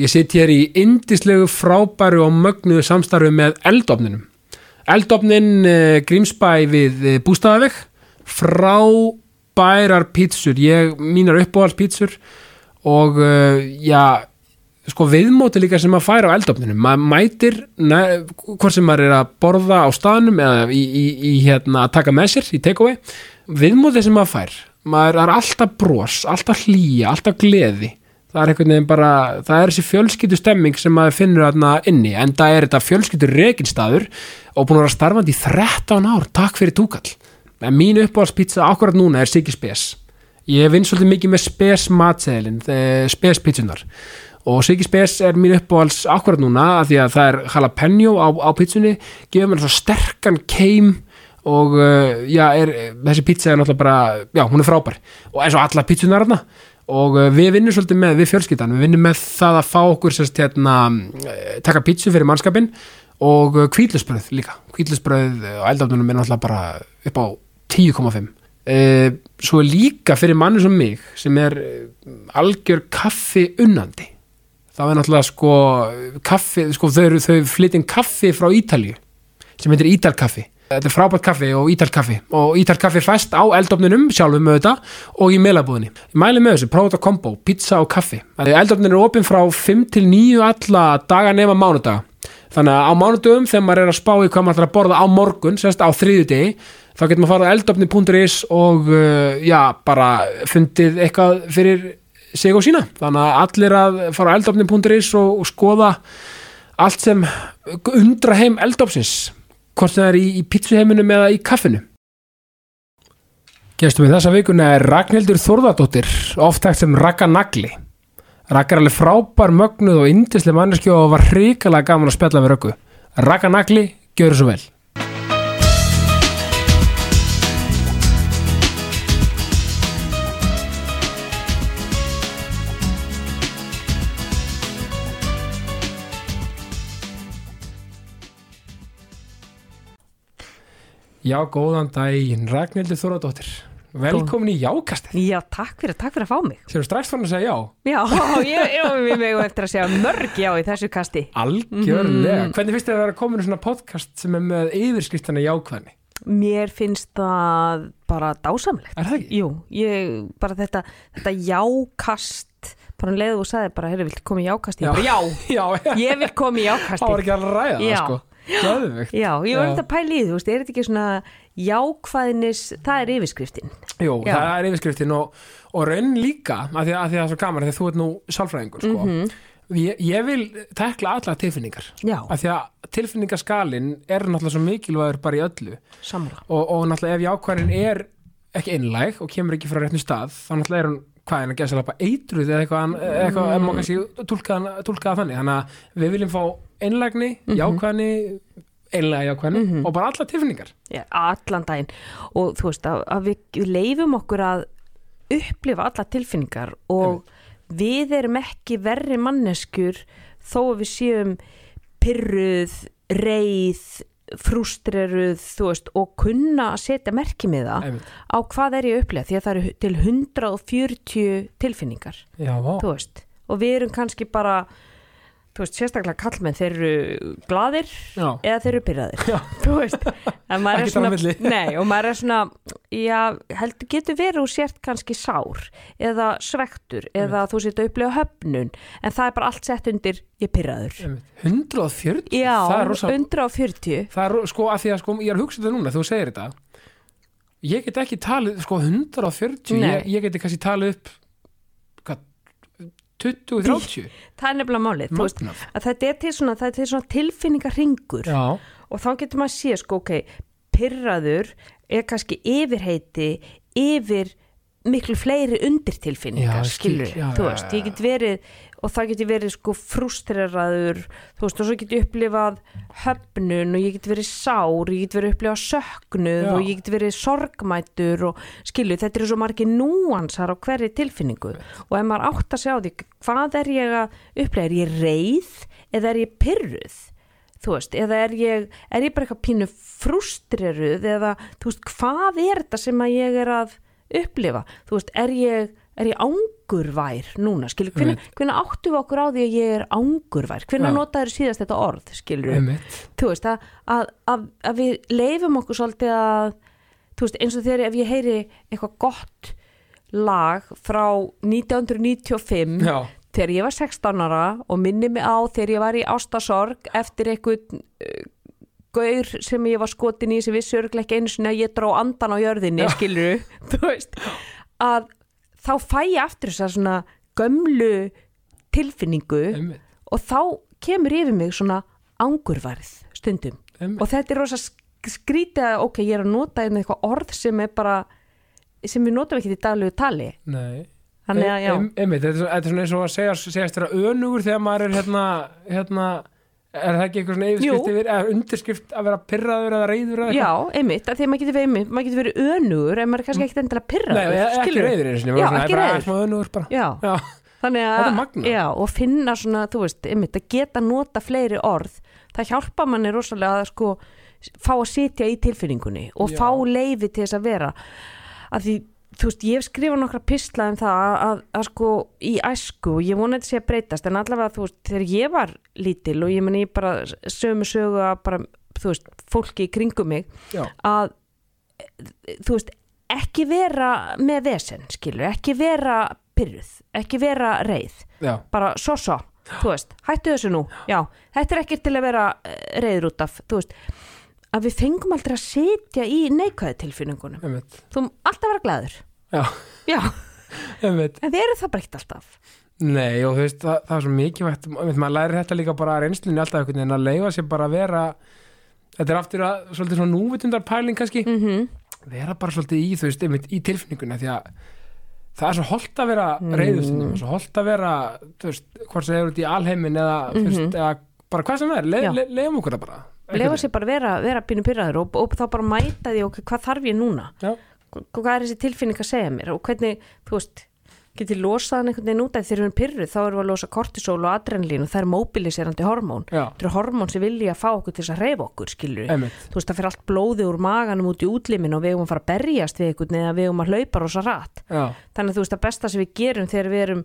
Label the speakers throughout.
Speaker 1: Ég sitt hér í indislegu frábæru og mögnuðu samstarfi með eldofninum. Eldofnin eh, Grímsbæ við eh, Bústaðaveg, frábærar pítsur, ég mínar uppbúðalspítsur og eh, já, sko viðmóti líka sem maður fær á eldofninum. Maður mætir, ne, hvort sem maður er að borða á staðnum eða í, í, í hérna að taka með sér í takeaway, viðmóti sem maður fær. Maður það er alltaf bros, alltaf hlýja, alltaf gleði það er einhvern veginn bara, það er þessi fjölskyldu stemming sem maður finnur þarna inni en það er þetta fjölskyldu reginstaður og búin að vera starfandi í 13 ár takk fyrir túkall, en mín uppáhaldspizza akkurat núna er Siggi Spes ég vinn svolítið mikið með Spes matseðilin Spes pizzunar og Siggi Spes er mín uppáhalds akkurat núna af því að það er jalapeno á, á pizzunni, gefur mér svo sterkan keim og uh, já, er, þessi pizza er náttúrulega bara, já, hún er frábær og eins og alla pizzunar hana og uh, við vinnum svolítið með, við fjölskyldan við vinnum með það að fá okkur sérst hérna, eh, taka pítsu fyrir mannskapin og uh, kvítlusbröð líka kvítlusbröð og eldafnunum er náttúrulega bara upp á 10,5 uh, svo er líka fyrir manni sem mig sem er eh, algjör kaffi unnandi það er náttúrulega sko kaffi, sko þau, eru- þau flytjum kaffi frá Ítalju sem heitir Ítalkaffi þetta er frábært kaffi og Ítalkaffi og Ítalkaffi fæst á eldofnunum sjálfum auðvitað og í meilabúðinni ég mæli með þessu, prófa þetta kombo, pizza og kaffi eldofnun eru opinn frá 5 til 9 alla daga nema mánudaga þannig að á mánudöfum þegar maður er að spá í hvað maður ætlar að borða á morgun, sérst á þriðjudegi þá getur maður farið á eldofni.is og uh, já, bara fundið eitthvað fyrir sig og sína þannig að allir að fara á eldofni.is og, og skoða allt sem undra heim eldópsins hvort sem það er í, í pítsuheiminum eða í kaffinu Gestum við þessa vikuna er Ragnhildur Þórðardóttir oftækt sem Ragga Nagli Ragga er alveg frábær mögnuð og indislega manneskju og var hrikalega gaman að spjalla með Röggu Ragga Nagli, gjör svo vel Já, góðan daginn, Ragnhildur Þórðardóttir Velkomin í jákastið
Speaker 2: Já, takk fyrir, takk fyrir að fá mig.
Speaker 1: Sérum strax fann að segja já
Speaker 2: Já, ég, ég, við megum eftir að segja mörg já í þessu kasti.
Speaker 1: Algjörlega
Speaker 2: Mhm.
Speaker 1: Hvernig finnst þér að vera komin í svona podcast sem er með yfirskriftana jákvæðni?
Speaker 2: Mér finnst það bara dásamlegt.
Speaker 1: Er það ekki?
Speaker 2: Jú, ég, bara þetta, þetta jákast, bara um leið og þú sagði bara, heyrðu, viltu koma í jákasti? Já. já,
Speaker 1: Já, já
Speaker 2: ég vil koma í
Speaker 1: Það var
Speaker 2: jákasti.
Speaker 1: ekki að ræða það
Speaker 2: Já.
Speaker 1: sko Gjöðvikt
Speaker 2: Já, ég
Speaker 1: Já.
Speaker 2: var eftir að pæla í því, þú veist, er þetta ekki svona jákvæðinis, það er yfirskriftin.
Speaker 1: Jú,
Speaker 2: Já.
Speaker 1: það er yfirskriftin og, og raun líka að því, að því að það er svo gaman af því að þú ert nú sálfræðingur sko. ég, ég vil tekla alla tilfinningar
Speaker 2: Mhm. Já,
Speaker 1: af því að tilfinningaskalin er náttúrulega svo mikilvægur bara í öllu
Speaker 2: sammála.
Speaker 1: og, og náttúrulega ef jákvæðin er ekki einlæg og kemur ekki frá réttnum stað þá náttúrulega er hún hvað en að gesa lappa eitruð eða eitthvað, ann- eða eitthvað mm. maður kannski tólka, hann- tólka það þannig þannig að við viljum fá einlægni,
Speaker 2: Mhm.
Speaker 1: jákvæðni einlæga jákvæðni og bara alla tilfinningar
Speaker 2: Já, allan daginn og þú veist að, að við, við leifum okkur að upplifa alla tilfinningar og við erum ekki verri manneskur þó að við séum pyrruð, reið frústreruð, þú veist og kunna að setja merki með það
Speaker 1: Einmitt.
Speaker 2: á hvað er ég að upplifa því að það eru til 140 tilfinningar
Speaker 1: Já, vá
Speaker 2: þú veist og við erum kannski bara þú veist, sérstaklega kallmenn, þeir eru gladir
Speaker 1: Já.
Speaker 2: eða þeir eru
Speaker 1: Já.
Speaker 2: pyrraðir þú veist en maður er
Speaker 1: Ekkert á
Speaker 2: svona,
Speaker 1: milli.
Speaker 2: nei, og maður er svona já, heldur getur verið og sért kannski sár eða svektur eða þú sétt að upplifa höfnun en það er bara allt sett undir ég pyrraður
Speaker 1: Einmitt. 140?
Speaker 2: já,
Speaker 1: það er rosa,
Speaker 2: 140
Speaker 1: það er ro- sko að því að sko, ég er að hugsa þetta núna, þú segir þetta ég get ekki talið, sko 140
Speaker 2: Nei.
Speaker 1: ég, ég geti kannski talið upp hvað, 20, 30
Speaker 2: það er nefnilega málið, þú veist
Speaker 1: Magnað.
Speaker 2: að þetta er til svona, það er til svona tilfinningarringur
Speaker 1: Já,
Speaker 2: og þá getur maður að sé sko ok, pyrraður er kannski yfirheiti yfir miklu fleiri
Speaker 1: Já,
Speaker 2: undirtilfinningar
Speaker 1: ég skil,
Speaker 2: skilur,
Speaker 1: já,
Speaker 2: þú
Speaker 1: já,
Speaker 2: veist,
Speaker 1: já,
Speaker 2: ég get verið og það getur verið sko frustreraður þú veist, og svo getur upplifað höfnun og ég get verið sár ég get verið upplifað söknuð
Speaker 1: Já.
Speaker 2: og ég get verið sorgmætur og skilur, þetta eru svo margi núansar á hverri tilfinningu og ef maður átt að sjá því hvað er ég að upplifa, er ég reið eða er ég pyrruð þú veist, eða er ég, er ég bara eitthvað pínu frústreruð eða þú veist, hvað er þetta sem að ég er að upplifa, þú veist, er ég er ég angurvær núna, skilur, hvernig, hvernig áttum við okkur á því að ég er angurvær, hvernig
Speaker 1: Já.
Speaker 2: notaður síðast þetta orð, skilur,
Speaker 1: einmitt,
Speaker 2: þú veist, að, að, að, að við leifum okkur svolítið að, þú veist, eins og þegar ef ég heyri eitthvað gott lag frá 1995
Speaker 1: já,
Speaker 2: þegar ég var 16 ára og minni mig á þegar ég var í ástasorg eftir eitthvað uh, gaur sem ég var skotin í sem vissi örglega ekki einu sinni að ég dró andan á jörðinni skilur, þú veist að þá fæ ég aftur þess að svona gömlu tilfinningu
Speaker 1: einmitt,
Speaker 2: og þá kemur yfir mig svona angurvarð stundum
Speaker 1: einmitt.
Speaker 2: og þetta er rosa sk- skrítið að ok, ég er að nota hérna eitthvað orð sem er bara sem við notum ekki í daglegu tali
Speaker 1: Nei,
Speaker 2: þannig að já,
Speaker 1: Ein- einmitt, þetta er svo- þetta er svona eins og að segja, segjast vera önugur þegar maður er hérna, hérna er það ekki eitthvað svona yfirskrift
Speaker 2: Jú.
Speaker 1: yfir, eða undirskrift að vera pirraður eða reyður eða
Speaker 2: já, einmitt að því að maður getur verið, einmitt, maður getur verið önugur en maður er kannski ekkert endilega
Speaker 1: Mm. Nei,
Speaker 2: pirraður,
Speaker 1: e- ekki
Speaker 2: skilurðu?
Speaker 1: reyður einu sinni,
Speaker 2: Já,
Speaker 1: bara svona,
Speaker 2: ekki
Speaker 1: bara
Speaker 2: reiður.
Speaker 1: smá önugur bara.
Speaker 2: já,
Speaker 1: Já,
Speaker 2: þannig
Speaker 1: Þetta er
Speaker 2: að
Speaker 1: magnað.
Speaker 2: já, og finna svona, þú veist, einmitt að geta nota fleiri orð, það hjálpa manni rosalega að sko fá að sitja í tilfinningunni og
Speaker 1: Já.
Speaker 2: fá leifi til þess að vera að því, þú veist, ég hef skrifað nokkra pistla um það að, að, að sko í æsku, og ég vona þetta sé að breytast en allavega, þú veist, þegar ég var lítil og ég meni, ég bara sömu sögu að bara, þú veist, fólki í kringum mig
Speaker 1: já,
Speaker 2: að e, þú veist, ekki vera með vesen, skilur, ekki vera pyrruð, ekki vera reið
Speaker 1: já,
Speaker 2: bara svo svo, þú veist, hættu þessu nú já, þetta er ekki til að vera eh, reiður út af, þú veist að við fengum aldrei að sitja í neikvæði tilfinningunum,
Speaker 1: einmitt,
Speaker 2: þú alltaf vera glaður
Speaker 1: já,
Speaker 2: já,
Speaker 1: einmitt.
Speaker 2: en þið eru það bara ekkert alltaf
Speaker 1: Nei, og þú veist, það, það er svo mikilvægt einmitt, maður lærir þetta líka bara að reynslunni alltaf einhvern veginn að leifa sér bara að vera þetta er aftur að, svolítið svona núvitundar pæling kannski,
Speaker 2: mm
Speaker 1: vera bara svolítið í, þú veist, einmitt í tilfinninguna því að það er svo holt að vera reyður stundum, svo holt að vera þú veist, hvort sem það eru út í alheimin eða, þú veist, eða bara hvað sem það er
Speaker 2: Já.
Speaker 1: le, le, leifum okkur það bara
Speaker 2: lefa sér bara að vera, vera pínu pyrraður og, og þá bara mæta því, ok, hvað þarf ég núna
Speaker 1: Já,
Speaker 2: Hva- hvað er þessi tilfinning að segja mér og hvernig, þú veist getið losað hann einhvern veginn út af því þegar við erum pyrruð þá erum við að losa kortisol og adrenalín og það er mobiliserandi hormón
Speaker 1: Já.
Speaker 2: þetta eru hormón sem vilja að fá okkur til þess að reyfa okkur skilur
Speaker 1: Einmitt.
Speaker 2: þú veist það fyrir allt blóði úr maganum út í útlimin og við eigum að fara að berjast við einhvern eða við eigum að hlaupa rosa rætt
Speaker 1: já,
Speaker 2: þannig að þú veist að besta sem við gerum þegar við erum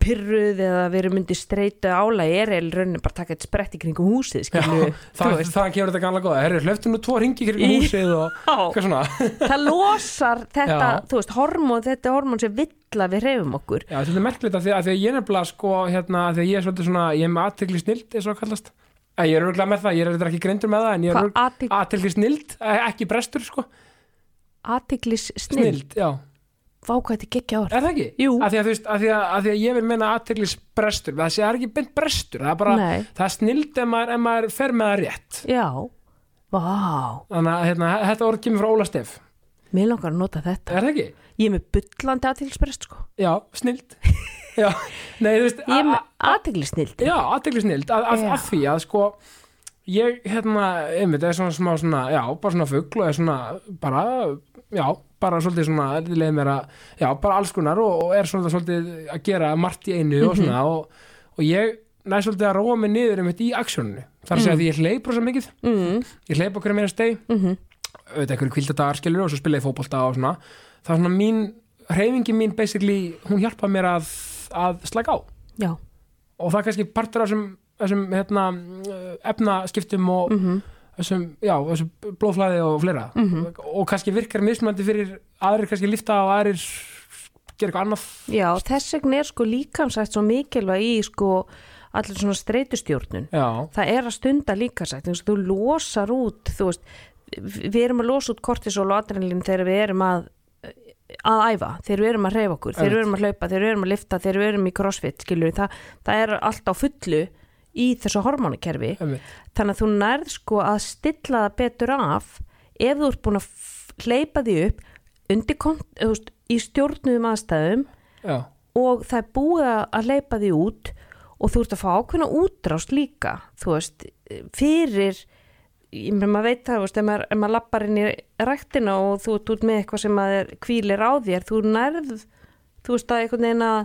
Speaker 2: pyrruð eða við erum myndi streytu álæg er eða raunin bara að taka eitt sprett í kringum
Speaker 1: já
Speaker 2: húsið skilur
Speaker 1: það, það kemur þetta gamla góða, herri, hlöftum nú tvo ringi kringum húsið og eitthvað svona
Speaker 2: það losar þetta,
Speaker 1: Já.
Speaker 2: þú veist, hormón, þetta er hormón sem vill að við reyfum okkur.
Speaker 1: Já, þetta er merkilegt að því að, því að ég er nefnilega sko, hérna, að því að ég er svolítið svona, ég er með aðtegli snild eins og það kallast, að ég er örgulega með það ég er þetta ekki greindur með það, en ég
Speaker 2: Hvað
Speaker 1: er
Speaker 2: athygli-
Speaker 1: aðtegli snild, ekki brestur sko,
Speaker 2: Atiklis snill,
Speaker 1: snild, já,
Speaker 2: vá hvað þetta gekkja orð.
Speaker 1: er það ekki?
Speaker 2: Jú.
Speaker 1: Að því að, þú veist, að, því að, að því að ég vil menna aðtegli brestur, það sé það er ekki beint brestur, það er bara,
Speaker 2: Nei.
Speaker 1: það er snild ef maður, ef maður fer með það rétt
Speaker 2: Já, vá,
Speaker 1: þannig að hérna, þetta orð kemur frá Óla Stef
Speaker 2: mér langar að nota þetta.
Speaker 1: er það ekki?
Speaker 2: Ég er með bullandi atiklisbrest, sko.
Speaker 1: Já, snild já, nei, þú veist
Speaker 2: Ég er
Speaker 1: a-
Speaker 2: með atiklisnill.
Speaker 1: Já, aðtegli snild að, að,
Speaker 2: Já.
Speaker 1: að því að sko ég hérna, einmitt, er svona smá svona já, bara svona fugl og er svona bara, já, bara svolítið svona leið mér að, já, bara alls konar og, og er svona svolítið að gera margt í einu og svona
Speaker 2: Mhm.
Speaker 1: og, og ég næ svolítið að róa mig niður einmitt í aksjóninu þar að segja að ég hleyp rosa mikið
Speaker 2: Mm,
Speaker 1: ég hleyp okkur meira stegi
Speaker 2: mhm.
Speaker 1: auðvitað einhverju kvíldadagar skilur og svo spila ég fótbolta og svona það er svona mín, hreyfingi mín basically, hún hjálpa mér að, að slæka á
Speaker 2: Já,
Speaker 1: og það er kannski partur af þessum, þessum hérna, eh, efnaskiptum og þessum, já, þessum blóðflæði og fleira og kannski virkar mismandi fyrir aðrir kannski lifta og aðrir gera eitthvað annað
Speaker 2: já, þess vegna er sko líkamsætt svo mikilvæg í sko allir svona streytustjórnun.
Speaker 1: já,
Speaker 2: það er að stunda líkasætt eins og þú losar út þú veist, við erum að losa út kortisol og adrenalin þegar við erum að að æfa, þegar við erum að reyfa okkur þegar við erum að hlaupa, þegar við erum að lifta, þegar við erum í crossfit skilur, það, það er allt á fullu í þessu hormónakerfi
Speaker 1: einmitt,
Speaker 2: þannig að þú nærð sko að stilla það betur af ef þú ert búin að f- hleypa því upp undir, kont- þú veist, í stjórnuðum aðstæðum
Speaker 1: já,
Speaker 2: og það er búið að leipa því út og þú ert að fá ákveðna útrást líka þú veist, fyrir ég meina maður veit það, þú veist, ef maður, ef maður lappar inn í ræktina og þú ert út með eitthvað sem maður kvílir á þér, þú nærð þú veist að einhvern veginn að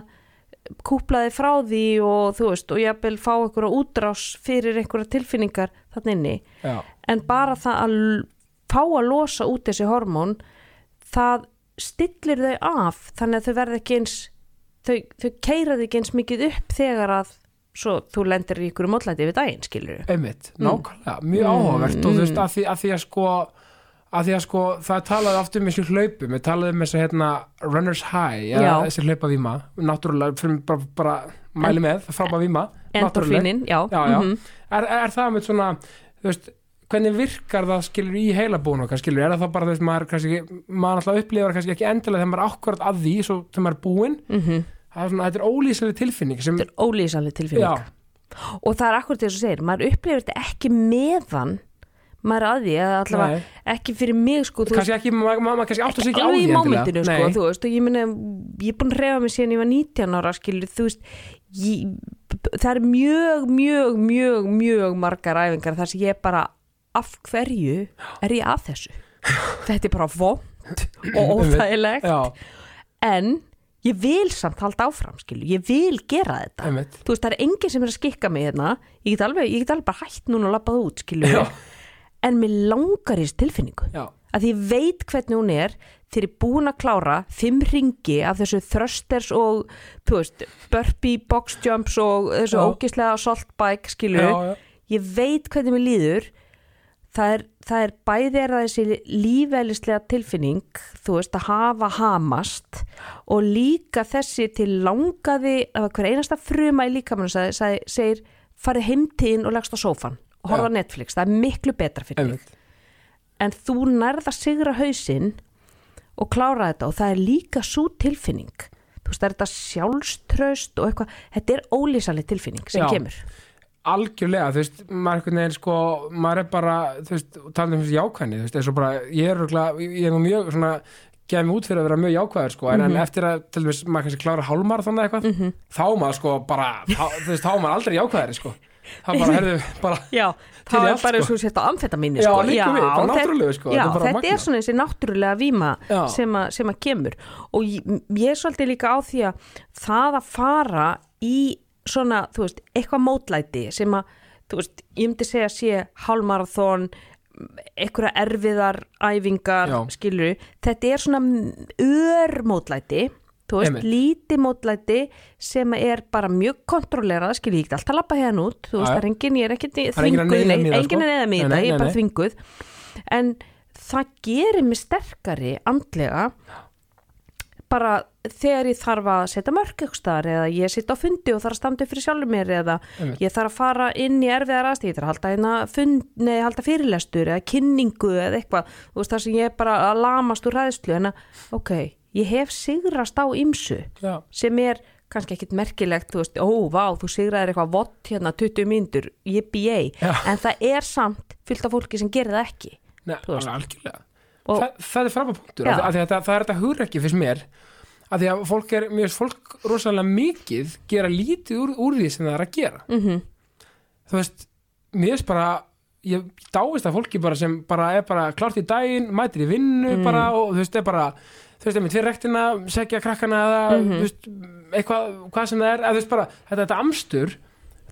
Speaker 2: kúpla þig frá því og þú veist og jafnvel fá einhverja útrás fyrir einhverja tilfinningar þannig inni
Speaker 1: já,
Speaker 2: en bara það að l- fá að losa út þessi hormón það stillir þau af þannig að þau verða ekki eins þau, þau keiraði ekki eins mikið upp þegar að svo þú lendir í ykkur mótlæti við daginn, skilur
Speaker 1: einmitt, nákvæmlega, mjög áhugavert og þú veist, að því að, því að sko að því að sko, það talaði oft um þessu hlaupum við talaði um þessu hérna runners high, eða
Speaker 2: Já.
Speaker 1: þessi hlaupa víma náttúrulega, fyrir bara, bara mæli með, frábæð víma, náttúrulega
Speaker 2: Endorfinin, já,
Speaker 1: já, já.
Speaker 2: mhm.
Speaker 1: er, er- er það með svona þú veist, hvernig virkar það skilur í heilabúin okkar skilur, er það þá bara þú veist, maður kannski ekki- maður alltaf upplifar kannski ekki endilega þegar maður er akkurat að því, svo þegar maður er búinn
Speaker 2: Mhm.
Speaker 1: það er svona, þetta er ólýsari tilfinning sem,
Speaker 2: þetta er ólýsanlega tilfinning
Speaker 1: já,
Speaker 2: og það er akkurat þess að segir, maður upplifir þetta ekki meðan maður er að því, eða allavega
Speaker 1: Nei.
Speaker 2: ekki fyrir mig sko, þú
Speaker 1: kannski ekki, maður ma, ma, kannski átt að
Speaker 2: veist,
Speaker 1: sig
Speaker 2: ekki
Speaker 1: ekki á því
Speaker 2: alveg í
Speaker 1: endilega.
Speaker 2: momentinu sko,
Speaker 1: Nei.
Speaker 2: þú veist, og ég meina ég er búin að reyfa mig síðan ég var 19 ára skilur, þú veist ég, það er mjög, mjög, mjög mjög margar æfingar þar sem ég bara af hverju er ég að þessu þetta er bara vond og óþægilegt
Speaker 1: já,
Speaker 2: en ég vil samt halda áfram skilur, ég vil gera þetta
Speaker 1: einmitt
Speaker 2: þú veist, það er enginn sem er að skikka mig hérna ég get alveg, ég get alveg bara hætt núna og labbað út, skilur
Speaker 1: Já.
Speaker 2: en mér langar í þessu tilfinningu
Speaker 1: já,
Speaker 2: að ég veit hvernig hún er þegar ég er búin að klára fimm ringi af þessu thrusters og þú veist, burpee, box jumps og þessu
Speaker 1: Já.
Speaker 2: ógislega salt bike skilur,
Speaker 1: Já, já.
Speaker 2: ég veit hvernig mér líður það er, það er bæði er það þessi lífælislega tilfinning, þú veist, að hafa hamast og líka þessi til langaði af hver einasta fruma í líkamann sagði, segir, farið heimtíðin og leggst á sófan og horfa
Speaker 1: Já.
Speaker 2: á Netflix, það er miklu betra fyrir mig
Speaker 1: einmitt
Speaker 2: en þú nærð að sigra hausinn og klára þetta og það er líka svo tilfinning þú veist það er þetta sjálfströst og eitthvað, þetta er ólýsaleg tilfinning sem
Speaker 1: Já.
Speaker 2: kemur
Speaker 1: algjörlega, þú veist, maður einhvern veginn sko, maður er bara, þú veist, talað um þessi jákvæðni, þú veist, eins og bara, ég er rögla, ég er nú mjög svona, gefið mig út fyrir að vera mjög jákvæður sko, en, en
Speaker 2: Mhm.
Speaker 1: eftir að, til dæmis, maður kannski klára hálmar þannig eitthvað, þá maður sko bara, þá, þú veist, þá er maður aldrei jákvæður sko, það bara, herðu, bara
Speaker 2: Já,
Speaker 1: Til í
Speaker 2: það er
Speaker 1: allt,
Speaker 2: bara
Speaker 1: sko.
Speaker 2: eins og sétt á amfetamíni
Speaker 1: Já,
Speaker 2: sko.
Speaker 1: líka við, bara
Speaker 2: þetta-
Speaker 1: náttúrulegu, sko,
Speaker 2: Já,
Speaker 1: þetta er bara
Speaker 2: þetta er
Speaker 1: magnað.
Speaker 2: svona þessi náttúrulega víma
Speaker 1: Já.
Speaker 2: sem, a, sem að kemur og ég, ég er svolítið líka á því að það að fara í svona, þú veist, eitthvað mótlæti sem að, þú veist, ég myndi segja sé hálmarathon einhverja erfiðar æfingar
Speaker 1: Já.
Speaker 2: skilur, þetta er svona örmótlæti þú veist,
Speaker 1: Einmitt.
Speaker 2: lítið mótlæti sem er bara mjög kontrollerað skilur, ég get alltaf labba hérna út þú
Speaker 1: Já,
Speaker 2: veist,
Speaker 1: já.
Speaker 2: það er engin, ég er ekkert í-
Speaker 1: Það er enginn að
Speaker 2: þvinguð,
Speaker 1: neyða
Speaker 2: nei,
Speaker 1: mig í það,
Speaker 2: enginn
Speaker 1: sko.
Speaker 2: er neða mig í
Speaker 1: Nei,
Speaker 2: það,
Speaker 1: nei,
Speaker 2: ég er bara
Speaker 1: nei.
Speaker 2: þvinguð en það gerir mig sterkari andlega bara þegar ég þarf að setja mörk ykkur staðar eða ég sitt á fundi og þarf að standa upp fyrir sjálfur mér eða
Speaker 1: Einmitt.
Speaker 2: ég þarf að fara inn í erfiðar aðstíð ég þarf að halda, hérna fund, nei, halda fyrirlestur eða kynningu eða eitthvað þú veist það sem ég er bara að lamast úr ræðslu en að ok, ég hef sigrast á ymsu
Speaker 1: já,
Speaker 2: sem er kannski ekkit merkilegt, þú veist, ó, vá, þú sigraðir eitthvað vott hérna 20 mínútur, ég
Speaker 1: Já.
Speaker 2: en það er samt fyllt af fólki sem gerir það ekki.
Speaker 1: Nei,
Speaker 2: Þú veist.
Speaker 1: alveg algjörlega
Speaker 2: Og-
Speaker 1: Þa, Það er frábæð punktur,
Speaker 2: Já.
Speaker 1: af því- af því að þetta, það er þetta hugrekki fyrst mér, af því að fólk er mjög fólk rosalega mikið gera lítið úr, úr því sem það er að gera -hmm. Þú veist, mér er bara ég dáist að fólki bara sem bara er bara klárt í daginn, mætir í vinnu bara og þú veist, er bara þú veist, einmitt fyrir rektina, segja krakkana eða, þú veist, eitthvað, hvað sem það er eða þú veist bara, þetta, þetta amstur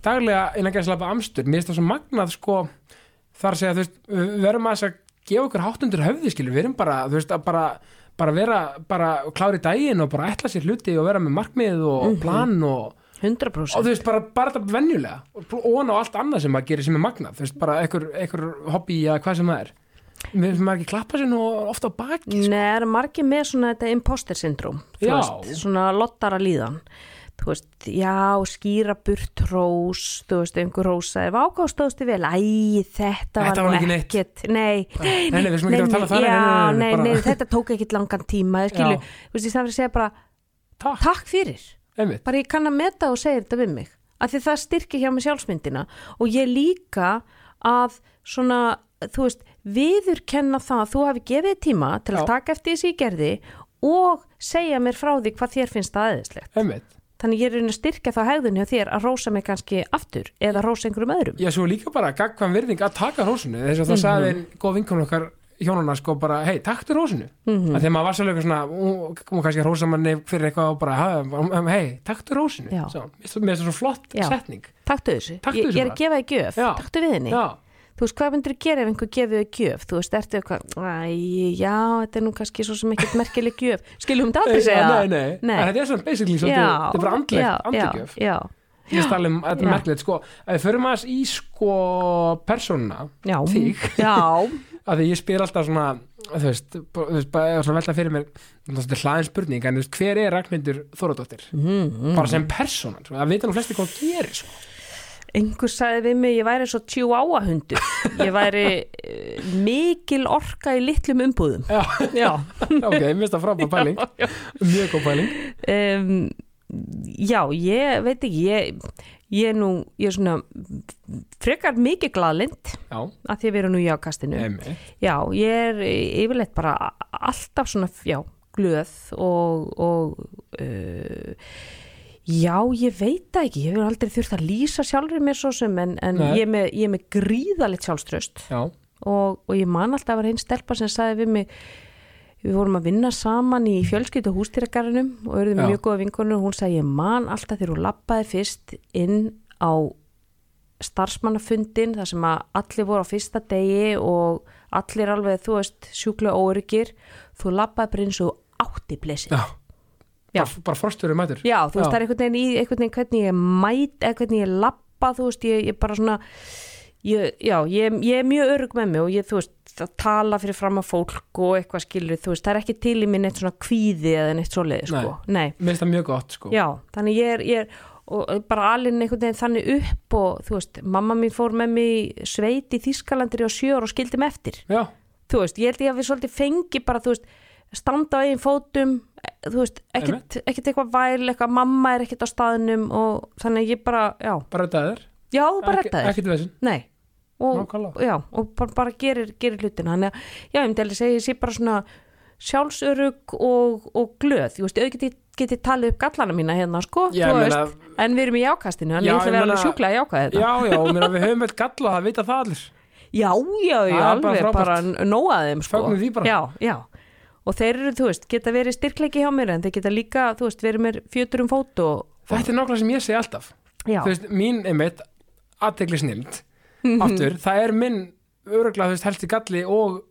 Speaker 1: daglega innan gæðslapa amstur mér er það svo magnað sko þar að segja, þú veist, við verum að að gefa okkur háttundur höfði, skilur, við erum bara þú veist, að bara, bara vera, bara klári daginn og bara ætla sér hluti og vera með markmið og plan og
Speaker 2: 100%.
Speaker 1: og þú veist, bara, bara þetta venjulega og pl- ofan á allt annað sem maður gerir sem er magnað þú veist, bara einhver, einhver hobby eða hvað sem það er við finnst maður ekki klappa sér nú ofta á baki
Speaker 2: Nei, það eru margir með svona þetta imposter syndrom, þú
Speaker 1: Já.
Speaker 2: veist, svona lottara líðan. Þú veist, já, skýra burt rós, þú veist, einhver rósa er vákástóðstu vel, æ, þetta
Speaker 1: Þetta
Speaker 2: var
Speaker 1: var
Speaker 2: nú
Speaker 1: ekki neitt.
Speaker 2: ekkert, nei, nei,
Speaker 1: nei, við skulum ekki tala um það, nei,
Speaker 2: já,
Speaker 1: nei, nei,
Speaker 2: nei,
Speaker 1: bara-
Speaker 2: nei, þetta tók ekkert langan tíma, ég
Speaker 1: Já.
Speaker 2: skilju, þú veist, ég stafir að segja bara,
Speaker 1: Takk.
Speaker 2: takk fyrir,
Speaker 1: einmitt,
Speaker 2: bara ég kann að meta og segja þetta við mig af því það styrkir hjá mig sjálfsmyndina og ég líka að svona, þú veist, viðurkenna það að þú hafi gefið þér tíma til
Speaker 1: Já.
Speaker 2: að taka eftir þessi ég gerði og segja mér frá því hvað þér finnst það aðeinslegt.
Speaker 1: einmitt
Speaker 2: Þannig ég er í rauninni að styrkja þá hegðun hjá þér að rósa mig kannski aftur eða rósa einhverjum öðrum.
Speaker 1: Já, svo líka bara gagkvæm virðing að taka hrósinu þess að það sagði
Speaker 2: Mhm.
Speaker 1: einn góð vinkan okkar hjónuna sko bara, hei, taktu hrósinu
Speaker 2: Mhm.
Speaker 1: að þegar maður var svolítið eitthvað svona hún hún kannski að hrósa manni fyrir eitthvað og bara "Ha, um, hei, taktu hrósinu
Speaker 2: Já.
Speaker 1: Svo, mér finnst það svo flott
Speaker 2: Já.
Speaker 1: setning
Speaker 2: Taktu þessu.
Speaker 1: Taktu
Speaker 2: ég,
Speaker 1: þessu
Speaker 2: ég er að gefa þér gjöf.
Speaker 1: Já.
Speaker 2: Taktu við henni.
Speaker 1: Já,
Speaker 2: þú veist, hvað myndur þú gera ef einhver gefið þau gjöf, þú veist, ertu eitthvað æ, já, þetta er nú kannski svo sem ekkert merkileg gjöf, skilum þetta aldrei segja
Speaker 1: nei, nei,
Speaker 2: Nei.
Speaker 1: En þetta er svona basically svolítið,
Speaker 2: Já,
Speaker 1: þetta er bara andlegt,
Speaker 2: já,
Speaker 1: andlegjöf
Speaker 2: já,
Speaker 1: Ég veist alveg, þetta er
Speaker 2: Já.
Speaker 1: merkilegt, sko að við förum aðeins í, sko, persónuna
Speaker 2: já,
Speaker 1: Þig.
Speaker 2: já,
Speaker 1: að því ég spyr alltaf svona þú veist, bara- þú veist, bara svona velta fyrir mér þetta er hlaðin spurning, en þú veist, hver er Ragnhildur Þóradóttir,
Speaker 2: mm,
Speaker 1: bara sem persónan sko, það vita nú flesti hvað hún gerir sko.
Speaker 2: einhver sagði við mig ég væri svo chihuahua hundur ég væri uh, mikil orka í litlum umbúðum
Speaker 1: Já.
Speaker 2: já.
Speaker 1: ok, ég minnst það frábæð pæling
Speaker 2: já.
Speaker 1: mjög góð pæling
Speaker 2: Um, já, ég veit ekki ég, ég er nú ég er svona frekar mikið glaðlind
Speaker 1: já,
Speaker 2: að því að við erum nú í ákastinu
Speaker 1: emi,
Speaker 2: já, ég er yfirleitt bara alltaf svona, já, glöð og, og uh, já, ég veit það ekki ég hefur aldrei þurft að lýsa sjálfri mér svo sem en, en
Speaker 1: Nei.
Speaker 2: ég er með, ég er með gríðalegt sjálfströst
Speaker 1: já,
Speaker 2: og, og ég man alltaf að var einn stelpa sem sagði við mig við vorum að vinna saman í fjölskyldu og hústýragarunum og eruðum
Speaker 1: Já.
Speaker 2: mjög góða vinkonur og hún sagði ég man alltaf þegar hún lappaði fyrst inn á starfsmannafundin þar sem að allir voru á fyrsta degi og allir alveg þú veist sjúklega óryggir þú lappaði bara eins og átti blesið
Speaker 1: já.
Speaker 2: Já.
Speaker 1: Bara, bara forstöru mætur
Speaker 2: já þú veist
Speaker 1: Já.
Speaker 2: það er einhvern veginn, í, einhvern veginn hvernig ég mæt eða hvernig ég lappa þú veist ég, ég bara svona ég, já, ég, ég er mjög örug með mig og ég, þú veist, að tala fyrir fram að fólk og eitthvað skilur, þú veist, það er ekki til í minn eitt svona kvíði eða neitt svoleiði, sko. Nei.
Speaker 1: minnst það mjög gott sko.
Speaker 2: Já, þannig ég er, ég er og bara alinn einhvern veginn þannig upp og þú veist, mamma mín fór með mig í sveit í Þískalandri á sjö ára og skildi mig eftir.
Speaker 1: já,
Speaker 2: Þú veist, ég held ég að við svolítið fengi bara, þú veist, standa á eigin fótum, e- þú veist, ekkert, ekkert eitthvað væl, eitthvað mamma er ekkert á staðnum og þannig ég bara, já,
Speaker 1: bara þetta er
Speaker 2: já, bara
Speaker 1: Ekki-
Speaker 2: þetta er.
Speaker 1: ekkert veginn,
Speaker 2: Nei og,
Speaker 1: Nákvæmlega.
Speaker 2: já, og bara, bara gerir, gerir hlutin þannig að, já, ég myndi alveg segja, ég sé bara svona sjálfsörug og, og glöð, ég veist, auðvitað get, get ég talið upp gallana mína hérna, sko
Speaker 1: Já,
Speaker 2: þú
Speaker 1: ég
Speaker 2: veist,
Speaker 1: meina-
Speaker 2: en við erum í jákastinu, en
Speaker 1: Já,
Speaker 2: ég ætla að
Speaker 1: ég
Speaker 2: vera alveg
Speaker 1: meina-
Speaker 2: sjúklega að jáka þetta
Speaker 1: já, já, og mér að við höfum vel galla það vita það allir
Speaker 2: já, já, já,
Speaker 1: Það er bara
Speaker 2: alveg
Speaker 1: frábært.
Speaker 2: bara nóaðum, sko
Speaker 1: Fögnum því bara.
Speaker 2: já, já, og þeir eru, þú veist, geta verið styrkleiki hjá mér, en þeir geta líka, þú veist, verið mér fjötur um fót og,
Speaker 1: þetta er nákvæmlega sem ég segi alltaf
Speaker 2: já,
Speaker 1: þú veist, mín einmitt aðtegli snild
Speaker 2: Mhm.
Speaker 1: aftur, það er minn öruglega, þú veist, helsti galli og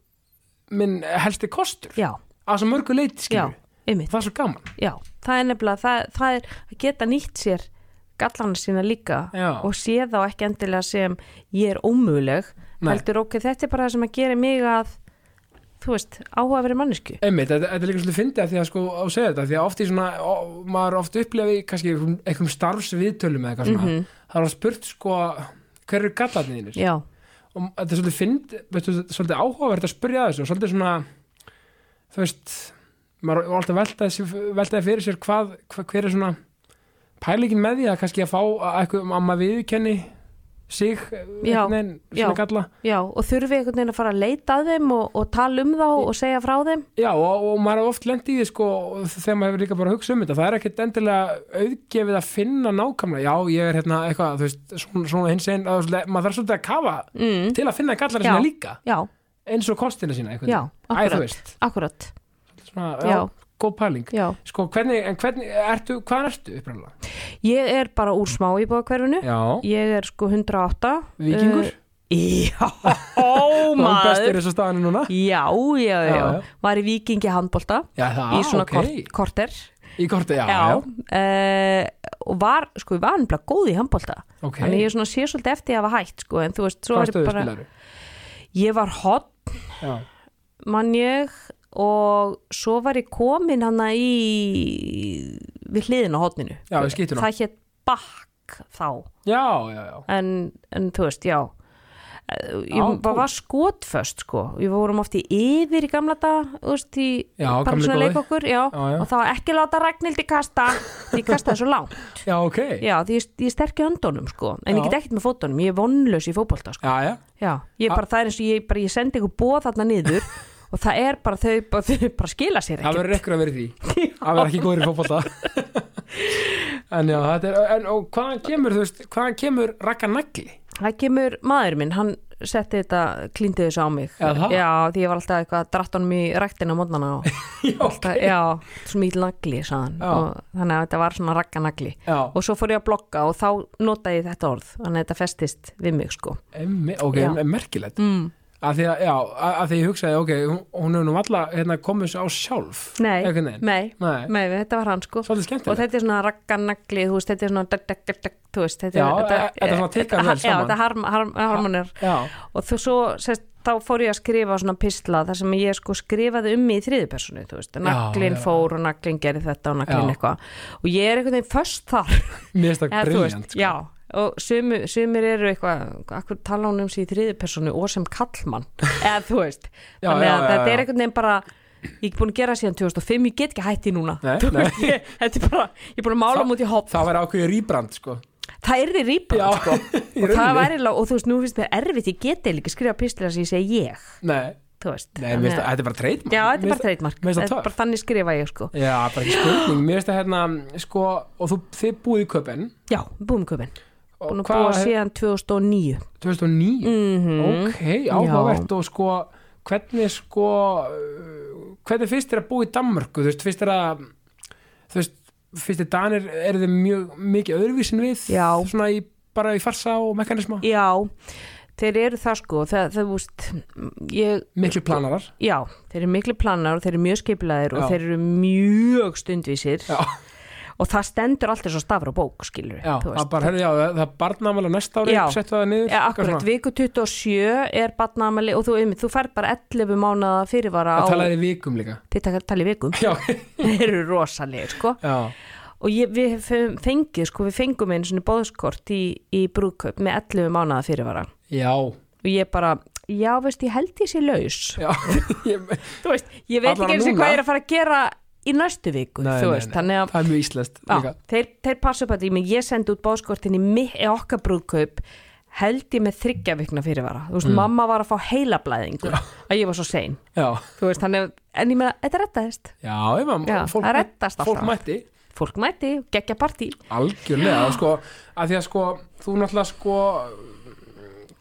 Speaker 1: minn helsti kostur
Speaker 2: já,
Speaker 1: að svo mörgu leiti
Speaker 2: já,
Speaker 1: skilju,
Speaker 2: einmitt
Speaker 1: það er svo gaman
Speaker 2: Já, það er nefnilega, það, það er að geta nýtt sér gallana sína líka
Speaker 1: Já.
Speaker 2: og sé þá ekki endilega sem ég er ómöguleg
Speaker 1: Nei.
Speaker 2: heldur ok, þetta er bara það sem að gera mig að þú veist, áhuga verið mannesku
Speaker 1: einmitt, þetta, þetta er líka svolítið fyndið að því að sko á segja þetta, því að oft í svona ó, maður oft upplefi kannski einhverjum, einhverjum starfsviðtölum eða eitthvað svona,
Speaker 2: Mhm.
Speaker 1: það er oft spurt sko hver eru gallarnir þínir
Speaker 2: Já,
Speaker 1: og þetta er svolítið fynd, veistu, þetta er svolítið áhugavert að spyrja að þessu og svolítið svona þú veist, maður er alltaf veltaði, veltaði fyrir sér hvað, hvað hver er svona pælingin með því að kannski að fá að, eitthvað- að maður viðkenni sig, eh,
Speaker 2: Já,
Speaker 1: veginn,
Speaker 2: já.
Speaker 1: svona galla
Speaker 2: já, og þurfi einhvern veginn að fara að leita að þeim og, og tala um þá og segja frá þeim
Speaker 1: Já, og, og maður er oft lent í því sko þegar maður hefur líka bara að hugsa um þetta það er ekkert endilega auðgefið að finna nákvæmlega, já, ég er hérna eitthvað þú veist, svona, svona hins einn að þú veist, maður þarf svolítið að kafa
Speaker 2: mm.
Speaker 1: til að finna gallara
Speaker 2: Já.
Speaker 1: sína líka
Speaker 2: Já,
Speaker 1: eins og kostina sína einhvern
Speaker 2: já,
Speaker 1: veginn. Æ, þú
Speaker 2: akkurat
Speaker 1: veist,
Speaker 2: Akkurat,
Speaker 1: svona, já,
Speaker 2: já,
Speaker 1: góð pæling
Speaker 2: já
Speaker 1: Sko, hvernig, en hvernig, ertu, hvað ertu uppræðanlega?
Speaker 2: Ég er bara úr smá í bóðakverfinu
Speaker 1: Já,
Speaker 2: Ég er sko 108
Speaker 1: vikingur
Speaker 2: Uh, Já, ó
Speaker 1: og hann
Speaker 2: maður
Speaker 1: bestur þessu staðinu núna
Speaker 2: Já, já, já,
Speaker 1: Já, já.
Speaker 2: Var í vikingi handbolta
Speaker 1: Já, það,
Speaker 2: í svona
Speaker 1: ok
Speaker 2: okay. korter
Speaker 1: Í korti, já,
Speaker 2: Já,
Speaker 1: já,
Speaker 2: eh, og var, sko, ég var nefnilega góð í handbolta
Speaker 1: ok
Speaker 2: Þannig ég svona sé svolítið eftir að hafa hægt, sko, en þú veist, svo
Speaker 1: Hvað
Speaker 2: er ég
Speaker 1: stöðu
Speaker 2: bara
Speaker 1: spilaru?
Speaker 2: Ég var hot,
Speaker 1: Já,
Speaker 2: mann ég og svo var ég komin hana í við hliðin á hotninu
Speaker 1: Já, í skyttuna.
Speaker 2: Það hétt bakk þá
Speaker 1: já, já, já
Speaker 2: en, en þú veist, já Eh, ég
Speaker 1: Já,
Speaker 2: bara
Speaker 1: cool.
Speaker 2: var skotföst sko við vorum oft í yfir í gamla dag þú veist, í
Speaker 1: Já,
Speaker 2: bara
Speaker 1: gamli
Speaker 2: svona
Speaker 1: góði.
Speaker 2: leik okkur já,
Speaker 1: Já, já.
Speaker 2: og þá ekki láta Ragnhildi kasta því ég kastaði svo langt
Speaker 1: Já, ok
Speaker 2: já, því ég, ég sterki höndunum sko en
Speaker 1: Já.
Speaker 2: ég get ekkert með fótunum, ég er vonlaus í fótbolta sko.
Speaker 1: Já, já,
Speaker 2: já, ég er bara, það er eins og ég, bara, ég sendi ykkur bóð þarna niður og það er bara þau, bara, þau bara skila sér
Speaker 1: Það
Speaker 2: ekki
Speaker 1: verður ekkur að vera í því Það verður ekki góður í fótbolta En já, þetta er en, Og hvaðan kemur, þú veist, hvaðan kemur rakka nagli?
Speaker 2: það kemur maður minn, hann setti þetta, klíndi þessu á mig
Speaker 1: Eða það?
Speaker 2: já, því ég var alltaf eitthvað dratt honum í ræktina á mótnana og
Speaker 1: já,
Speaker 2: alltaf, já, svo mýl nagli sagðan,
Speaker 1: Já.
Speaker 2: og þannig að þetta var svona ragganagli
Speaker 1: já.
Speaker 2: og svo fór ég að blogga og þá notaði ég þetta orð þannig að þetta festist við mig sko
Speaker 1: Emmi, ok,
Speaker 2: Já.
Speaker 1: em- merkilegt
Speaker 2: mm.
Speaker 1: að því að, já, að að því ég hugsaði ok, hún- hún hefur nú alla hérna, komið sér á sjálf
Speaker 2: nei,
Speaker 1: Einhvern veginn.
Speaker 2: nei,
Speaker 1: Nei.
Speaker 2: nei, þetta var hann sko
Speaker 1: svolítið
Speaker 2: og
Speaker 1: skemmtilegt
Speaker 2: þetta er svona ragganagli, þú veist, þetta er svona dag, dag, dag, dag, þú veist, þetta
Speaker 1: Já,
Speaker 2: er
Speaker 1: e- þetta er svona tikkar vel
Speaker 2: já,
Speaker 1: saman.
Speaker 2: þetta harm, harm, harmonir
Speaker 1: já,
Speaker 2: og þú svo, sest, þá fór ég að skrifa svona pistla þar sem ég sko skrifaði um mig í þriðju personu, þú veist, naglinn
Speaker 1: já.
Speaker 2: fór og naglinn gerði þetta
Speaker 1: Já.
Speaker 2: og naglinn eitthvað og ég er einhvern veginn föst þar
Speaker 1: mér finnst það sko.
Speaker 2: Eða, þú
Speaker 1: briljant
Speaker 2: veist, já, og sumu, sumir eru eitthvað, akkur tala hún um sig í þriðju personu og sem kallmann eða þú veist,
Speaker 1: Já,
Speaker 2: þannig
Speaker 1: já,
Speaker 2: að
Speaker 1: já,
Speaker 2: þetta
Speaker 1: já.
Speaker 2: er einhvern veginn bara ég er búin að gera síðan 2005, ég get ekki hætti núna
Speaker 1: Nei,
Speaker 2: Þú
Speaker 1: nei.
Speaker 2: veist, ég, þetta er bara, ég er búin að mála
Speaker 1: Það-
Speaker 2: múti hopp,
Speaker 1: það væri ákveðið rýbrand sko.
Speaker 2: það er þið rýpa
Speaker 1: sko,
Speaker 2: og það væri lá, og þú veist, nú finnst mér erfitt ég get eiginlega ekki skrifa pistla sem ég segi ég
Speaker 1: nei,
Speaker 2: þú veist,
Speaker 1: nei mér finnst
Speaker 2: að-
Speaker 1: það- þetta er bara treytmark
Speaker 2: já, þetta er bara treitmark,
Speaker 1: mér finnst
Speaker 2: þetta
Speaker 1: það
Speaker 2: er
Speaker 1: töff.
Speaker 2: bara þannig skrifa ég sko,
Speaker 1: já, bara ekki spurning, mér finnst það hérna sko, og þú, þið búið í köpen
Speaker 2: já, búin köpinn
Speaker 1: og
Speaker 2: búin að búa
Speaker 1: hef-
Speaker 2: síðan 2009
Speaker 1: 2009
Speaker 2: Mhm.
Speaker 1: ok, áhugavert og sko hvernig sko uh, hvernig finnst þér að búa í Danmörku þú veist, finnst þér að þú veist, finnst þér Danir er þið mjög mikið öðruvísin við
Speaker 2: Já.
Speaker 1: svona í, bara í farsa og mekanisma
Speaker 2: Já, þeir eru það sko það, það vúst, ég,
Speaker 1: miklu planarar
Speaker 2: já, þeir eru miklu planar og þeir eru mjög skiplaðir
Speaker 1: Já.
Speaker 2: og þeir eru mjög stundvísir
Speaker 1: já,
Speaker 2: og það stendur alltaf svo stafur á bók skilur
Speaker 1: já, það bara, herri, já, það það barnamála næsta ári,
Speaker 2: Já.
Speaker 1: settu það niður
Speaker 2: Ja,
Speaker 1: eitthvað
Speaker 2: akkurat,
Speaker 1: svona.
Speaker 2: viku 27 er barnamæli og þú, einmitt, þú fær bara 11 mánaða fyrirvara
Speaker 1: það
Speaker 2: á,
Speaker 1: talaði í vikum líka
Speaker 2: þetta tala í vikum
Speaker 1: já,
Speaker 2: þeir eru rosalegir sko
Speaker 1: já,
Speaker 2: og ég, við höfum fengið sko, við fengum einu svona bóðskort í, í brúðkaup með 11 mánaða fyrirvara
Speaker 1: já,
Speaker 2: og ég bara, já veist ég held ég sé laus
Speaker 1: já. Ég-
Speaker 2: þú veist, ég veit
Speaker 1: Allavega
Speaker 2: ekki eins og
Speaker 1: núna.
Speaker 2: hvað ég er að fara að gera í næstu viku,
Speaker 1: Nei,
Speaker 2: þú
Speaker 1: nei,
Speaker 2: veist,
Speaker 1: nei.
Speaker 2: þannig að
Speaker 1: það er mjög íslest
Speaker 2: á, þeir, þeir passa upp að ég, ég sendi út bóðskortin í mig, í okkar brúðkaup held ég með þryggja vikna fyrirvara þú veist,
Speaker 1: Mm.
Speaker 2: mamma var að fá heilablæðingu að ég var svo sein,
Speaker 1: já,
Speaker 2: þú veist, þannig að en ég meina, þetta rettaðist,
Speaker 1: já, ég maður
Speaker 2: Já,
Speaker 1: fólk,
Speaker 2: það reddast alltaf.
Speaker 1: fólk mætti
Speaker 2: fólk mæti geggja partí,
Speaker 1: algjörlega sko, að því að sko, þú náttúrulega sko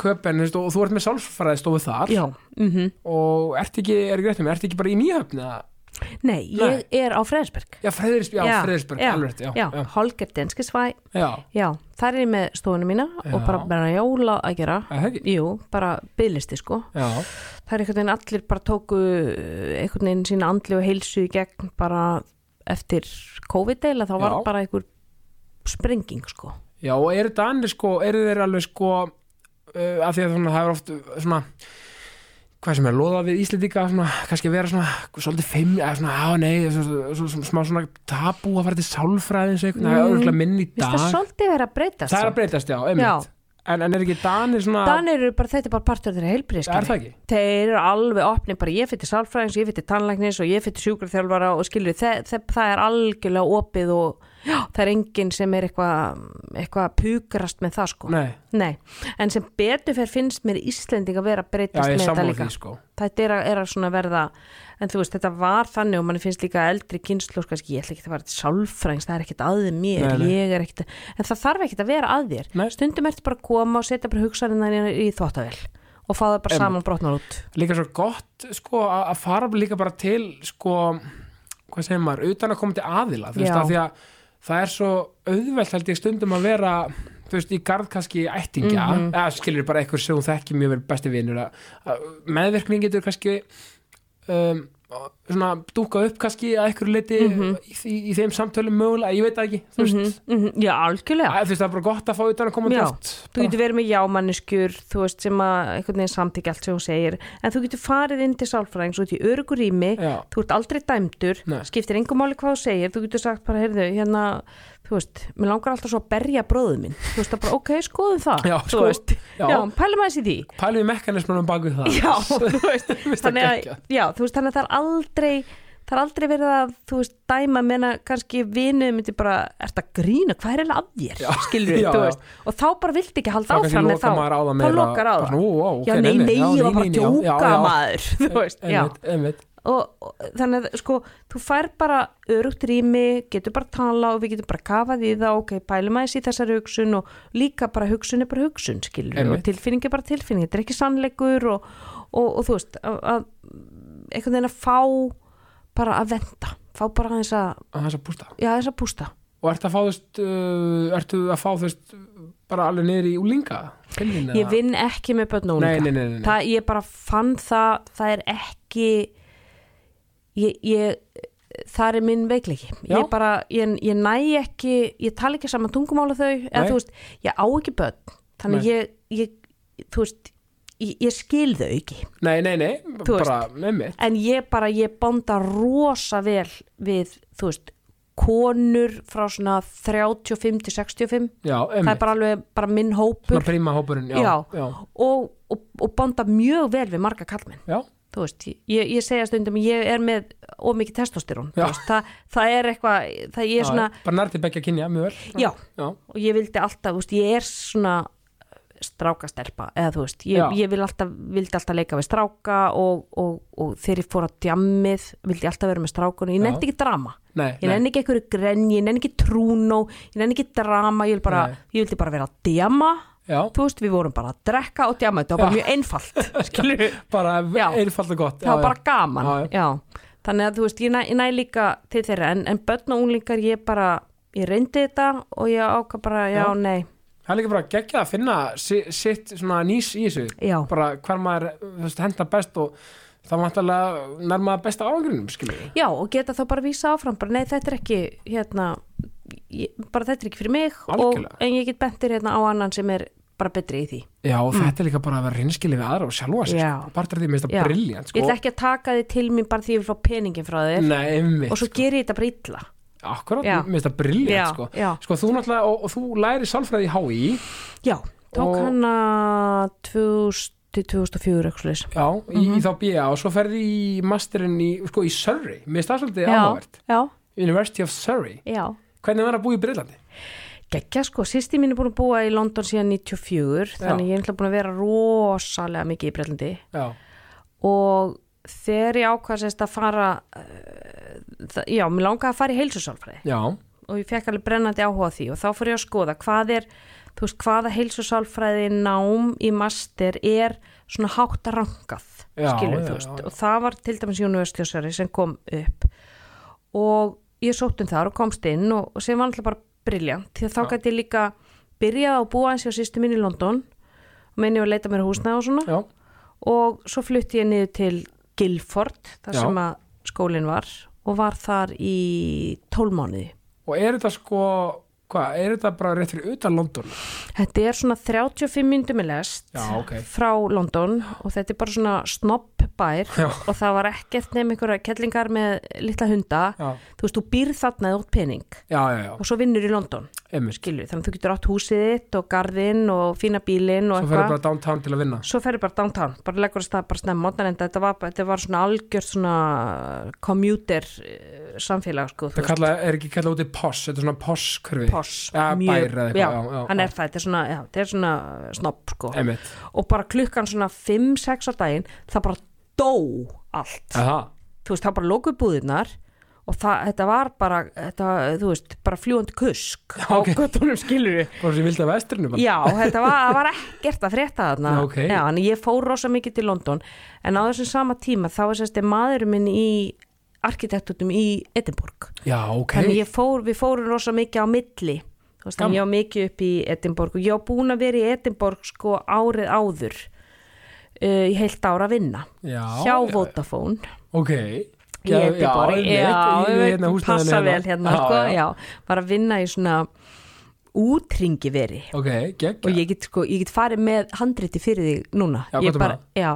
Speaker 1: köpen og þú ert með sálfræðistofu þar
Speaker 2: já mm
Speaker 1: og ert ekki, er ekki rétt um, ert ekki bara í nýjöfn eða,
Speaker 2: nei, ég er á Freðsberg
Speaker 1: já, Freðrisberg, já, Freðrisberg,
Speaker 2: já,
Speaker 1: alveg rétt, já,
Speaker 2: já,
Speaker 1: já,
Speaker 2: Holger Denskisvæ
Speaker 1: já,
Speaker 2: Já, þar er ég með stofuna mína og
Speaker 1: Já.
Speaker 2: bara bara jóla að gera
Speaker 1: Er það ekki?
Speaker 2: Jú, bara byðlisti sko
Speaker 1: já,
Speaker 2: það er einhvern veginn allir bara tóku eh, einhvern veginn sína andli og heilsu í gegn bara eftir COVID-deila þá var
Speaker 1: Já.
Speaker 2: bara einhver sprenging sko
Speaker 1: já, og eru danir sko, eru þeir alveg sko, uh, að því að svona, það er oft uh, svona, hvað sem er loðað við Íslendinga, svona, kannski að vera svona, svolítið feimni, eða svona, á nei, svona, svona, svona, svona, smá svona tabú að fara til sálfræðins eitthvað, það er örgulega minn í
Speaker 2: Vist Mm, það
Speaker 1: dag.
Speaker 2: svolítið verið að breytast
Speaker 1: Það er
Speaker 2: samt?
Speaker 1: að breytast, já, einmitt. En, en er ekki Danir svona...
Speaker 2: Danir eru bara, þetta er bara partur þeirra
Speaker 1: Er það
Speaker 2: heilbriðskari
Speaker 1: ekki?
Speaker 2: Þeir eru alveg opni, bara ég fyrir sálfræðins, ég fyrir tannlæknis og ég fyrir sjúkurþjálfara og skilur það, það, það er algjörlega opið og já, það er enginn sem er eitthvað eitthva pukrast með það sko.
Speaker 1: Nei,
Speaker 2: en sem betur fyrir finnst mér Íslending að vera að
Speaker 1: já,
Speaker 2: breytast
Speaker 1: ég
Speaker 2: með þetta
Speaker 1: sammála
Speaker 2: líka.
Speaker 1: því sko
Speaker 2: Þetta er að, er að svona verða, en þú veist, þetta var þannig og mann finnst líka eldri kynslu, kannski ég ætla ekki að fara til sálfræðings, það er ekkit að mér,
Speaker 1: Nei, nei.
Speaker 2: ég er ekkit, en það þarf ekkit að vera að þér
Speaker 1: Nei.
Speaker 2: stundum ertu bara að koma og setja bara hugsaninnar í þvóttavel og fá það bara
Speaker 1: Einmitt.
Speaker 2: saman brotnar út
Speaker 1: Líka svo gott sko að að fara líka bara til sko, hvað segir maður, utan að koma til aðila þú veist
Speaker 2: Já.
Speaker 1: að því að það er svo auðvelt held ég stundum að vera þú veist, í garð kannski ættingja
Speaker 2: Mhm.
Speaker 1: eða skilur bara eitthvað sem hún þekki mjög vel besti vinur að, að meðverkning getur kannski um, svona dúka upp kannski að eitthvað leiti
Speaker 2: Mhm.
Speaker 1: í, í, í þeim samtölum mögulega, ég veit það ekki þú veist,
Speaker 2: Mm, Já, algjörlega
Speaker 1: að, þú veist, það er bara gott að fá utan að koma
Speaker 2: Já.
Speaker 1: til oft
Speaker 2: Þú getur verið með jámanniskjur, þú veist, sem að einhvern veginn samtíkja allt sem hún segir en þú getur farið inn til sálfræðings út í örugur rými
Speaker 1: Já.
Speaker 2: þú ert aldrei dæmdur,
Speaker 1: Nei.
Speaker 2: skiptir engum máli hvað þú segir, þú getur sagt bara, heyrðu, hérna þú veist, mér langar alltaf svo að berja bróðu minn, þú veist, það bara, ok, skoðum það
Speaker 1: Já,
Speaker 2: þú
Speaker 1: sko-
Speaker 2: veist,
Speaker 1: já.
Speaker 2: já, pælum aðeins í því
Speaker 1: Pælið í mekanismunum bak við það
Speaker 2: Já, þú veist,
Speaker 1: Mér finnst það
Speaker 2: þannig að,
Speaker 1: geggjað.
Speaker 2: já, þú veist, þannig að það er aldrei það er aldrei verið að, þú veist, dæma menna kannski vinuð myndi bara ert að grína, hvað er eiginlega að þér,
Speaker 1: Já,
Speaker 2: skilur
Speaker 1: já,
Speaker 2: þú
Speaker 1: já.
Speaker 2: veist, og þá bara viltu ekki halda
Speaker 1: Þá kannski
Speaker 2: áfram með þá,
Speaker 1: lokar maður á það meira,
Speaker 2: þá lokar á
Speaker 1: bara
Speaker 2: það
Speaker 1: svona, ó, ó, ok,
Speaker 2: já, nei,
Speaker 1: nei, nei,
Speaker 2: nei,
Speaker 1: já,
Speaker 2: ég
Speaker 1: nei,
Speaker 2: var bara
Speaker 1: nei,
Speaker 2: að
Speaker 1: já, já,
Speaker 2: djóka
Speaker 1: já.
Speaker 2: maður, þú veist, já
Speaker 1: einmitt, einmitt.
Speaker 2: og, og þannig að sko þú fær bara örugt rými getur bara tala og við getum bara kafað í það ok, pælum aðeins í þessari hugsun og líka bara hugsun er bara hugsun skilur
Speaker 1: Einmitt.
Speaker 2: og tilfinning er bara tilfinning, þetta er ekki sannleikur og, og, og þú veist að, að einhvern veginn að fá bara að venda, fá bara aðeins að
Speaker 1: að þess að bústa
Speaker 2: já, aðeins að bústa
Speaker 1: og ertu að fá þess uh, ertu að fá þess bara alveg niður í úlinga Finnina,
Speaker 2: ég vinn ekki með börn og
Speaker 1: nei,
Speaker 2: unglinga.
Speaker 1: nei, nei, nei, nei.
Speaker 2: það, ég bara fann það það er ekki ég, ég það er minn veikleiki
Speaker 1: Já.
Speaker 2: ég bara, ég, ég næ ekki ég tala ekki saman tungumála þau
Speaker 1: Nei.
Speaker 2: eða, þú veist, ég á ekki börn þannig
Speaker 1: Nei.
Speaker 2: ég, ég, þú veist ég, ég skil þau ekki
Speaker 1: nei, nei, nei,
Speaker 2: Þú veist.
Speaker 1: bara með mitt
Speaker 2: en ég bara, ég bonda rosa vel við, þú veist konur frá svona 35 til 65
Speaker 1: já,
Speaker 2: það er
Speaker 1: einmitt,
Speaker 2: bara alveg, bara minn hópur
Speaker 1: svona príma hópurinn já,
Speaker 2: Já.
Speaker 1: já,
Speaker 2: og, og, og bonda mjög vel við marga kallmenn
Speaker 1: já,
Speaker 2: þú veist, ég, ég segja stundum ég er með ómikið testosterón þú
Speaker 1: Já.
Speaker 2: veist, það, það er eitthvað það ég
Speaker 1: já,
Speaker 2: er svona,
Speaker 1: bara nær til begja kynja mjög vel
Speaker 2: já,
Speaker 1: já,
Speaker 2: og ég vildi alltaf þú veist, ég er svona strákastelpa eða þú veist,
Speaker 1: Já.
Speaker 2: ég, ég vil alltaf, vildi alltaf leika við stráka og, og, og þegar ég fór á djammið vildi ég alltaf vera með strákunum, ég
Speaker 1: Já.
Speaker 2: nefndi ekki drama
Speaker 1: nei,
Speaker 2: ég
Speaker 1: nei,
Speaker 2: nefndi ekki einhverju grenji, ég nefndi ekki trúnó ég nefndi ekki drama, ég, vil bara,
Speaker 1: Nei.
Speaker 2: ég vildi bara vera að djama
Speaker 1: já
Speaker 2: þú veist, við vorum bara að drekka og djama þetta var bara
Speaker 1: Já.
Speaker 2: mjög einfalt skilur
Speaker 1: bara
Speaker 2: Já.
Speaker 1: einfalt og gott
Speaker 2: það
Speaker 1: já,
Speaker 2: var bara
Speaker 1: Já,
Speaker 2: gaman
Speaker 1: já.
Speaker 2: já. þannig að þú veist, ég næ, ég næ líka til þeirra en, en börn og unglingar ég bara ég reyndi þetta og ég ákvað bara já,
Speaker 1: Já.
Speaker 2: nei,
Speaker 1: það er líka bara geggjað að finna si- sitt svona nýs í þessu
Speaker 2: já
Speaker 1: bara hver maður þú veist, henda best og það vantarlega nærma besta árangrinum skilur við
Speaker 2: já, og geta þá bara vísa áfram bara nei, þetta er ekki, hérna ég, bara þetta er ekki fyrir mig og,
Speaker 1: Algjörlega.
Speaker 2: en ég get bentir hérna á annan sem er bara betri í því
Speaker 1: já og þetta er líka bara að vera reynskilið við aðra og sjálfa sér
Speaker 2: Mm. Já.
Speaker 1: sko. bara þetta er því minnst að
Speaker 2: Já.
Speaker 1: briljant
Speaker 2: ég
Speaker 1: sko.
Speaker 2: ætla ekki að taka þið til mín bara því ég vil fá peningin frá þér
Speaker 1: Nei, einmitt,
Speaker 2: og svo ger ég þetta bara illa
Speaker 1: akkurat,
Speaker 2: Já.
Speaker 1: minnst að briljant
Speaker 2: Já,
Speaker 1: sko.
Speaker 2: já.
Speaker 1: sko þú náttúrulega, og, og þú læri sálfræði í HÍ
Speaker 2: já, tók
Speaker 1: Og-
Speaker 2: hana 2000 til 2004 eitthvað svoleiðis.
Speaker 1: já, í,
Speaker 2: Mhm.
Speaker 1: í þá BA og svo ferði í masterinn í, sko, í Surrey minnst það svolítið áhugavert,
Speaker 2: já,
Speaker 1: University of Surrey
Speaker 2: já, já
Speaker 1: hvernig var að búa í Breitlandi?
Speaker 2: Gekkja sko, sýsti mín er búin að búa í London síðan 94, þannig ég er náttúrulega búin að vera rosalega mikið í Breitlandi
Speaker 1: Já,
Speaker 2: og þegar ég ákvæðast að fara, eh, það- já, mér langaði að fara í heilsusálfræði
Speaker 1: já,
Speaker 2: og ég fekk alveg brennandi áhuga á því og þá fór ég að skoða hvað er, þú veist, hvaða heilsusálfræði nám í master er svona hátt rangað,
Speaker 1: Já,
Speaker 2: skilur
Speaker 1: já,
Speaker 2: þú veist,
Speaker 1: já, já.
Speaker 2: og það var til dæmis Jónu Östjósari sem kom upp og ég sótt um þar og komst inn og, og sem var alltaf bara briljant því að þá gæti ég líka byrjað að búa eins og sýstu mín í London og meðan ég var að leita mér húsnæð og svona
Speaker 1: já,
Speaker 2: og svo flutti ég niður til Guildford þar
Speaker 1: Já.
Speaker 2: sem að skólinn var og var þar í tólmánuði
Speaker 1: og er þetta sko hvað, er þetta bara rétt fyrir utan London?
Speaker 2: Þetta er svona 35 myndum í lest
Speaker 1: Já, ok.
Speaker 2: frá London og þetta er bara svona snopp bær
Speaker 1: Já.
Speaker 2: og það var ekkert nefn einhverja kellingar með litla hunda
Speaker 1: Já.
Speaker 2: þú veist, þú býrð þarna eða út pening
Speaker 1: Já, já, já,
Speaker 2: og svo vinnur í London
Speaker 1: einmitt
Speaker 2: skilur, þannig að þú getur átt húsið þitt og garðinn og fína bílinn og
Speaker 1: Svo ferðu bara downtown til að vinna
Speaker 2: svo ferði bara downtown, bara leggur að stað bara snemma mótnar en þetta var, bara- þetta var svona algjör svona uh, commuter eh, samfélag sko,
Speaker 1: Það kalla, er ekki kallað úti POS, þetta er svona POS-kurfi
Speaker 2: poss
Speaker 1: ja, bæri eða eitthvað,
Speaker 2: já,
Speaker 1: já, já,
Speaker 2: hann
Speaker 1: já.
Speaker 2: er það, þetta er svona, já, þetta er svona snopp sko
Speaker 1: Einmitt,
Speaker 2: og bara klukkan svona 5-6 á daginn það bara dó allt
Speaker 1: eða
Speaker 2: þú veist, það bara lókuð búðirnar og það, þetta var bara þetta, þú veist, bara fljúandi kusk á
Speaker 1: ok.
Speaker 2: göttunum skilur við
Speaker 1: Bara sem vildi að vestrinu bara
Speaker 2: Já, þetta var, það var ekkert að frétta þarna
Speaker 1: Já, ok.
Speaker 2: Já, en ég fór rosa mikið til London en á þessum sama tíma þá var sérst maðurinn minn í arkitektutum í Edinborg
Speaker 1: Já, ok
Speaker 2: þannig ég fór, við fórum rosa mikið á milli Þú veist, þannig ég var mikið upp í Edinborg og ég var búin að vera í Edinborg sko árið áður uh, í heilt ára að vinna
Speaker 1: Já,
Speaker 2: hjá
Speaker 1: já,
Speaker 2: Vodafone
Speaker 1: Ok
Speaker 2: í Edinborg
Speaker 1: já, einmitt, í- í hérna húsnæðinu
Speaker 2: passa vel hérna
Speaker 1: Já,
Speaker 2: sko,
Speaker 1: já.
Speaker 2: já. var að vinna í svona útringi veri
Speaker 1: Ok, gegg
Speaker 2: og ég get, sko, ég get farið með handriti fyrir þig núna
Speaker 1: Já, hvað
Speaker 2: ég
Speaker 1: er
Speaker 2: bara, já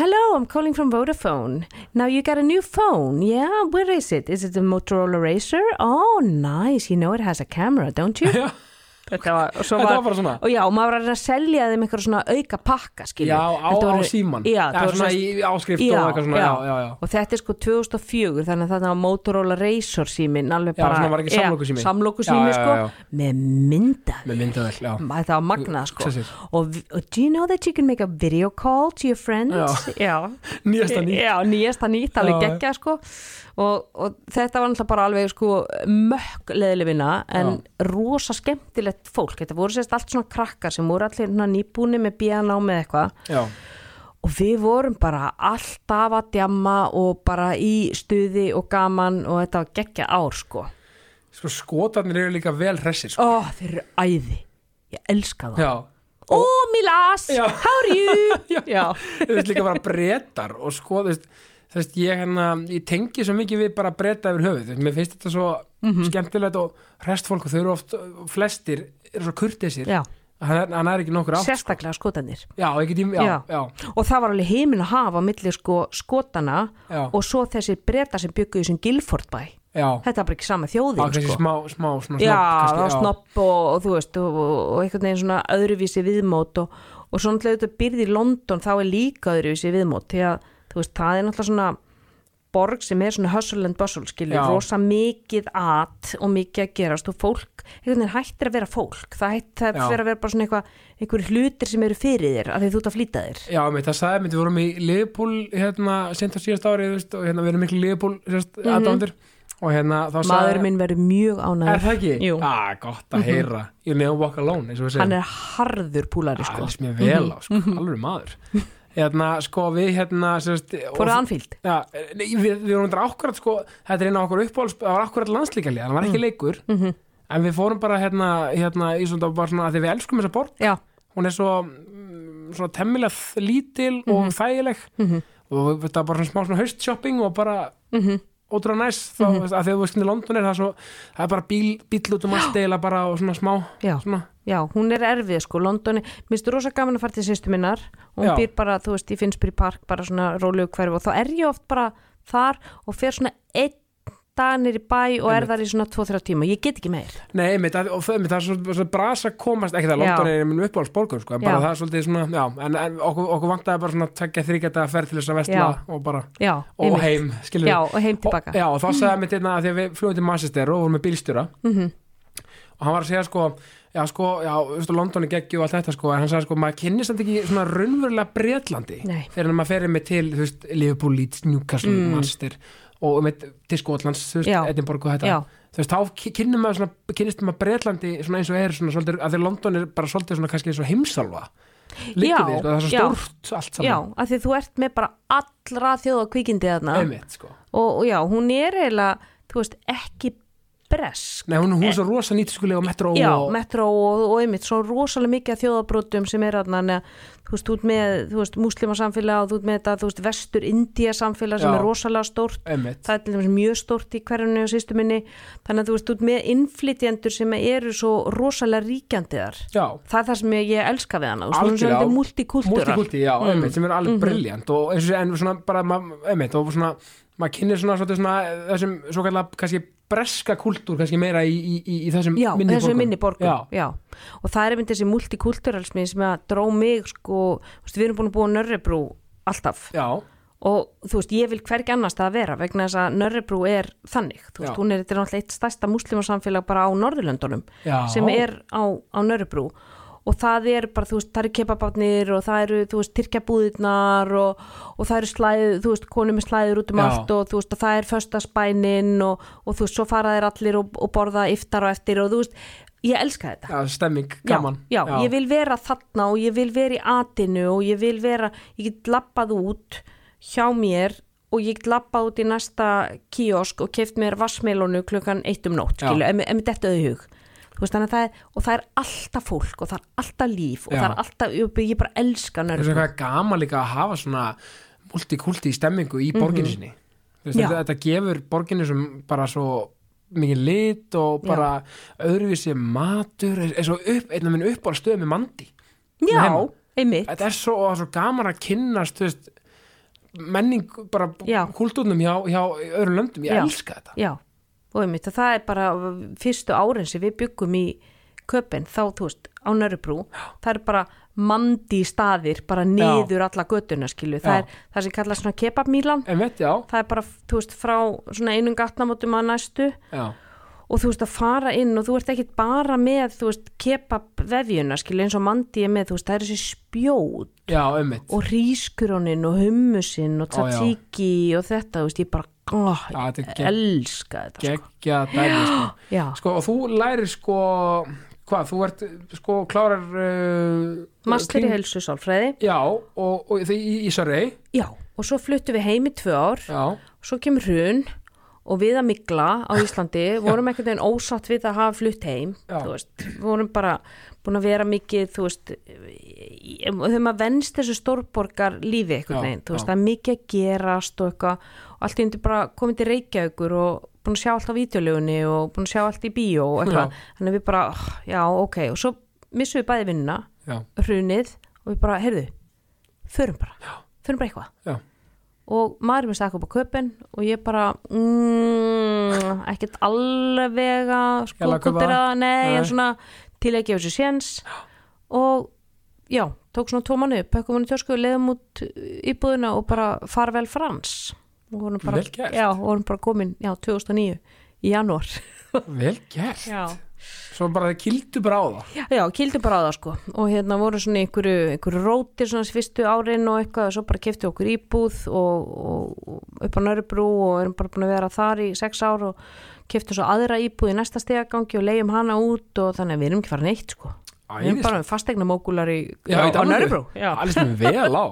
Speaker 2: Hello, I'm calling from Vodafone. Now you got a new phone. Yeah, where is it? Is it a Motorola Razr? Oh, nice. You know it has a camera, don't you?
Speaker 1: Já.
Speaker 2: þetta var, og svo
Speaker 1: Þetta var
Speaker 2: var,
Speaker 1: bara svona
Speaker 2: og já, og maður var að reyna að selja þeim eitthvað svona auka pakka, skilju
Speaker 1: Já, á,
Speaker 2: Þetta
Speaker 1: á
Speaker 2: voru-
Speaker 1: síman
Speaker 2: já, þetta voru
Speaker 1: svona
Speaker 2: svona-
Speaker 1: í áskrift
Speaker 2: Já,
Speaker 1: og eitthvað svona Já,
Speaker 2: já.
Speaker 1: já, já,
Speaker 2: og þetta er sko 2004 þannig að þetta var Motorola Razor símin alveg
Speaker 1: Já,
Speaker 2: bara,
Speaker 1: svona var ekki samlokusími.
Speaker 2: Já, samlokusími,
Speaker 1: Já, já,
Speaker 2: sko,
Speaker 1: já, já.
Speaker 2: með myndavél
Speaker 1: með myndavel Já,
Speaker 2: Maður, það var magnað sko
Speaker 1: Sessir.
Speaker 2: og, vi- og do you know that you can make a video call to your friends já,
Speaker 1: nýjasta nýtt
Speaker 2: já nýjasta nýtt alveg
Speaker 1: Já, já.
Speaker 2: geggja sko og, og þetta var náttúrulega bara alveg sko mökk leðilefina en rosa skemmtilegt fólk þetta voru sérst allt svona krakkar sem voru allir svona nýbúni með bíðan á með eitthvað
Speaker 1: Já,
Speaker 2: og við vorum bara alltaf að djamma og bara í stuði og gaman og þetta var geggja ár sko
Speaker 1: sko skotarnir eru líka vel hressir sko.
Speaker 2: ó þeir eru æði, ég elska það
Speaker 1: Já,
Speaker 2: ó Milas,
Speaker 1: Já.
Speaker 2: how are you já, já.
Speaker 1: þú veist líka bara breytar og sko, þú veist, þú veist ég, hérna, ég tengi svo mikið við bara breyta yfir höfuð, þú veist, mér finnst þetta svo
Speaker 2: Mhm.
Speaker 1: skemmtilegt og hrest fólk og þau eru oft flestir, eru svo kurteisir hann, er- hann er ekki nokkur átt
Speaker 2: sérstaklega skotanir
Speaker 1: Já, ekki tím, já, já,
Speaker 2: Já. og það var alveg heimin að hafa á milli sko skotana
Speaker 1: Já.
Speaker 2: og svo þessi breyta sem byggu í þessum Gilfordbæ
Speaker 1: já,
Speaker 2: þetta var bara ekki sama
Speaker 1: já,
Speaker 2: þjóðin
Speaker 1: kannski
Speaker 2: sko.
Speaker 1: smá, smá, smá
Speaker 2: já,
Speaker 1: kannski,
Speaker 2: það var snopp og, og þú veist og, og, og einhvern veginn svona öðruvísi viðmót og, og svona til auðvitað byrði í London þá er líka öðruvísi viðmót því að þú veist, það er náttúrulega svona borg sem er svona hustle and bustle skilur,
Speaker 1: Já.
Speaker 2: rosa mikið at og mikið að gerast og fólk einhvern veginn hættir að vera fólk það hættir að
Speaker 1: Já.
Speaker 2: vera að vera bara svona eitthvað einhverju hlutir sem eru fyrir þér af því þú ert að flýta þér
Speaker 1: Já, með það sagði mér, við vorum í Liverpool hérna, sent á síðast árið, þú veist, og hérna við erum miklu Liverpool, sérst, mm og hérna, þá sagði
Speaker 2: Mhm. maður minn verður mjög ánægður
Speaker 1: Er það ekki?
Speaker 2: Jú.
Speaker 1: Ah, gott að heyra You never walk alone, eins og við segjum
Speaker 2: hann er harður púlari
Speaker 1: Það
Speaker 2: sko Mhm.
Speaker 1: er mér vel á, sko, alveg maður Hérna, sko, við hérna sérst,
Speaker 2: fóruð anfíld
Speaker 1: Já, nei, við, við vorum þetta akkurat, sko Þetta er eina af okkur uppáhalds, það var akkurat landslíkalið Það var
Speaker 2: Mhm.
Speaker 1: ekki leikur En við fórum bara hérna, hérna í svona, bara svona að Því við elskum þessa borg,
Speaker 2: já,
Speaker 1: hún er svo mm, Svona temmilega lítil Og
Speaker 2: Mhm.
Speaker 1: þægileg Og þetta var bara svona smá svona haustshopping Og bara
Speaker 2: Mhm.
Speaker 1: ótrúlega næs þá, mm -hmm. að þegar þú veist hvernig London er það, er svo, það er bara bíl, bíl út um allt eila bara og svona smá
Speaker 2: já
Speaker 1: svona,
Speaker 2: Já, hún er erfið sko, Londoni, minnst þú rosa gaman að fara til sýstu minnar og hún
Speaker 1: Já.
Speaker 2: býr bara, þú veist, í Finnsbury Park bara svona rólegu hverfi og þá er ég oft bara þar og fer svona einn dag nýr í bæ og er þar í svona 2-3 tíma, ég get ekki meir
Speaker 1: Nei, einmitt, að- og það, einmitt, það er svolítið svo brasa komast, ekki það
Speaker 2: Já.
Speaker 1: London er minn uppáhaldsborgur, sko, en bara
Speaker 2: Já.
Speaker 1: það er svolítið svona, já, en, en okkur, okkur vantaði bara svona tveggja þryggjata að ferð til þess að vestla
Speaker 2: Já.
Speaker 1: og bara,
Speaker 2: Já,
Speaker 1: og
Speaker 2: einmitt.
Speaker 1: heim, skilur
Speaker 2: Já, og heim tilbaka.
Speaker 1: Og, já, og þá sagði mér þetta að því að við flugum til Manchester og vorum með bílstjóra
Speaker 2: Mhm.
Speaker 1: og hann var að segja, sko, já, sko, já, þú veist, London er geggju og allt þetta, sko, en hann sagði, sko, maður kynnist þetta ekki svona raunverulega bretlandi
Speaker 2: Nei. Mm.
Speaker 1: fyrir en maður ferið með til, þú veist, Liverpool, Leeds, Newcastle, Manchester og með til Skotlands, þú veist,
Speaker 2: Já.
Speaker 1: Edinborg og þetta
Speaker 2: Já,
Speaker 1: þú veist, þá ki- kynnum maður svona, kynnist maður Breitlandi svona eins og er svona svolítið, að því London er bara svolítið svona kannski eins og heimsálfa
Speaker 2: Já,
Speaker 1: líkið því, sko, það er svo
Speaker 2: já.
Speaker 1: stórt allt
Speaker 2: já,
Speaker 1: saman,
Speaker 2: af því þú ert með bara allra þjóða kvikindi þarna
Speaker 1: einmitt, sko
Speaker 2: og, og já, hún er eiginlega, þú veist, ekki bresk
Speaker 1: Nei, hún, hún er svo rosa nýtiskulega og metró
Speaker 2: Eh, Já,
Speaker 1: og,
Speaker 2: metro og, og einmitt svo rosalega mikið af þjóðabrótum sem er þarna þannig að, þú veist, þú ert með þú veist, muslimasamfélag og þú ert með þetta, þú veist, vestur-indía samfélag sem
Speaker 1: Já.
Speaker 2: er rosalega stórt
Speaker 1: einmitt,
Speaker 2: það er til dæmis mjög stórt í hverjunni og sýstu minni þannig að þú veist, þú ert með innflytjendur sem eru svo rosalega ríkjandiðar
Speaker 1: já
Speaker 2: það er það sem ég, ég elska við hana og svona
Speaker 1: Algjörlega.
Speaker 2: svolítið multikultúrar
Speaker 1: Multikulti, já, einmitt, sem er alveg
Speaker 2: Mhm.
Speaker 1: briljant og eins og sé, en svona bara, ma- einmitt, og svona maður kynir svona, svona, svona eh, þessum svo kallar kannski breska kultúr kannski meira í, í, í, í þessum
Speaker 2: Já,
Speaker 1: minni
Speaker 2: þessu
Speaker 1: borgum.
Speaker 2: minni borgum
Speaker 1: Já,
Speaker 2: já. og það er einmitt þessi multikulturalismi sem að dró mig sko, þú veist, við erum búin að búa á Nörrebrú alltaf
Speaker 1: já,
Speaker 2: og þú veist, ég vil hvergi annars það að vera vegna þess að Nörrebrú er þannig þú veist,
Speaker 1: Já.
Speaker 2: hún er, þetta er náttúrulega eitt stærsta muslimasamfélag bara á Norðurlöndunum
Speaker 1: Já.
Speaker 2: sem er á, á Nörrebrú og það er bara, þú veist, það eru kebabátnir og það eru, þú veist, tyrkjabúðirnar og, og það eru slæð, þú veist, konum með slæður út um
Speaker 1: Já.
Speaker 2: allt og þú veist, og það er föstaspænin og, og þú veist, svo fara þeir allir og, og borða iftar og eftir og þú veist, ég elska þetta
Speaker 1: já, stemming,
Speaker 2: Já,
Speaker 1: gaman
Speaker 2: já, ég vil vera þarna og ég vil vera í atinu og ég vil vera, ég get lappað út hjá mér og ég get lappað út í næsta kiosk og keft mér vassmelónu klukkan eitt um nótt,
Speaker 1: Já.
Speaker 2: skilu, ef ef mér þetta auðhug. Þú veist, þannig að það er, og það er alltaf fólk og það er alltaf líf og
Speaker 1: Já.
Speaker 2: það er alltaf, ég ég bara elska
Speaker 1: Það er svo
Speaker 2: nörgum.
Speaker 1: eitthvað gaman líka að hafa svona multikulti stemmingu í borginni sinni Þú veist,
Speaker 2: Mhm. Já.
Speaker 1: þetta, þetta gefur borginni sem bara svo mikið lit og bara öðruvísi matur er, er svo upp, einn af minn uppára stöðum í mandi
Speaker 2: Já,
Speaker 1: heima.
Speaker 2: einmitt,
Speaker 1: þetta er svo, og það er svo gaman að kynnast þú veist, menning bara
Speaker 2: Já.
Speaker 1: kultúrnum hjá, hjá öðrum löndum ég
Speaker 2: Já.
Speaker 1: elska þetta
Speaker 2: já, og einmitt, og það er bara fyrstu árin sem við byggum í köpinn þá, þú veist, á Nörrubrú það er bara mandi staðir bara niður alla göttuna skilu
Speaker 1: Já.
Speaker 2: það er það sem kallast svona kebabmílan
Speaker 1: en veit, já,
Speaker 2: það er bara, þú veist, frá svona einum gatnamótum að næstu
Speaker 1: já,
Speaker 2: og þú veist að fara inn og þú ert ekkit bara með, þú veist, kebab vefjuna, skilu, eins og mandi er með þú veist, það er þessi spjót
Speaker 1: já, einmitt
Speaker 2: og rískurónin og hummusinn og
Speaker 1: Ó, já.
Speaker 2: tzatziki og þetta, þú veist, ég bara oh,
Speaker 1: Já, þetta er
Speaker 2: ég
Speaker 1: gegn-
Speaker 2: elska þetta sko.
Speaker 1: geggja dæmi sko.
Speaker 2: Já,
Speaker 1: sko, og þú lærir sko hvað, þú ert sko klárar uh,
Speaker 2: master í
Speaker 1: kring-
Speaker 2: helsu sálfræði
Speaker 1: já, og, og því í, í Sörrei
Speaker 2: Já, og svo fluttum við heim í tvö ár
Speaker 1: já,
Speaker 2: svo kemur hrun og við að migla á Íslandi vorum einhvern veginn ósatt við að hafa flutt heim
Speaker 1: Já.
Speaker 2: þú veist, vorum bara búin að vera mikið þú veist í- í- þegar maður venst þessu stórborgar lífi
Speaker 1: Já,
Speaker 2: einhvern veginn, þú veist,
Speaker 1: já.
Speaker 2: það er mikið að gerast og eitthvað, og allt í undir bara komið til Reykjavíkur og búin að sjá allt á vídeolögunni og búin að sjá allt í bíó og eitthvað, þannig að við bara, oh, já, ok og svo missum við bæði vinnuna
Speaker 1: já,
Speaker 2: hrunið og við bara, heyrðu förum bara, já. förum bara eitthvað
Speaker 1: já,
Speaker 2: og maður er með stakk upp á köpinn og ég bara mm, ekkert alveg
Speaker 1: Ég laga
Speaker 2: að
Speaker 1: kaupa
Speaker 2: spúkundera
Speaker 1: það.
Speaker 2: það, nei,
Speaker 1: Nei.
Speaker 2: en svona til að gefa sér séns og já, tók svona tómanu upp, pökkum hann í törsku, leiðum út íbúðuna og bara farvel frans og vorum bara,
Speaker 1: Vel gert.
Speaker 2: já, og vorum bara komin já, 2009, í janúar
Speaker 1: vel gert
Speaker 2: já,
Speaker 1: svo bara það kildu bara á það
Speaker 2: já, kildum bara á það sko og hérna voru svona í einhverju, einhverju róti svona þessi fyrstu árin og eitthvað og svo bara kefti okkur íbúð og, og, og upp á Nörbrú og erum bara búin að vera þar í sex ár og kefti svo aðra íbúð í næsta stegagangi og leiðum hana út og þannig að við erum ekki farin eitt sko við erum
Speaker 1: Æðislegt.
Speaker 2: bara fastegna mókular í,
Speaker 1: Já, í
Speaker 2: á, á
Speaker 1: Danmörku.
Speaker 2: Nörbrú
Speaker 1: alveg sem vel á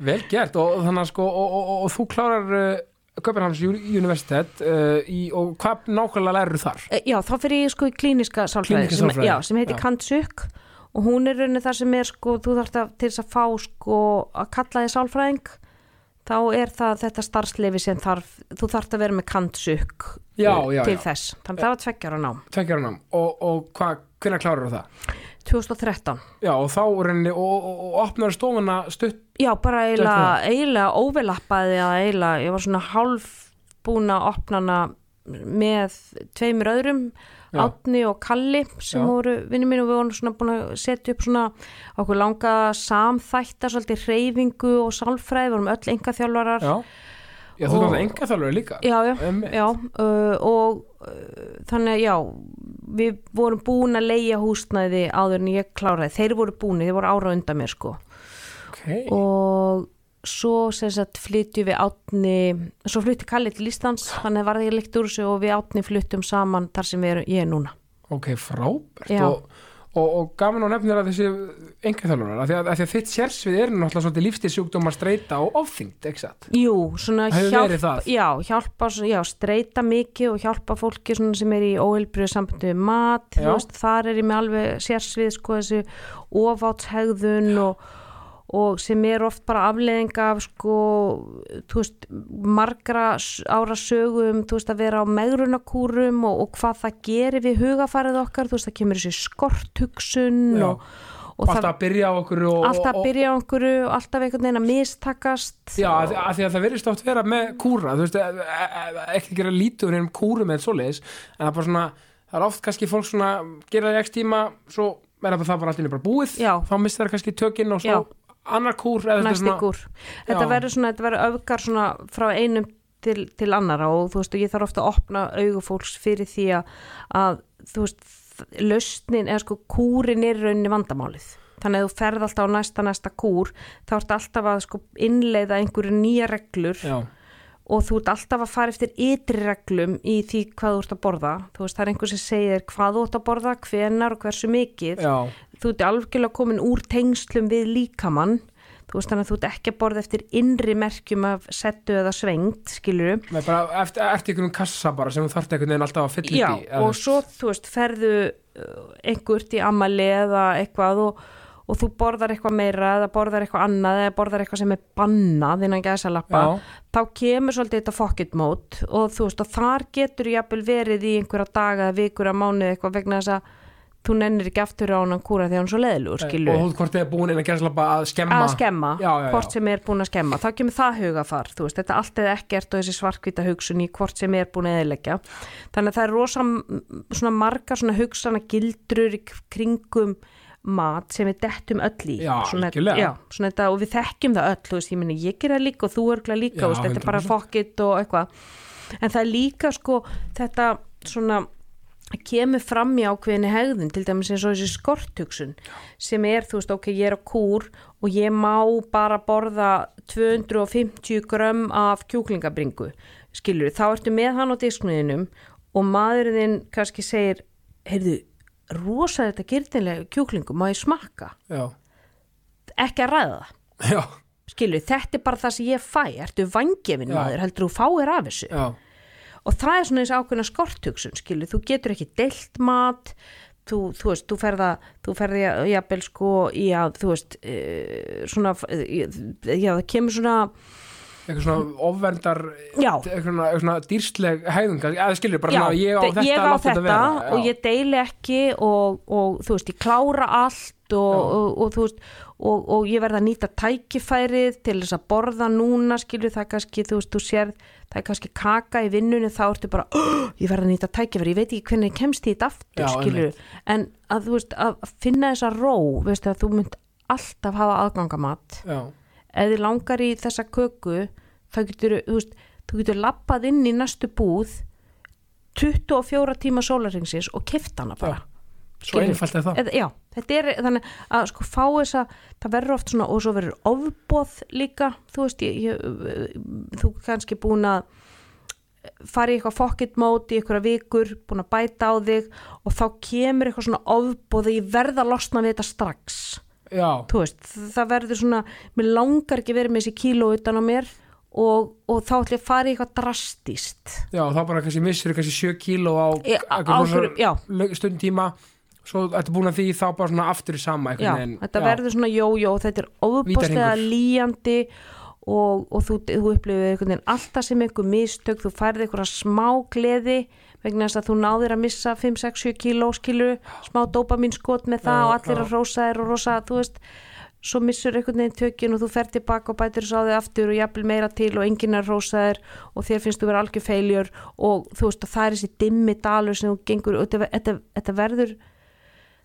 Speaker 1: vel gert og þannig að sko og, og, og, og þú klárar uh, Köpenhams Universitet uh, í, og hvað nákvæmlega lærir þar
Speaker 2: Eh, Já, þá fyrir ég sko í klíniska sálfræði
Speaker 1: Klíníska
Speaker 2: sem,
Speaker 1: sálfræði,
Speaker 2: já, sem heitir
Speaker 1: já.
Speaker 2: Kantsuk og hún er raunin þar sem er sko þú þarft að, til þess að fá sko að kalla þið sálfræðing þá er það þetta starfsleifi sem þarf þú þarft að vera með Kantsuk
Speaker 1: Já,
Speaker 2: eh,
Speaker 1: já,
Speaker 2: til
Speaker 1: já.
Speaker 2: þess, þannig það var tveggjara nám
Speaker 1: tveggjar nám og, og hvað, hvenær klárar það
Speaker 2: 2013,
Speaker 1: já, og þá reyni og, og, og opnar stofuna stutt
Speaker 2: já bara eiginlega eiginlega óvelappaði að eiginlega ég var svona hálfbúna opnana með tveimur öðrum
Speaker 1: Já.
Speaker 2: Átni og Kalli sem
Speaker 1: Já.
Speaker 2: voru vinnir mín og við vorum svona búin að setja upp svona okkur langa samþætta svolítið hreyfingu og sálfræði, vorum öll enga þjálfarar
Speaker 1: já, já þú
Speaker 2: Og-
Speaker 1: náttúrulega enga þjálfur líka
Speaker 2: já, já,
Speaker 1: Einmitt.
Speaker 2: já uh, og uh, þannig að já við vorum búin að leigja húsnæði áður en ég kláraði, þeir voru búin þeir voru ára undan mér sko
Speaker 1: okay.
Speaker 2: og svo sem sagt flytjum við átni svo flytti Kalli til Íslands þannig varði ég leikt úr þessu og við átni flyttum saman þar sem við erum, ég er núna
Speaker 1: Ok, frábært
Speaker 2: Já.
Speaker 1: og, og, og gaman og nefnir að þessi engaþjálfurar, af því að, af því að þitt sérsvið er náttúrulega svolítið lífstíðsjúkdómar streita og ofþyngd, ekki satt?
Speaker 2: Jú, svona
Speaker 1: Hefur
Speaker 2: hjálp,
Speaker 1: verið það?
Speaker 2: já, hjálpa, svona- já, streyta mikið og hjálpa fólki svona sem er í óheilbrið sambandi við mat, þú
Speaker 1: Já.
Speaker 2: veist, þar er ég með alveg sérsvið, sko, þessu ofátshegðun og, og sem er oft bara afleðing af, sko, þú veist, margra s- ára sögum, þú veist, að vera á megrunakúrum og, og hvað það gerir við hugafarið okkar, þú veist, það kemur þessi skorthugsun
Speaker 1: Já.
Speaker 2: og, og
Speaker 1: Alltaf að byrja á okkur og...
Speaker 2: alltaf að byrja á einhverju, og alltaf einhvern veginn að mistakast
Speaker 1: Já, af því- af því að það verðist oft vera með kúra, þú veist, e- e- e- ekki gera lítur um kúrum eða svoleiðis, en það er bara svona, það er oft kannski fólk svona, gera það í x tíma, svo er það bara allir bara búið,
Speaker 2: Já.
Speaker 1: þá mistar það kannski tökinn og svo
Speaker 2: Já.
Speaker 1: annar kúr eða þetta er
Speaker 2: næsti
Speaker 1: svona-
Speaker 2: kúr þetta
Speaker 1: Já.
Speaker 2: verður svona, þetta verður öfgar svona frá einum til, til annara og þú veist og ég þarf ofta að opna augufólks fyrir því að, að þú veist lausnin eða sko kúrin er í rauninni vandamálið þannig að þú ferð alltaf á næsta næsta kúr þá ertu alltaf að sko innleiða einhverju nýja reglur
Speaker 1: Já,
Speaker 2: og þú ert alltaf að fara eftir ytri reglum í því hvað þú ert að borða þú veist það er einhver sem segir hvað þú ert að borða hvenar og hversu mikið
Speaker 1: já,
Speaker 2: þú ert algjörlega komin úr tengslum við líkamann þú veist þannig að þú ert ekki að borða eftir innri merkjum af settu eða svengt skilur
Speaker 1: með bara eftir, eftir einhverjum kassa bara sem þú þarft einhvern veginn alltaf að fylla upp
Speaker 2: já
Speaker 1: í, eða þú
Speaker 2: og
Speaker 1: veist.
Speaker 2: svo þú veist ferðu uh, einhvert í amali eða eitthvað og, og þú borðar eitthvað meira eða borðar eitthvað annað eða borðar eitthvað sem er bannað innan gæsalappa
Speaker 1: Já.
Speaker 2: þá kemur svolítið þetta fokkit mót og þú veist og þar getur jafnvel verið í einhverja daga eða vikur að mánu eitthvað vegna þess að þú nennir ekki aftur á hann að kúra þegar hann er svo leðilugur skilur
Speaker 1: og hóðkortið er búin inn að gerðslapa að skemma
Speaker 2: að skemma,
Speaker 1: já, já, já.
Speaker 2: hvort sem er búin að skemma þá kemur það hugafar, þú veist, þetta allt eða ekkert og þessi svarkvita hugsun í hvort sem er búin að eðilegja, þannig að það er rosa m- svona margar svona hugsana gildrur í k- kringum mat sem við dettum öll í
Speaker 1: Já,
Speaker 2: svona,
Speaker 1: algjörlega.
Speaker 2: já, svona þetta, og við þekkjum það öll þú veist, ég meni, ég gera líka og þú örgla líka
Speaker 1: Já,
Speaker 2: þú veist, þetta er bara
Speaker 1: 100%.
Speaker 2: fokkitt og eitthvað en það er líka sko þetta svona kemur fram í ákveðinni hegðun til dæmis eins og þessi skorthugsun sem er, þú veist, ok, ég er á kúr og ég má bara borða 250 grömm af kjúklingabringu, skilur þá ertu með hann á disknuðinum og maðurinn kannski segir heyrðu, rosa þetta gyrnilega kjúklingu, má ég smakka
Speaker 1: já,
Speaker 2: ekki að ræða það,
Speaker 1: já,
Speaker 2: skilur, þetta er bara það sem ég fæ, ertu vangefin
Speaker 1: Já.
Speaker 2: maður heldur þú fáir af þessu
Speaker 1: já,
Speaker 2: og það er svona eins ákveðna skorthugsun skilur, þú getur ekki deilt mat þú, þú veist, þú ferða þú ferði jafnvel sko í að þú veist, uh, svona eh, já, það kemur svona
Speaker 1: eitthvað svona ofverndar
Speaker 2: Já.
Speaker 1: eitthvað svona, eitthvað svona dýrsleg hæðung eða skilur bara
Speaker 2: já,
Speaker 1: svona ég á
Speaker 2: þe-
Speaker 1: þetta,
Speaker 2: ég á
Speaker 1: láttu
Speaker 2: þetta,
Speaker 1: vera, já.
Speaker 2: og ég deili ekki og, og þú veist, ég klára allt og,
Speaker 1: Já.
Speaker 2: og, og þú veist og, og ég verða að nýta tækifærið til þess að borða núna, skilur það er kannski, þú veist, þú sérð, það er kannski kaka í vinnunni, þá ertu bara "Oh, ég verða að nýta tækifærið, ég veit ekki hvernig ég kemst í þetta aftur,
Speaker 1: Já,
Speaker 2: skilur, en að þú veist, að finna þessa ró, veistu, að þú mynd alltaf hafa aðgangamatt
Speaker 1: já,
Speaker 2: ef þið langar í þessa köku þá getur þú veist, þú getur lappað inn í næstu búð 24 tíma sólaringsins og keft hana bara
Speaker 1: svo einfalt er það
Speaker 2: Eða, já, þetta er þannig að sko fá þess að það verður oft svona og svo verður ofbóð líka þú veist, ég, ég, þú kannski búin að fara í eitthvað fokkit mót í eitthvað vikur búin að bæta á þig og þá kemur eitthvað svona ofbóð að ég verð að losna við þetta strax
Speaker 1: já,
Speaker 2: þú veist, það verður svona mér langar ekki verið með þessi kíló utan á mér og, og þá ætlum ég að fara í eitthvað drastist
Speaker 1: já, þá bara kannski missir kannski 7 kíló á
Speaker 2: Í- á- á hverju- já.
Speaker 1: stund tíma svo ertu búin að því þá bara svona aftur í sama
Speaker 2: já, þetta verður svona jójó þetta er óbúslega
Speaker 1: Vítahringur.
Speaker 2: líjandi og, og þú, þú upplifir einhvern veginn alltaf sem einhver mistök þú færði einhverja smá gleði vegna þess að þú náðir að missa 5-6-7 kíló skilur, smá dópamin skot með það
Speaker 1: Já,
Speaker 2: og allir
Speaker 1: já.
Speaker 2: að rosa þér og rosa þú veist, svo missur einhvern veginn tökjun og þú fer tilbaka og bætir þess á þig aftur og jafnvel meira til og enginn er rosa þér og þér finnst þú vera algjör feiljur og þú veist að það er þessi dimmi dalur sem þú gengur og þetta, þetta, þetta verður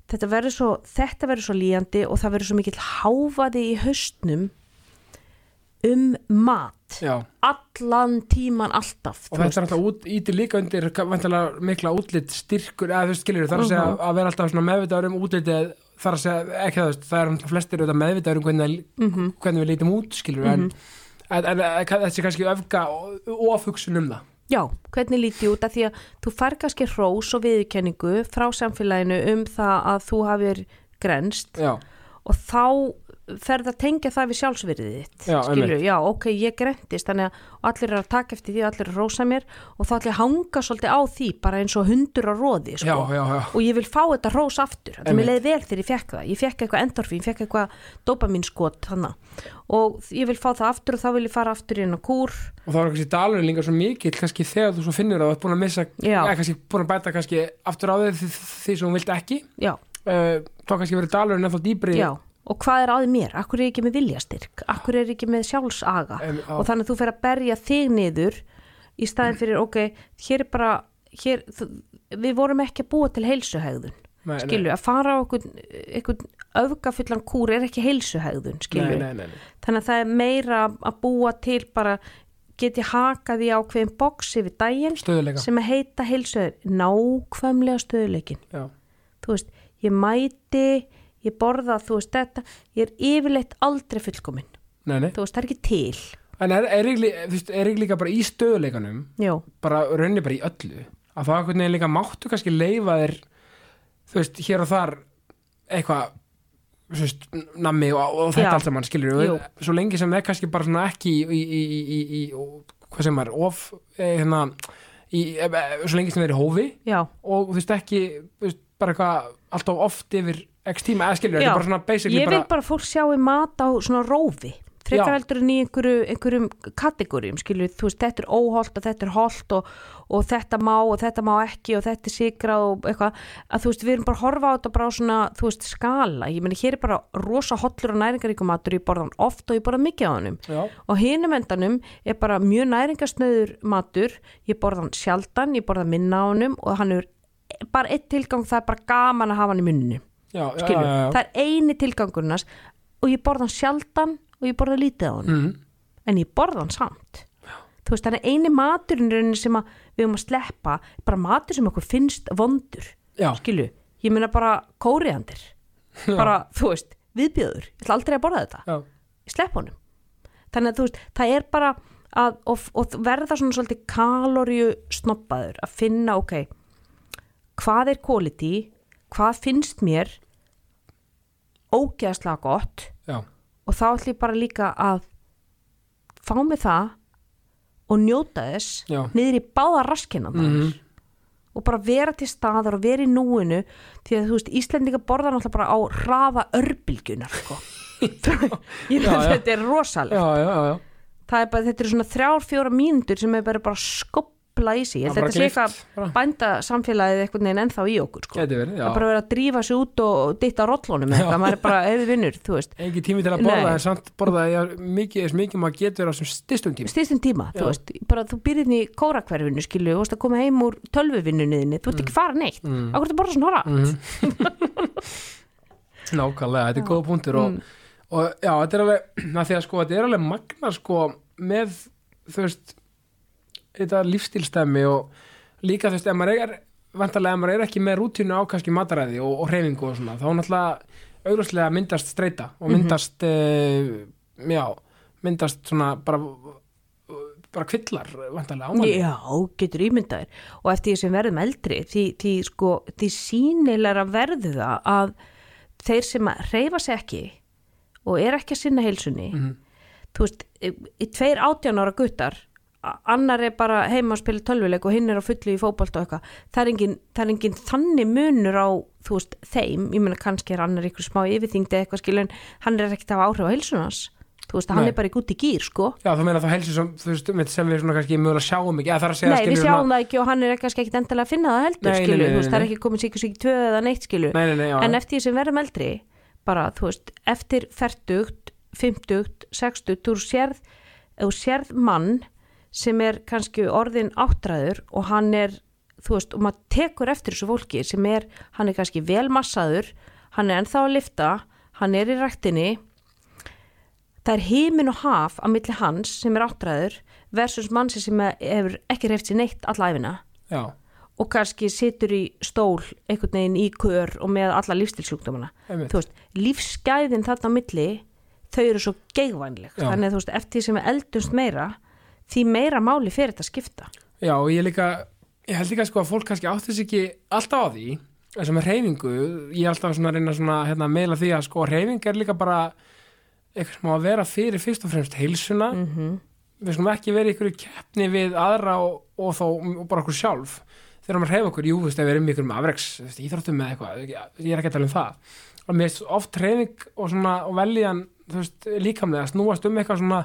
Speaker 2: þetta verður svo, þetta verður svo líjandi og það verður svo mikill háfaði í haustnum um mat
Speaker 1: já
Speaker 2: allan tíman alltaf
Speaker 1: og
Speaker 2: þú
Speaker 1: þetta er alltaf út, ítir líka undir vantilega mikla útlitt styrkur eða þú veist skilur þar að segja
Speaker 2: Mhm.
Speaker 1: að vera alltaf svona meðvitaður um útlitið þar að segja ekki það þú veist, það er náttúrulega flestir auðvitað meðvitaður um hvernig,
Speaker 2: Mhm.
Speaker 1: hvernig við lítum út skilur en, en, en kann- þessi kannski öfga og ofhugsun um það
Speaker 2: Já, hvernig lítið út af því að þú fær kannski hrós og viðurkenningu frá samfélaginu um það að þú hafir grenst
Speaker 1: já,
Speaker 2: og þá ferð að tengja það við sjálfsverðið þitt
Speaker 1: Já,
Speaker 2: skilur,
Speaker 1: einmitt.
Speaker 2: já, ok, ég grentist þannig að allir eru að taka eftir því og allir eru að rósa mér og þá allir að hanga svolítið á því bara eins og hundur á róði sko.
Speaker 1: já, já, já,
Speaker 2: og ég vil fá þetta rós aftur þannig að mér
Speaker 1: Einmitt.
Speaker 2: leiði vel þegar ég fekk það ég fekk eitthvað endorfín, ég fekk eitthvað dopaminskot þannig og ég vil fá það aftur og þá vil ég fara aftur inn á kúr
Speaker 1: og þá er kannski dalurinn líka svo mikill kannski þegar þú svo finnur að þú ert búin að missa
Speaker 2: Já.
Speaker 1: eða kannski búin að bæta kannski aftur á þig því, því sem hún vilt ekki
Speaker 2: já,
Speaker 1: uh, þá kannski verður dalurinn ennþá dýbri
Speaker 2: já, og hvað er á því mér akkur er ég ekki með viljastyrk, akkur er ég ekki með sjálfsaga
Speaker 1: Em, já.
Speaker 2: og þannig að þú fer að berja þig niður í staðin fyrir, ok, hér er bara hér, þú, við vorum ekki að búa til heilsuhegðun
Speaker 1: Nei, nei.
Speaker 2: skilju, að fara á einhvern, einhvern öfgafullan kúr er ekki heilsuhegðun skilju,
Speaker 1: nei, nei, nei, nei.
Speaker 2: þannig að það er meira að búa til bara get ég hakað í ákveðin boksi við daginn
Speaker 1: stöðuleika
Speaker 2: sem að heita heilsuður nákvæmlega stöðuleikin
Speaker 1: já,
Speaker 2: þú veist, ég mæti ég borða, þú veist þetta ég er yfirleitt aldrei fullkomin
Speaker 1: nei, nei
Speaker 2: þú veist, það er ekki til
Speaker 1: En er, er, ekki, lí- þú veist, er ekki líka bara í stöðuleikanum
Speaker 2: já,
Speaker 1: bara raunni bara í öllu að það einhvern veginn líka máttu kannski leifa þér þú veist, hér og þar eitthvað þú veist, nammi og, og
Speaker 2: Já.
Speaker 1: þetta allt saman skilur
Speaker 2: Jú.
Speaker 1: við, svo lengi sem það er kannski bara svona ekki í, í, í, í, í, í hvað sem er, of eh, hérna, í, eh, eh, svo lengi sem það er í hófi
Speaker 2: já,
Speaker 1: og þú veist ekki þú veist, bara eitthvað alltaf oft yfir x tíma, eða skilur,
Speaker 2: Já.
Speaker 1: þetta er bara svona
Speaker 2: ég
Speaker 1: basically
Speaker 2: vil
Speaker 1: bara,
Speaker 2: bara að fólk sjáu mat á svona rófi
Speaker 1: Já.
Speaker 2: frekar heldur en í einhverju, einhverjum kategórium, skilur þú veist, þetta er óholt og þetta er holt og, og þetta má og þetta má ekki og þetta er sikra og eitthvað, að þú veist, við erum bara að horfa á þetta bara á svona, þú veist, skala ég meni, hér er bara rosa hollur og næringaríkum matur, ég borða hann oft og ég borða mikið á hannum
Speaker 1: Já.
Speaker 2: og hinum endanum er bara mjög næringasnöður matur, ég borða hann sjaldan ég borða minna á hannum og hann er bara eitt tilgang, það er bara gaman að hafa hann í munni,
Speaker 1: já, já,
Speaker 2: skilur,
Speaker 1: já, já.
Speaker 2: það er eini tilgangurnas og ég borða hann sjaldan og ég borða lítið á hann
Speaker 1: Mm.
Speaker 2: en ég borða hann samt þú veist, þannig eini maturinn í rauninni sem að við höfum að sleppa, bara matur sem okkur finnst vondur,
Speaker 1: Já.
Speaker 2: skilu ég meina bara kóriandir bara, þú veist, viðbjöður ég ætla aldrei að borða þetta,
Speaker 1: já,
Speaker 2: ég slepp honum þannig að þú veist, það er bara að, og, og verða svona svolítið kaloríu snoppaður, að finna ok, hvað er quality hvað finnst mér ógeðslega gott
Speaker 1: já,
Speaker 2: og þá ætlum ég bara líka að fá mig það og njóta þess
Speaker 1: Já.
Speaker 2: niður í báða raskina
Speaker 1: Mhm.
Speaker 2: og bara vera til staðar og vera í núinu því að þú veist, Íslendinga borða náttúrulega bara á rafa örbylgjunar sko. ég
Speaker 1: Já,
Speaker 2: veit að
Speaker 1: já.
Speaker 2: þetta er rosalega
Speaker 1: já, já, já.
Speaker 2: það er bara, þetta er svona þrjár, fjóra mínútur sem er bara bara skopla í sig ég held
Speaker 1: Það er
Speaker 2: að þetta sé
Speaker 1: bara gleypt,
Speaker 2: eitthvað bænda samfélagið eitthvað neginn ennþá í okkur sko.
Speaker 1: Gæti verið, já.
Speaker 2: það er bara að vera að drífa sig út og ditta rótlónum eitthvað, maður er bara eða vinnur, þú veist
Speaker 1: Engi tími til að borða,
Speaker 2: Nei.
Speaker 1: en samt borða ég mikið, eins mikið maður getur á sem styrstum tíma.
Speaker 2: stýstum tíma, þú veist, bara þú byrðin í kórakverfinu, skilu, þú veist að koma heim úr tölvuvinnuninni, þú ert ekki fara neitt mm. akkur þú borða svona hratt
Speaker 1: Nákvæmlega, þetta er góða punktur
Speaker 2: Mm.
Speaker 1: og, og já, þetta er alveg na, því að sko, þetta er alveg magna sko með, þú veist þetta lífstilstæmi og líka þú veist, ef maður er vantarlega, ef maður er ekki með rútínu á kannski mataræði og, og hreyfingu og svona, þá náttúrulega augljóslega myndast streyta
Speaker 2: Mhm.
Speaker 1: og myndast eh, já, myndast svona bara bara kvillar, vantarlega ámæli
Speaker 2: Já, getur ímyndaðir og eftir því sem verðum eldri því, því, sko, því sínilega verður það að þeir sem að reyfa sig ekki og er ekki að sinna heilsunni þú veist, í í tveir átján ára guttar a- annar er bara heima að spila tölvuleik og hinn er á fullu í fótbolt og eitthvað það er, engin, það er engin þannig munur á þú veist, þeim, ég meina kannski er annar ykkur smá yfirþyngdi eða eitthvað skilur en hann er ekkert að hafa áhrif á heilsunans þú veist, hann
Speaker 1: Nei.
Speaker 2: er bara í gúti gýr sko
Speaker 1: Já, þú meina þá helsi sem, þú veist, mitt sem við svona kannski mögulega sjáum ekki, eða það er að segja
Speaker 2: Nei, við
Speaker 1: skilur
Speaker 2: sjáum
Speaker 1: svona-
Speaker 2: það ekki og hann er kannski ekkit endalega að finna það heldur,
Speaker 1: Nei, nei,
Speaker 2: skilur,
Speaker 1: nei,
Speaker 2: þú veist,
Speaker 1: nei,
Speaker 2: það er
Speaker 1: nei.
Speaker 2: ekki komið sikið sikið tvöð eða neitt, skilur,
Speaker 1: Nei, nei, nei, já,
Speaker 2: en
Speaker 1: já.
Speaker 2: eftir því sem verðum eldri, bara, þú veist, eftir fertugt, fimmtugt, sextugt, þú sérð, þú sérð mann sem er kannski orðin áttræður og hann er, þú veist, og maður tekur eftir þessu fólki sem er, hann er kannski velmassaður, hann er ennþá að lifta, hann er í ræktinni, það er heimin og haf á milli hans sem er áttræður versus mannsi sem hefur ekki reyft sér neitt alla æfina
Speaker 1: Já,
Speaker 2: og kannski situr í stól einhvern veginn í kör og með alla lífstilsjúkdómana
Speaker 1: Einmitt.
Speaker 2: þú veist, lífsgæðin þarna á milli þau eru svo geigvænleg
Speaker 1: Já.
Speaker 2: þannig að þú veist, eftir því sem við eldumst meira því meira máli fyrir þetta skipta
Speaker 1: Já, og ég líka, ég held líka sko að fólk kannski átti sig ekki alltaf á því eins og með reyfingu, ég er alltaf svona að reyna svona hérna, að meila því að sko reyfing er líka bara eitthvað sem á að vera fyrir fyrst og fremst heilsuna -hmm. við skulum ekki vera í ykkur keppni við aðra og, og þá og bara okkur sjálf þegar maður reyfa okkur, jú, þú veist, ef við erum í ykkur með afreks þú veist, íþróttum með eitthvað, ég er ekki að tala um það og mér finnst oft reyfing og svona og veljan, þú veist, líkamlega snúast um eitthvað svona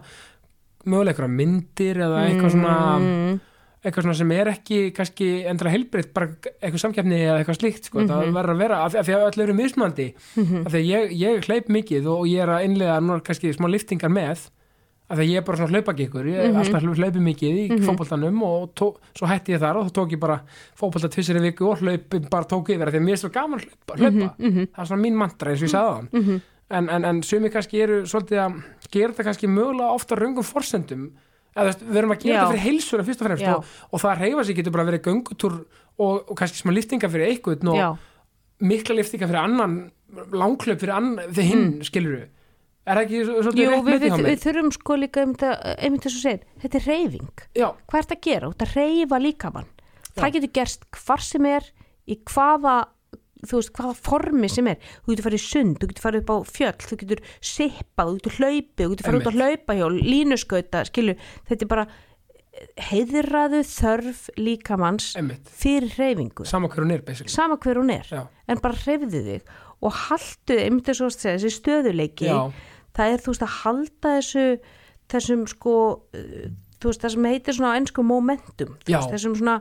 Speaker 1: mögulega eitthvað myndir eða eitthvað
Speaker 2: Mhm.
Speaker 1: svona eitthvað svona sem er ekki kannski endra heilbriðt, bara eitthvað samkeppni eða eitthvað slíkt, sko, það verður að vera af, af því að öll eru mismandi, af því að ég, ég hleyp mikið og ég er að innlega nú kannski smá liftingar með, af því að ég er bara svona hlaupagikkur, ég er alltaf hlaup- hlaupi mikið í fótboltanum og tó, svo hætti ég þar og þá tók ég bara fótbolta tvisir í viku og hlaupin bara tók yfir, af því að mér er svo gaman að hlaupa,
Speaker 2: Mm-hmm, Mhm.
Speaker 1: hlaupa. það er svona mín mantra eins og ég sagði hann en, en, en sumi kannski eru svolítið að gera þetta kannski mögulega ofta röngum forsendum eða þú veist, við erum að gera
Speaker 2: Já.
Speaker 1: þetta fyrir heilsuna fyrst og fremst
Speaker 2: Já.
Speaker 1: og, og það að reyfa sig getur bara verið göngutúr og, og kannski smá liftinga fyrir einhvern og
Speaker 2: Já.
Speaker 1: mikla liftinga fyrir annan langklöp fyrir annan, þegar hinn mm. skilur við er það ekki svo-
Speaker 2: Jú,
Speaker 1: svolítið rétt
Speaker 2: við,
Speaker 1: með því
Speaker 2: við,
Speaker 1: hjá
Speaker 2: við
Speaker 1: mig
Speaker 2: þurfum sko líka einmitt að- einmitt þess að segja, þetta er reyfing
Speaker 1: já,
Speaker 2: hvað er þetta að gera? Þú ert að reyfa líkamann það
Speaker 1: Já.
Speaker 2: getur gerst hvar sem er í hvaða þú veist, hvaða formi sem er þú getur farið í sund, þú getur farið upp á fjöll þú getur sippað, þú getur hlaupið þú getur farið út að hlaupa hjól, línusgauta skilu, þetta er bara heiðraðu þörf líkamanns
Speaker 1: Einmitt.
Speaker 2: fyrir reyfingu
Speaker 1: sama hver hún er basically
Speaker 2: sama hver hún er
Speaker 1: Já.
Speaker 2: en bara hreyfðu þig og haltu einmitt eins og þess að þessi stöðuleiki
Speaker 1: Já.
Speaker 2: það er þú veist að halda þessu þessum sko uh, þú veist það sem heitir svona á ennsku momentum þú
Speaker 1: Já.
Speaker 2: veist, þessum svona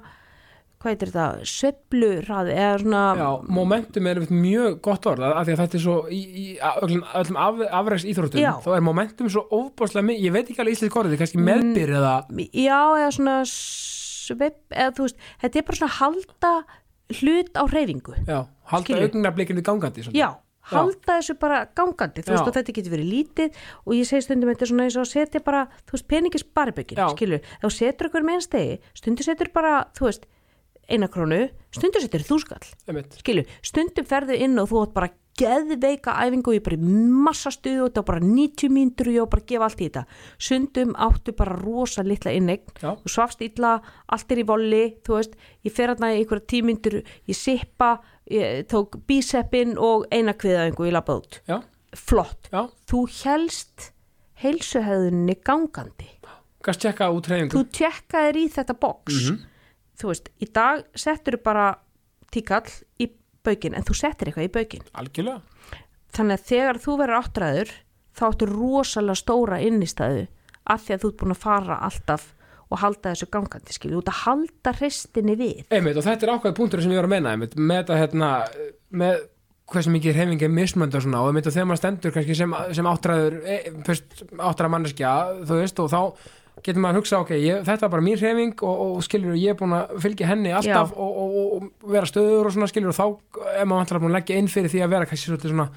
Speaker 2: hvað heitir þetta, sveplurraði eða svona,
Speaker 1: Já, momentum er einmitt mjög gott orð af af því að þetta er svo í, í öllum, öllum af, afreiks íþróttum,
Speaker 2: Já. Mm.
Speaker 1: þá er momentum svo óbáslega mikið, ég veit ekki alveg íslensk orðið kannski meðbyr eða
Speaker 2: já eða svona svep, eða þú veist þetta er bara svona að halda hlut á reyfingu
Speaker 1: já, halda
Speaker 2: Skilju.
Speaker 1: augnarblikinu gangandi svolítið.
Speaker 2: Já, halda þessu bara gangandi þú
Speaker 1: Já.
Speaker 2: veist og þetta getur verið lítið og ég segi stundum þetta er svona eins og að setja bara þú veist peningis barbegin,
Speaker 1: Já.
Speaker 2: skilur þá setur ykkur með einn stegi, stundu setur bara þú veist, eina krónu stundu setur þú skall,
Speaker 1: einmitt,
Speaker 2: skilur stundum ferðu inn og þú átt bara geðveika æfingu og ég bara í massa stuðu og þetta var bara 90 mínútur og ég var bara að gefa allt í þetta sundum áttu bara rosa litla innegn
Speaker 1: Já.
Speaker 2: þú svafst illa, allt er í volli þú veist, ég fer hérna í einhverja tímyndur ég sippa, ég tók bíseppin og eina kviðaðingu ég lappa út,
Speaker 1: já,
Speaker 2: flott
Speaker 1: já
Speaker 2: þú helst heilsuhæðunni gangandi,
Speaker 1: kannski tjekka út reyningu
Speaker 2: þú tjekkaðir í þetta box,
Speaker 1: Mhm.
Speaker 2: þú veist í dag settur bara tíkall í baukin, en þú settir eitthvað í baukin
Speaker 1: algjörlega,
Speaker 2: þannig að þegar þú verður áttræður þá áttu rosalega stóra innistæðu af því að þú ert búin að fara alltaf og halda þessu gangandi skilur, þú ert að halda hristinni við
Speaker 1: einmitt og þetta er ákveð punktur sem ég var að menna, einmitt, með þetta hérna, með hversu mikið reyningi er mismönd og svona, og einmitt og þegar maður stendur kannski sem, sem áttræður, e, áttræða manneskja, þú veist, og þá getur maður að hugsa, ok, ég, þetta er bara mín reyfing og, og skilur, ég er búin að fylgja henni alltaf
Speaker 2: Já.
Speaker 1: og, og, og, og vera stöður og svona skilur og þá er maður vantilega búin að leggja inn fyrir því að vera kannski svolítið svona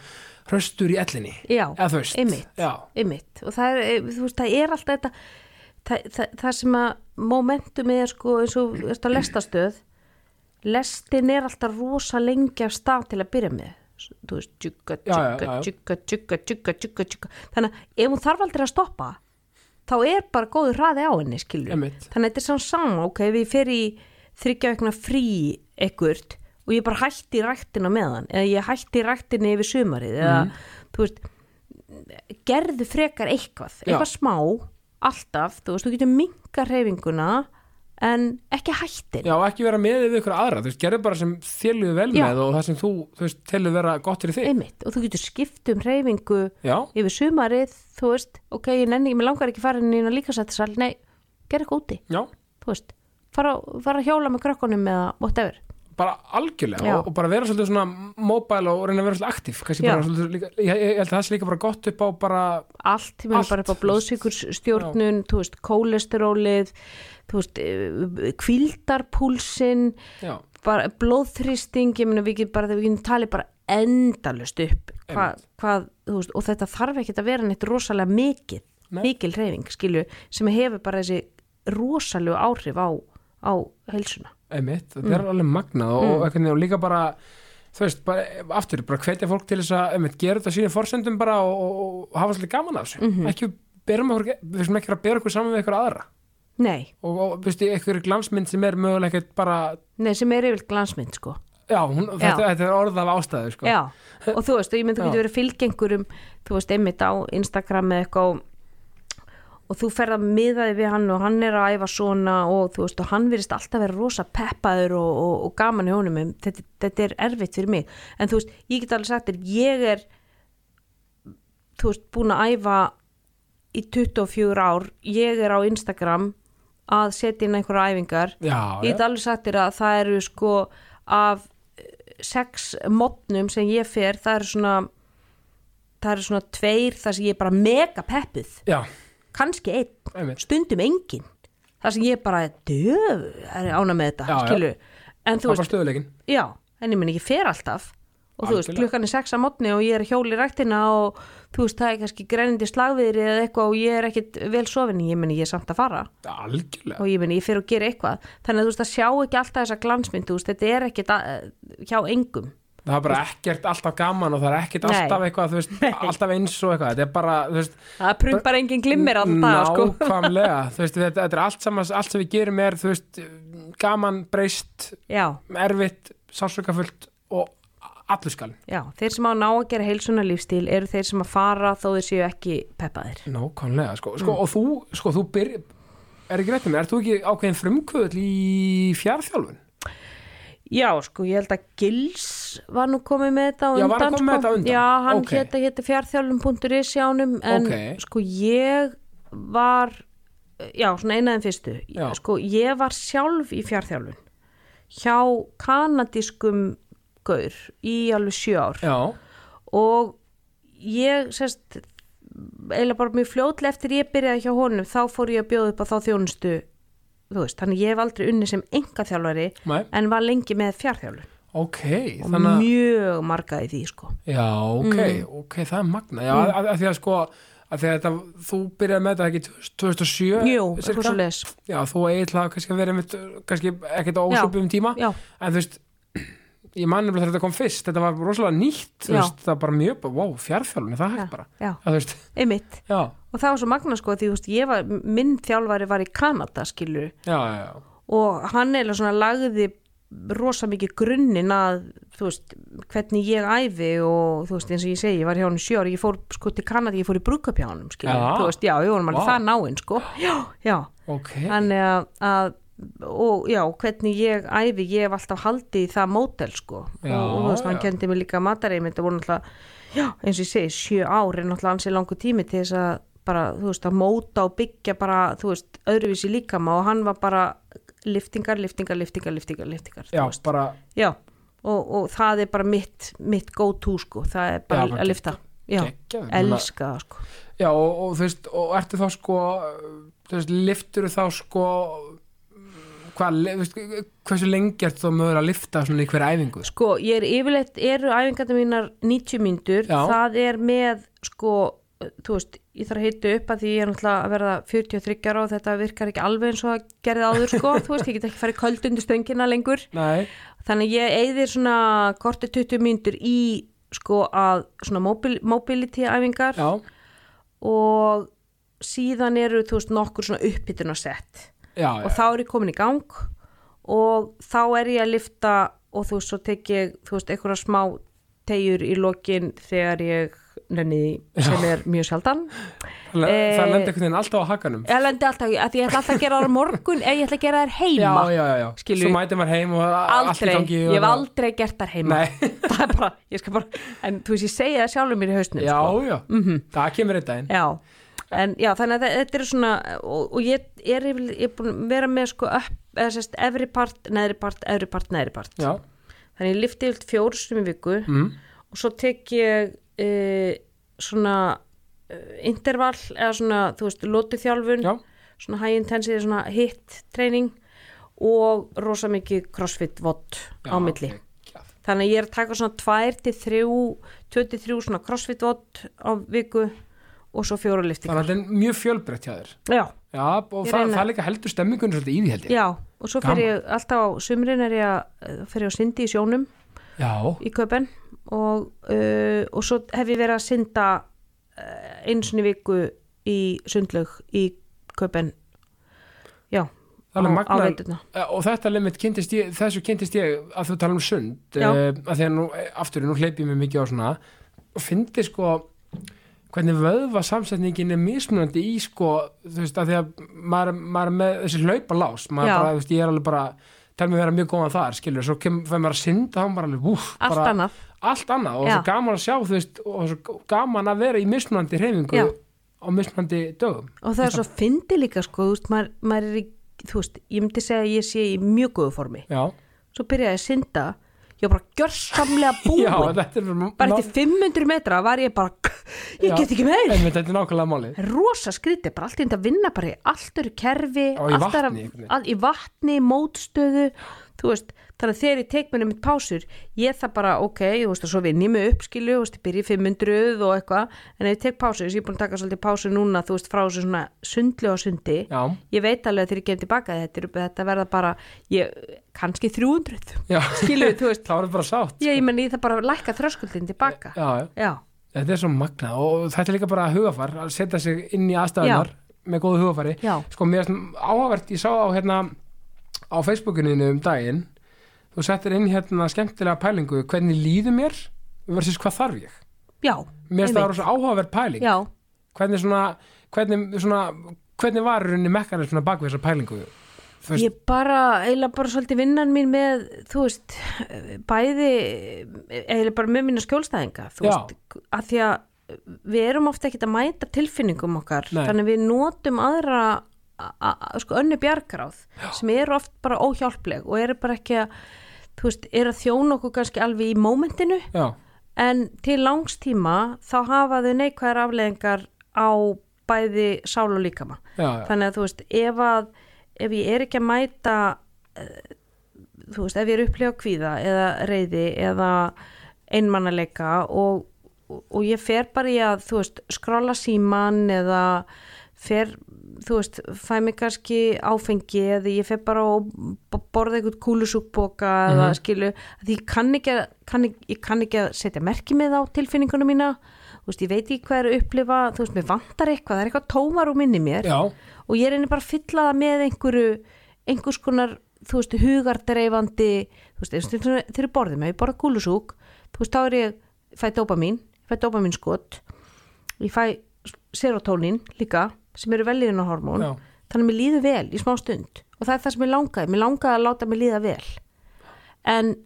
Speaker 1: hraustur í ellinni
Speaker 2: já,
Speaker 1: eða þú veist,
Speaker 2: einmitt,
Speaker 1: já,
Speaker 2: einmitt og það er, eh, þú veist, það er alltaf þetta það, það, það sem að momentum er sko eins og þú veist, á lestastöð lestin er alltaf rosa lengi af stað til að byrja með þú veist, tjúka,
Speaker 1: Já, já, já,
Speaker 2: tjúka,
Speaker 1: já.
Speaker 2: tjúka, tjúka, tjúka, tjúka, tjúka þannig að ef hún þarf aldrei að stoppa þá er bara góður hraði á henni skilur
Speaker 1: Einmitt.
Speaker 2: þannig að þetta er saman sama ok, ef ég fer í þryggja vegna frí ekkert og ég bara hætti í ræktina meðan eða ég hætti í ræktina yfir sumarið eða
Speaker 1: Mhm.
Speaker 2: þú veist gerðu frekar eitthvað,
Speaker 1: Já.
Speaker 2: eitthvað smá alltaf, þú veist, þú getur minga reyfinguna en ekki hættin
Speaker 1: já, og ekki vera með við ykkur aðra, þú veist, gerðu bara sem þér líður vel
Speaker 2: Já.
Speaker 1: með og það sem þú, þú veist, telur vera gott fyrir þig,
Speaker 2: einmitt, og þú getur skipt um reyfingu
Speaker 1: já,
Speaker 2: yfir sumarið, þú veist ok, ég nenni, mér langar ekki farin inn á líkasættisal nei, gera eitthvað úti,
Speaker 1: já
Speaker 2: þú veist fara, fara að hjóla með krakkonum eða whatever,
Speaker 1: bara algjörlega
Speaker 2: Já.
Speaker 1: og, og bara vera svolítið svona mobile og reyna að vera svolítið aktiv kannski
Speaker 2: Já.
Speaker 1: bara svolítið líka, ég, ég held að það sé líka bara gott upp á bara,
Speaker 2: allt, ég meina
Speaker 1: Allt,
Speaker 2: bara upp á
Speaker 1: þú veist.
Speaker 2: blóðsikursstjórnun, þú veist kólesterólið, þú veist eh, kvildarpúlsinn
Speaker 1: já,
Speaker 2: bara blóðþrýsting ég meina við getum bara, við getum talið bara endalust upp hva, hvað, þú veist, og þetta þarf ekki að vera neitt rosalega mikið,
Speaker 1: Nei.
Speaker 2: mikil reyfing skilju, sem hefur bara þessi rosalegu áhrif á, á heilsuna.
Speaker 1: einmitt,
Speaker 2: Mm.
Speaker 1: þetta er alveg magnað og, og, einhvern veginn, og líka bara þú veist, bara, aftur, bara hvetja fólk til þess að einmitt, gera þetta sínum forsendum bara og, og, og hafa svolítið gaman af þessu
Speaker 2: Mhm.
Speaker 1: ekki, berum okkur, við sem ekki vera að bera okkur saman við ykkur aðra
Speaker 2: Nei,
Speaker 1: og, og veistu, einhver glansmynd sem er mögulega ekkert bara,
Speaker 2: nei sem er yfirlt glansmynd sko
Speaker 1: já, hún,
Speaker 2: Já.
Speaker 1: Þetta, þetta er orð af ástæðu, sko
Speaker 2: Já, og þú veist, og ég myndi
Speaker 1: Já.
Speaker 2: þú getur verið fylgengurum, þú veist, einmitt á Instagram eða eitthvað og- og þú ferð að miða þig við hann og hann er að æfa svona og þú veist, og hann virðist alltaf vera rosa peppaður og, og, og gaman í honum, en þetta, þetta er erfitt fyrir mig, en þú veist, ég get alveg sagt þér, ég er, þú veist, búin að æfa í 24 ár, ég er á Instagram að setja inn einhverja æfingar
Speaker 1: Já,
Speaker 2: ég get alveg sagt þér að það eru sko af eh, sex modnum sem ég fer það eru svona það eru svona tveir þar sem ég er bara mega peppuð
Speaker 1: já,
Speaker 2: kannski einn,
Speaker 1: einmitt
Speaker 2: stundum engin þar sem ég bara döf er ána með þetta,
Speaker 1: Já, já.
Speaker 2: skilu en þú
Speaker 1: það var
Speaker 2: veist,
Speaker 1: stöðuleikin
Speaker 2: já, en ég meni ég fer alltaf og þú veist,
Speaker 1: Algjörlega.
Speaker 2: klukkan er sex að modni og ég er hjóli ræktina og þú veist, það er kannski grænindi slagviðri eða eitthvað og ég er ekkit vel sofin ég meni ég er samt að fara
Speaker 1: algjörlega
Speaker 2: og ég meni, ég fyrir að gera eitthvað þannig að þú veist að sjá ekki alltaf þessa glansmynd þú veist, þetta er ekkit að, eh, hjá engum
Speaker 1: það er bara ekkert alltaf gaman og það er ekkert
Speaker 2: Nei.
Speaker 1: alltaf eitthvað, þú veist, alltaf eins og eitthvað þetta er bara, þú veist,
Speaker 2: það prumpar engin glimmir alltaf daga, sko.
Speaker 1: nákvæmlega þú veist, þetta, þetta er allt saman, allt sem við gerum er þú veist, gaman, breyst
Speaker 2: já,
Speaker 1: erfitt, sásökafullt og allur skal
Speaker 2: já, þeir sem á að ná að gera heilsuna lífstíl eru þeir sem að fara þó þeir séu ekki peppaðir
Speaker 1: nákvæmlega, sko,
Speaker 2: Mm.
Speaker 1: sko og þú, sko, þú um byrj er ekki rétt með mér, er þú ekki ákveðin frumkvöðl í fjárþjálfun?
Speaker 2: Já, sko, ég held að Gils var nú komið með þetta á
Speaker 1: Já,
Speaker 2: undan
Speaker 1: var hann komið með
Speaker 2: sko.
Speaker 1: þetta á undan?
Speaker 2: Já, hann
Speaker 1: Ok.
Speaker 2: okay. hétta, hétta fjárþjálfum.is í ánum en
Speaker 1: Ok.
Speaker 2: sko, ég var já, svona einaðin fyrstu
Speaker 1: Já.
Speaker 2: sko, ég var sjálf í fjárþjálfun hjá kanadískum gaur í alveg sjö ár
Speaker 1: já,
Speaker 2: og ég sérst eiginlega bara mjög fljótlega eftir ég byrjaði hjá honum þá fór ég að bjóða upp á þá þjónustu þú veist, þannig ég hef aldrei unni sem enga þjálfari
Speaker 1: Nei.
Speaker 2: en var lengi með fjárþjálfun
Speaker 1: ok
Speaker 2: og
Speaker 1: þannig að
Speaker 2: mjög marga í því sko
Speaker 1: Já, ok,
Speaker 2: Mm.
Speaker 1: ok, það er magna Já, mm. að, að því að sko að því að þetta, þú byrjaði með þetta ekki 2007
Speaker 2: Jú,
Speaker 1: cirka?
Speaker 2: eitthvað svo leis
Speaker 1: Já, þú eiginlega kannski að vera einmitt, kannski ekkert á ósöpum tíma
Speaker 2: Já,
Speaker 1: en þú veist, ég mann nefnilega þegar þetta kom fyrst þetta var rosalega nýtt, þú
Speaker 2: Já.
Speaker 1: veist, það var bara mjög wow, fjárþjálfun, er það
Speaker 2: já,
Speaker 1: hægt bara
Speaker 2: já,
Speaker 1: Já, þú veist,
Speaker 2: einmitt
Speaker 1: já,
Speaker 2: og það var svo magna sko því þú veist, ég var, minn þjálfari var í Kanada skilur
Speaker 1: já, já, já.
Speaker 2: og hann eiginlega svona lagði rosa mikið grunnin að þú veist, hvernig ég æfi og þú veist, eins og ég segi, ég var hjá hann sjö ári ég fór sko til Kanada, ég fór í brúkup hjá hann skilur,
Speaker 1: Já.
Speaker 2: þú veist, já, ég vorum alveg
Speaker 1: Vá.
Speaker 2: það náinn sko, já, já
Speaker 1: ok
Speaker 2: þannig að, að og já, hvernig ég æfi ég hef alltaf haldið í það mótel sko
Speaker 1: Já,
Speaker 2: og, og þú veist, hann
Speaker 1: já.
Speaker 2: kendi mig líka matareimind og voru náttúrulega, já, eins og ég segi sjö ári, náttúrulega ansi langu tími til þess að bara, þú veist, að móta og byggja bara, þú veist, öðruvísi líkama og hann var bara liftingar, liftingar, liftingar, liftingar, liftingar
Speaker 1: Já,
Speaker 2: þú veist.
Speaker 1: bara,
Speaker 2: já, og, og það er bara mitt, mitt go to sko, það er bara
Speaker 1: Já, bara
Speaker 2: að lifta já,
Speaker 1: geggjað, ég meina-
Speaker 2: elska það sko
Speaker 1: já, og, og þú veist og ertu þá sko þú veist, liftur þá sko hvað, le- þú veist, hversu lengi ertu þá mögur að lifta svona í hverja æfingu sko?
Speaker 2: Sko, ég er yfirleitt, eru æfingarnir mínar 90 mínútur,
Speaker 1: Já.
Speaker 2: það er með, sko, eh, þú veist, ég þarf að heita upp að því ég er náttúrulega að verða 43 ára og þetta virkar ekki alveg eins og það gerði áður, sko, þú veist, ég get ekki farið köld undir stöngina lengur,
Speaker 1: Nei,
Speaker 2: þannig ég eyðir svona korti 20 mínútur í, sko, að svona mobil, mobility æfingar
Speaker 1: já,
Speaker 2: og síðan eru, þú veist, nokkur svona uppbytun og sett
Speaker 1: já, já
Speaker 2: og þá er ég komin í gang og þá er ég að lifta og þú veist, svo tek ég, þú veist, einhverja smá tegjur í lokin þegar ég nenni því sem er mjög sjaldan
Speaker 1: það,
Speaker 2: eh,
Speaker 1: það lendi einhvern veginn alltaf á hakanum
Speaker 2: ég lendi alltaf, að ég ætla alltaf að gera það á morgun eða ég ætla að gera það
Speaker 1: Já,
Speaker 2: heima
Speaker 1: já, já, já,
Speaker 2: Skilur.
Speaker 1: svo mæti maður heim og a- allt í
Speaker 2: aldrei,
Speaker 1: gangi og-
Speaker 2: ég hef aldrei gert það heima
Speaker 1: Nei.
Speaker 2: það er bara, ég skal bara en þú veist, ég segi það sjálfum mér í hausnum
Speaker 1: Já,
Speaker 2: sko.
Speaker 1: já, það kemur einn daginn
Speaker 2: Já, en já, þannig að þetta er svona og, og ég er, yfirleitt- ég er búin að vera með sko upp, eða sérst, efri part, neðri part, efri part, neðri part
Speaker 1: Já,
Speaker 2: þannig ég lifti yfirleitt fjóru sem í viku
Speaker 1: mm.
Speaker 2: og svo tek ég e, svona e, intervall eða svona, þú veist, lótuþjálfun
Speaker 1: já,
Speaker 2: svona high intensity, svona hit training og rosa mikið crossfit vott
Speaker 1: já
Speaker 2: á milli
Speaker 1: geggjað.
Speaker 2: þannig að ég er að taka svona 2 til 3 2 til 3 svona crossfit vott á viku og svo fjóra liftingar
Speaker 1: Þannig að þetta er mjög fjölbreytt hjá þér
Speaker 2: já,
Speaker 1: Já, og
Speaker 2: Ég
Speaker 1: það,
Speaker 2: reyni.
Speaker 1: það líka heldur stemmingunum svolítið í því held ég
Speaker 2: já, og svo fer
Speaker 1: Gaman.
Speaker 2: ég alltaf á sumrin er ég að fer ég á syndi í sjónum
Speaker 1: Já,
Speaker 2: í köpen og, uh, og svo hef ég verið að synda uh, einsinni viku í sundlaug í köpen
Speaker 1: Það
Speaker 2: já,
Speaker 1: er alveg
Speaker 2: á, á
Speaker 1: magnað.
Speaker 2: veiturna
Speaker 1: Eh, og þetta limit kynntist ég, þessu kynntist ég að þú tala um sund
Speaker 2: Já.
Speaker 1: uh, að því að nú, eh, aftur, nú hleyp ég mig mikið á svona og fyndi sko hvernig vöðva samsetningin er mismunandi í sko, þú veist, að því að maður, maður er með þessi hlaupalás maður
Speaker 2: Já.
Speaker 1: bara, þú veist, ég er alveg bara tel mig vera mjög góðan þar, skilur, svo kemur fyrir maður að synda, þá er maður alveg, úf,
Speaker 2: allt
Speaker 1: bara
Speaker 2: annað,
Speaker 1: allt annað og
Speaker 2: Já.
Speaker 1: svo gaman að sjá, þú veist, og svo gaman að vera í mismunandi hreyfingu
Speaker 2: Já.
Speaker 1: á mismunandi dögum
Speaker 2: og það er svo fyndi líka sko, þú veist, maður, maður er í þú veist, ég myndi segja að ég sé í mjög góðu formi
Speaker 1: Já,
Speaker 2: svo byrjaði ég að synda ég var bara gjörsamlega
Speaker 1: Já
Speaker 2: búin
Speaker 1: þetta er
Speaker 2: bara eftir 500 metra var ég bara ég
Speaker 1: Já.
Speaker 2: get ekki meir
Speaker 1: Einmitt, þetta er nákvæmlega málið
Speaker 2: rosa skrítið, bara allt í þetta að vinna bara í allt öru kerfi,
Speaker 1: Já, í
Speaker 2: allt er
Speaker 1: vatni, einhvern
Speaker 2: að,
Speaker 1: veginn.
Speaker 2: að, í vatni, mótstöðu þú veist, þannig að þegar ég tek mér um mitt pásur, ég það bara, ok þú veist, og svo vinn ég mig upp, skilu, þú veist, ég byrja í 500 og eitthvað, en ef ég tek pásur þess að ég er búin að taka svolítið pásur núna, þú veist, frá þessu svona sundlu og sundi,
Speaker 1: Já,
Speaker 2: ég veit alveg að þegar ég kem tilbaka þetta, er- þetta verða bara, ég kannski 300,
Speaker 1: já
Speaker 2: skilu, þú veist
Speaker 1: Það var bara sátt
Speaker 2: ég, ég menn, ég það bara að lækka þröskuldin tilbaka,
Speaker 1: já, já.
Speaker 2: já,
Speaker 1: Þetta er svo magnað og þetta er líka bara hugafar að setja sig inn í aðstæðunar með góðu hugafari
Speaker 2: Já.
Speaker 1: Sko, mér er svona áhugavert, ég sá á hérna á Facebookinu um daginn þú settir inn hérna skemmtilega pælingu hvernig líður mér versus hvað þarf ég
Speaker 2: já,
Speaker 1: Mér er það
Speaker 2: einmitt.
Speaker 1: var svo áhugavert pæling
Speaker 2: já,
Speaker 1: hvernig svona, hvernig svona hvernig var í rauninni mekkanismina bak við þessa pælingu þú veist,
Speaker 2: Ég bara, eiginlega bara svolítið vinnan mín með, þú veist, bæði, eiginlega bara með mína skjólstæðinga, þú
Speaker 1: Já.
Speaker 2: veist, að því að við erum ofta ekkert að mæta tilfinningum okkar,
Speaker 1: Nei.
Speaker 2: þannig við notum aðra, a- a- a- sko, önnu bjargráð sem eru oft bara óhjálpleg og eru bara ekki að, þú veist, eru að þjóna okkur kannski alveg í mómentinu
Speaker 1: já,
Speaker 2: en til langstíma þá hafa þau neikvæðar afleðingar á bæði sál og líkama
Speaker 1: já, já,
Speaker 2: þannig að þú veist ef, að, ef ég er ekki að mæta eh, þú veist, ef ég er upplifa kvíða eða reyði eða einmannalega og, og- og ég fer bara í að þú veist, skrolla síman eða fer, þú veist, fæ mig kannski áfengi eða ég fer bara og b- borða einhvern kúlusúkboka eða
Speaker 1: Mhm.
Speaker 2: skilu, að því ég kann ekki að, kann, ekki- ég kann ekki að setja merki með á tilfinningunum mína, þú veist, ég veit ekki hvað er að upplifa, þú veist, mér vantar eitthvað, það er eitthvað tómar úr minni mér
Speaker 1: já,
Speaker 2: og ég reyni bara að fylla það með einhverju einhvers konar, þú veist, hugardreifandi þú veist, eins og þegar- þegar ég borðið mig, ég borða kúlusúk þú veist, þá er ég, fæ dópamín ég fæ dópamín skot ég fæ serotónin líka sem eru velíðuna hormón
Speaker 1: Já.
Speaker 2: þannig að mér líður vel í smá stund og það er það sem ég langaði, mér langaði að láta mér líða vel en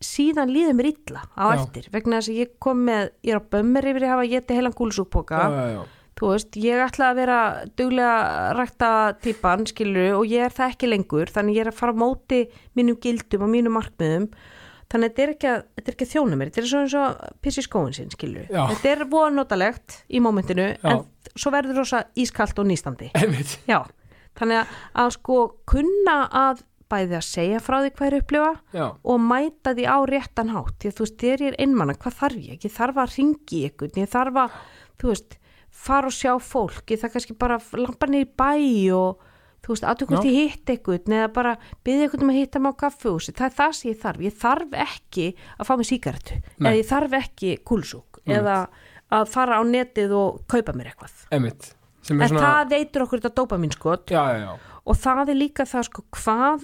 Speaker 2: síðan líður mér illa á
Speaker 1: Já.
Speaker 2: eftir vegna þess að ég kom með, ég er á bömmir yfir að hafa getið heilan kúlusúkpoka
Speaker 1: já, já, já.
Speaker 2: þú veist, ég ætla að vera duglega rækta típan, skilur og ég er það ekki lengur, þannig ég er að fara á móti mínum gildum og mínum markmiðum þannig að þetta er ekki að, þetta er ekki að þjóna mér þetta er svo eins og pissi skóin sinn, skilur
Speaker 1: Já.
Speaker 2: þetta er voða notalegt í mómentinu
Speaker 1: Já.
Speaker 2: en svo verður rosa ískalt og nýstandi
Speaker 1: einmitt,
Speaker 2: já, þannig að, að sko kunna að bæði að segja frá því hvað er að upplifa
Speaker 1: já,
Speaker 2: og mæta því á réttan hátt því að þú veist, þegar ég er einmanna, hvað þarf ég ég þarf að ringi ykkur, ég þarf að þú veist, fara og sjá fólk ég þarf kannski bara að lampa niður í bæ og þú veist, aðtöku hvort
Speaker 1: Já.
Speaker 2: ég hitt ykkur eða bara byggði ykkur um að hitta mig á kaffehúsi það er það sem ég þarf, ég þarf ekki að fá mig síkartu,
Speaker 1: Nei.
Speaker 2: eða ég þarf ekki kúlsúk, eða að fara á netið og kaupa mér eitthvað
Speaker 1: einmitt sem
Speaker 2: en
Speaker 1: er svona,
Speaker 2: það veitur okkur þetta dópa mín skot
Speaker 1: já, já, já
Speaker 2: og það er líka það sko hvað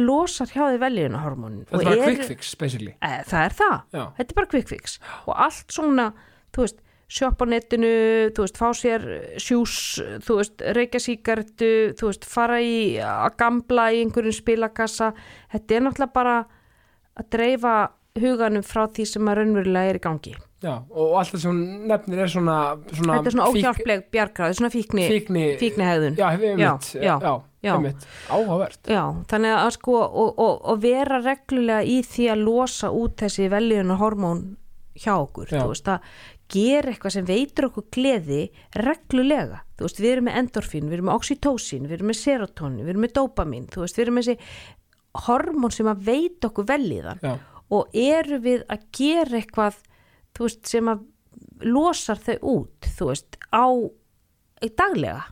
Speaker 2: losar hjá því veljiðunahormónin
Speaker 1: þetta er bara quick fix, basically
Speaker 2: E, það er það,
Speaker 1: Já.
Speaker 2: þetta er bara quick fix og allt svona, þú veist shoppa á netinu, þú veist, fá sér eh, sjús, þú veist, reykja síkartu þú veist, fara í að gambla í einhverjum spilakassa þetta er náttúrulega bara að dreifa huganum frá því sem að raunverulega er í gangi.
Speaker 1: já, og allt það sem hún nefnir er svona, svona
Speaker 2: Þetta er svona
Speaker 1: fík-
Speaker 2: óhjálpleg bjargráð, svona fíkni,
Speaker 1: fíkni,
Speaker 2: fíknihegðun.
Speaker 1: já, einmitt,
Speaker 2: Já,
Speaker 1: já,
Speaker 2: já,
Speaker 1: já,
Speaker 2: já.
Speaker 1: einmitt áhugavert,
Speaker 2: Já, þannig að sko og, og, og vera reglulega í því að losa út þessi veljuna hormón hjá okkur,
Speaker 1: Já.
Speaker 2: þú veist að gera eitthvað sem veitur okkur gleði reglulega, þú veist, við erum með endorfín, við erum með oxytósin, við erum með serotonin, við erum með dopamin, þú veist, við erum með þessi hormón sem að veita okkur velíðan
Speaker 1: já,
Speaker 2: og eru við að gera eitthvað, þú veist, sem að losar þau út, þú veist, á daglega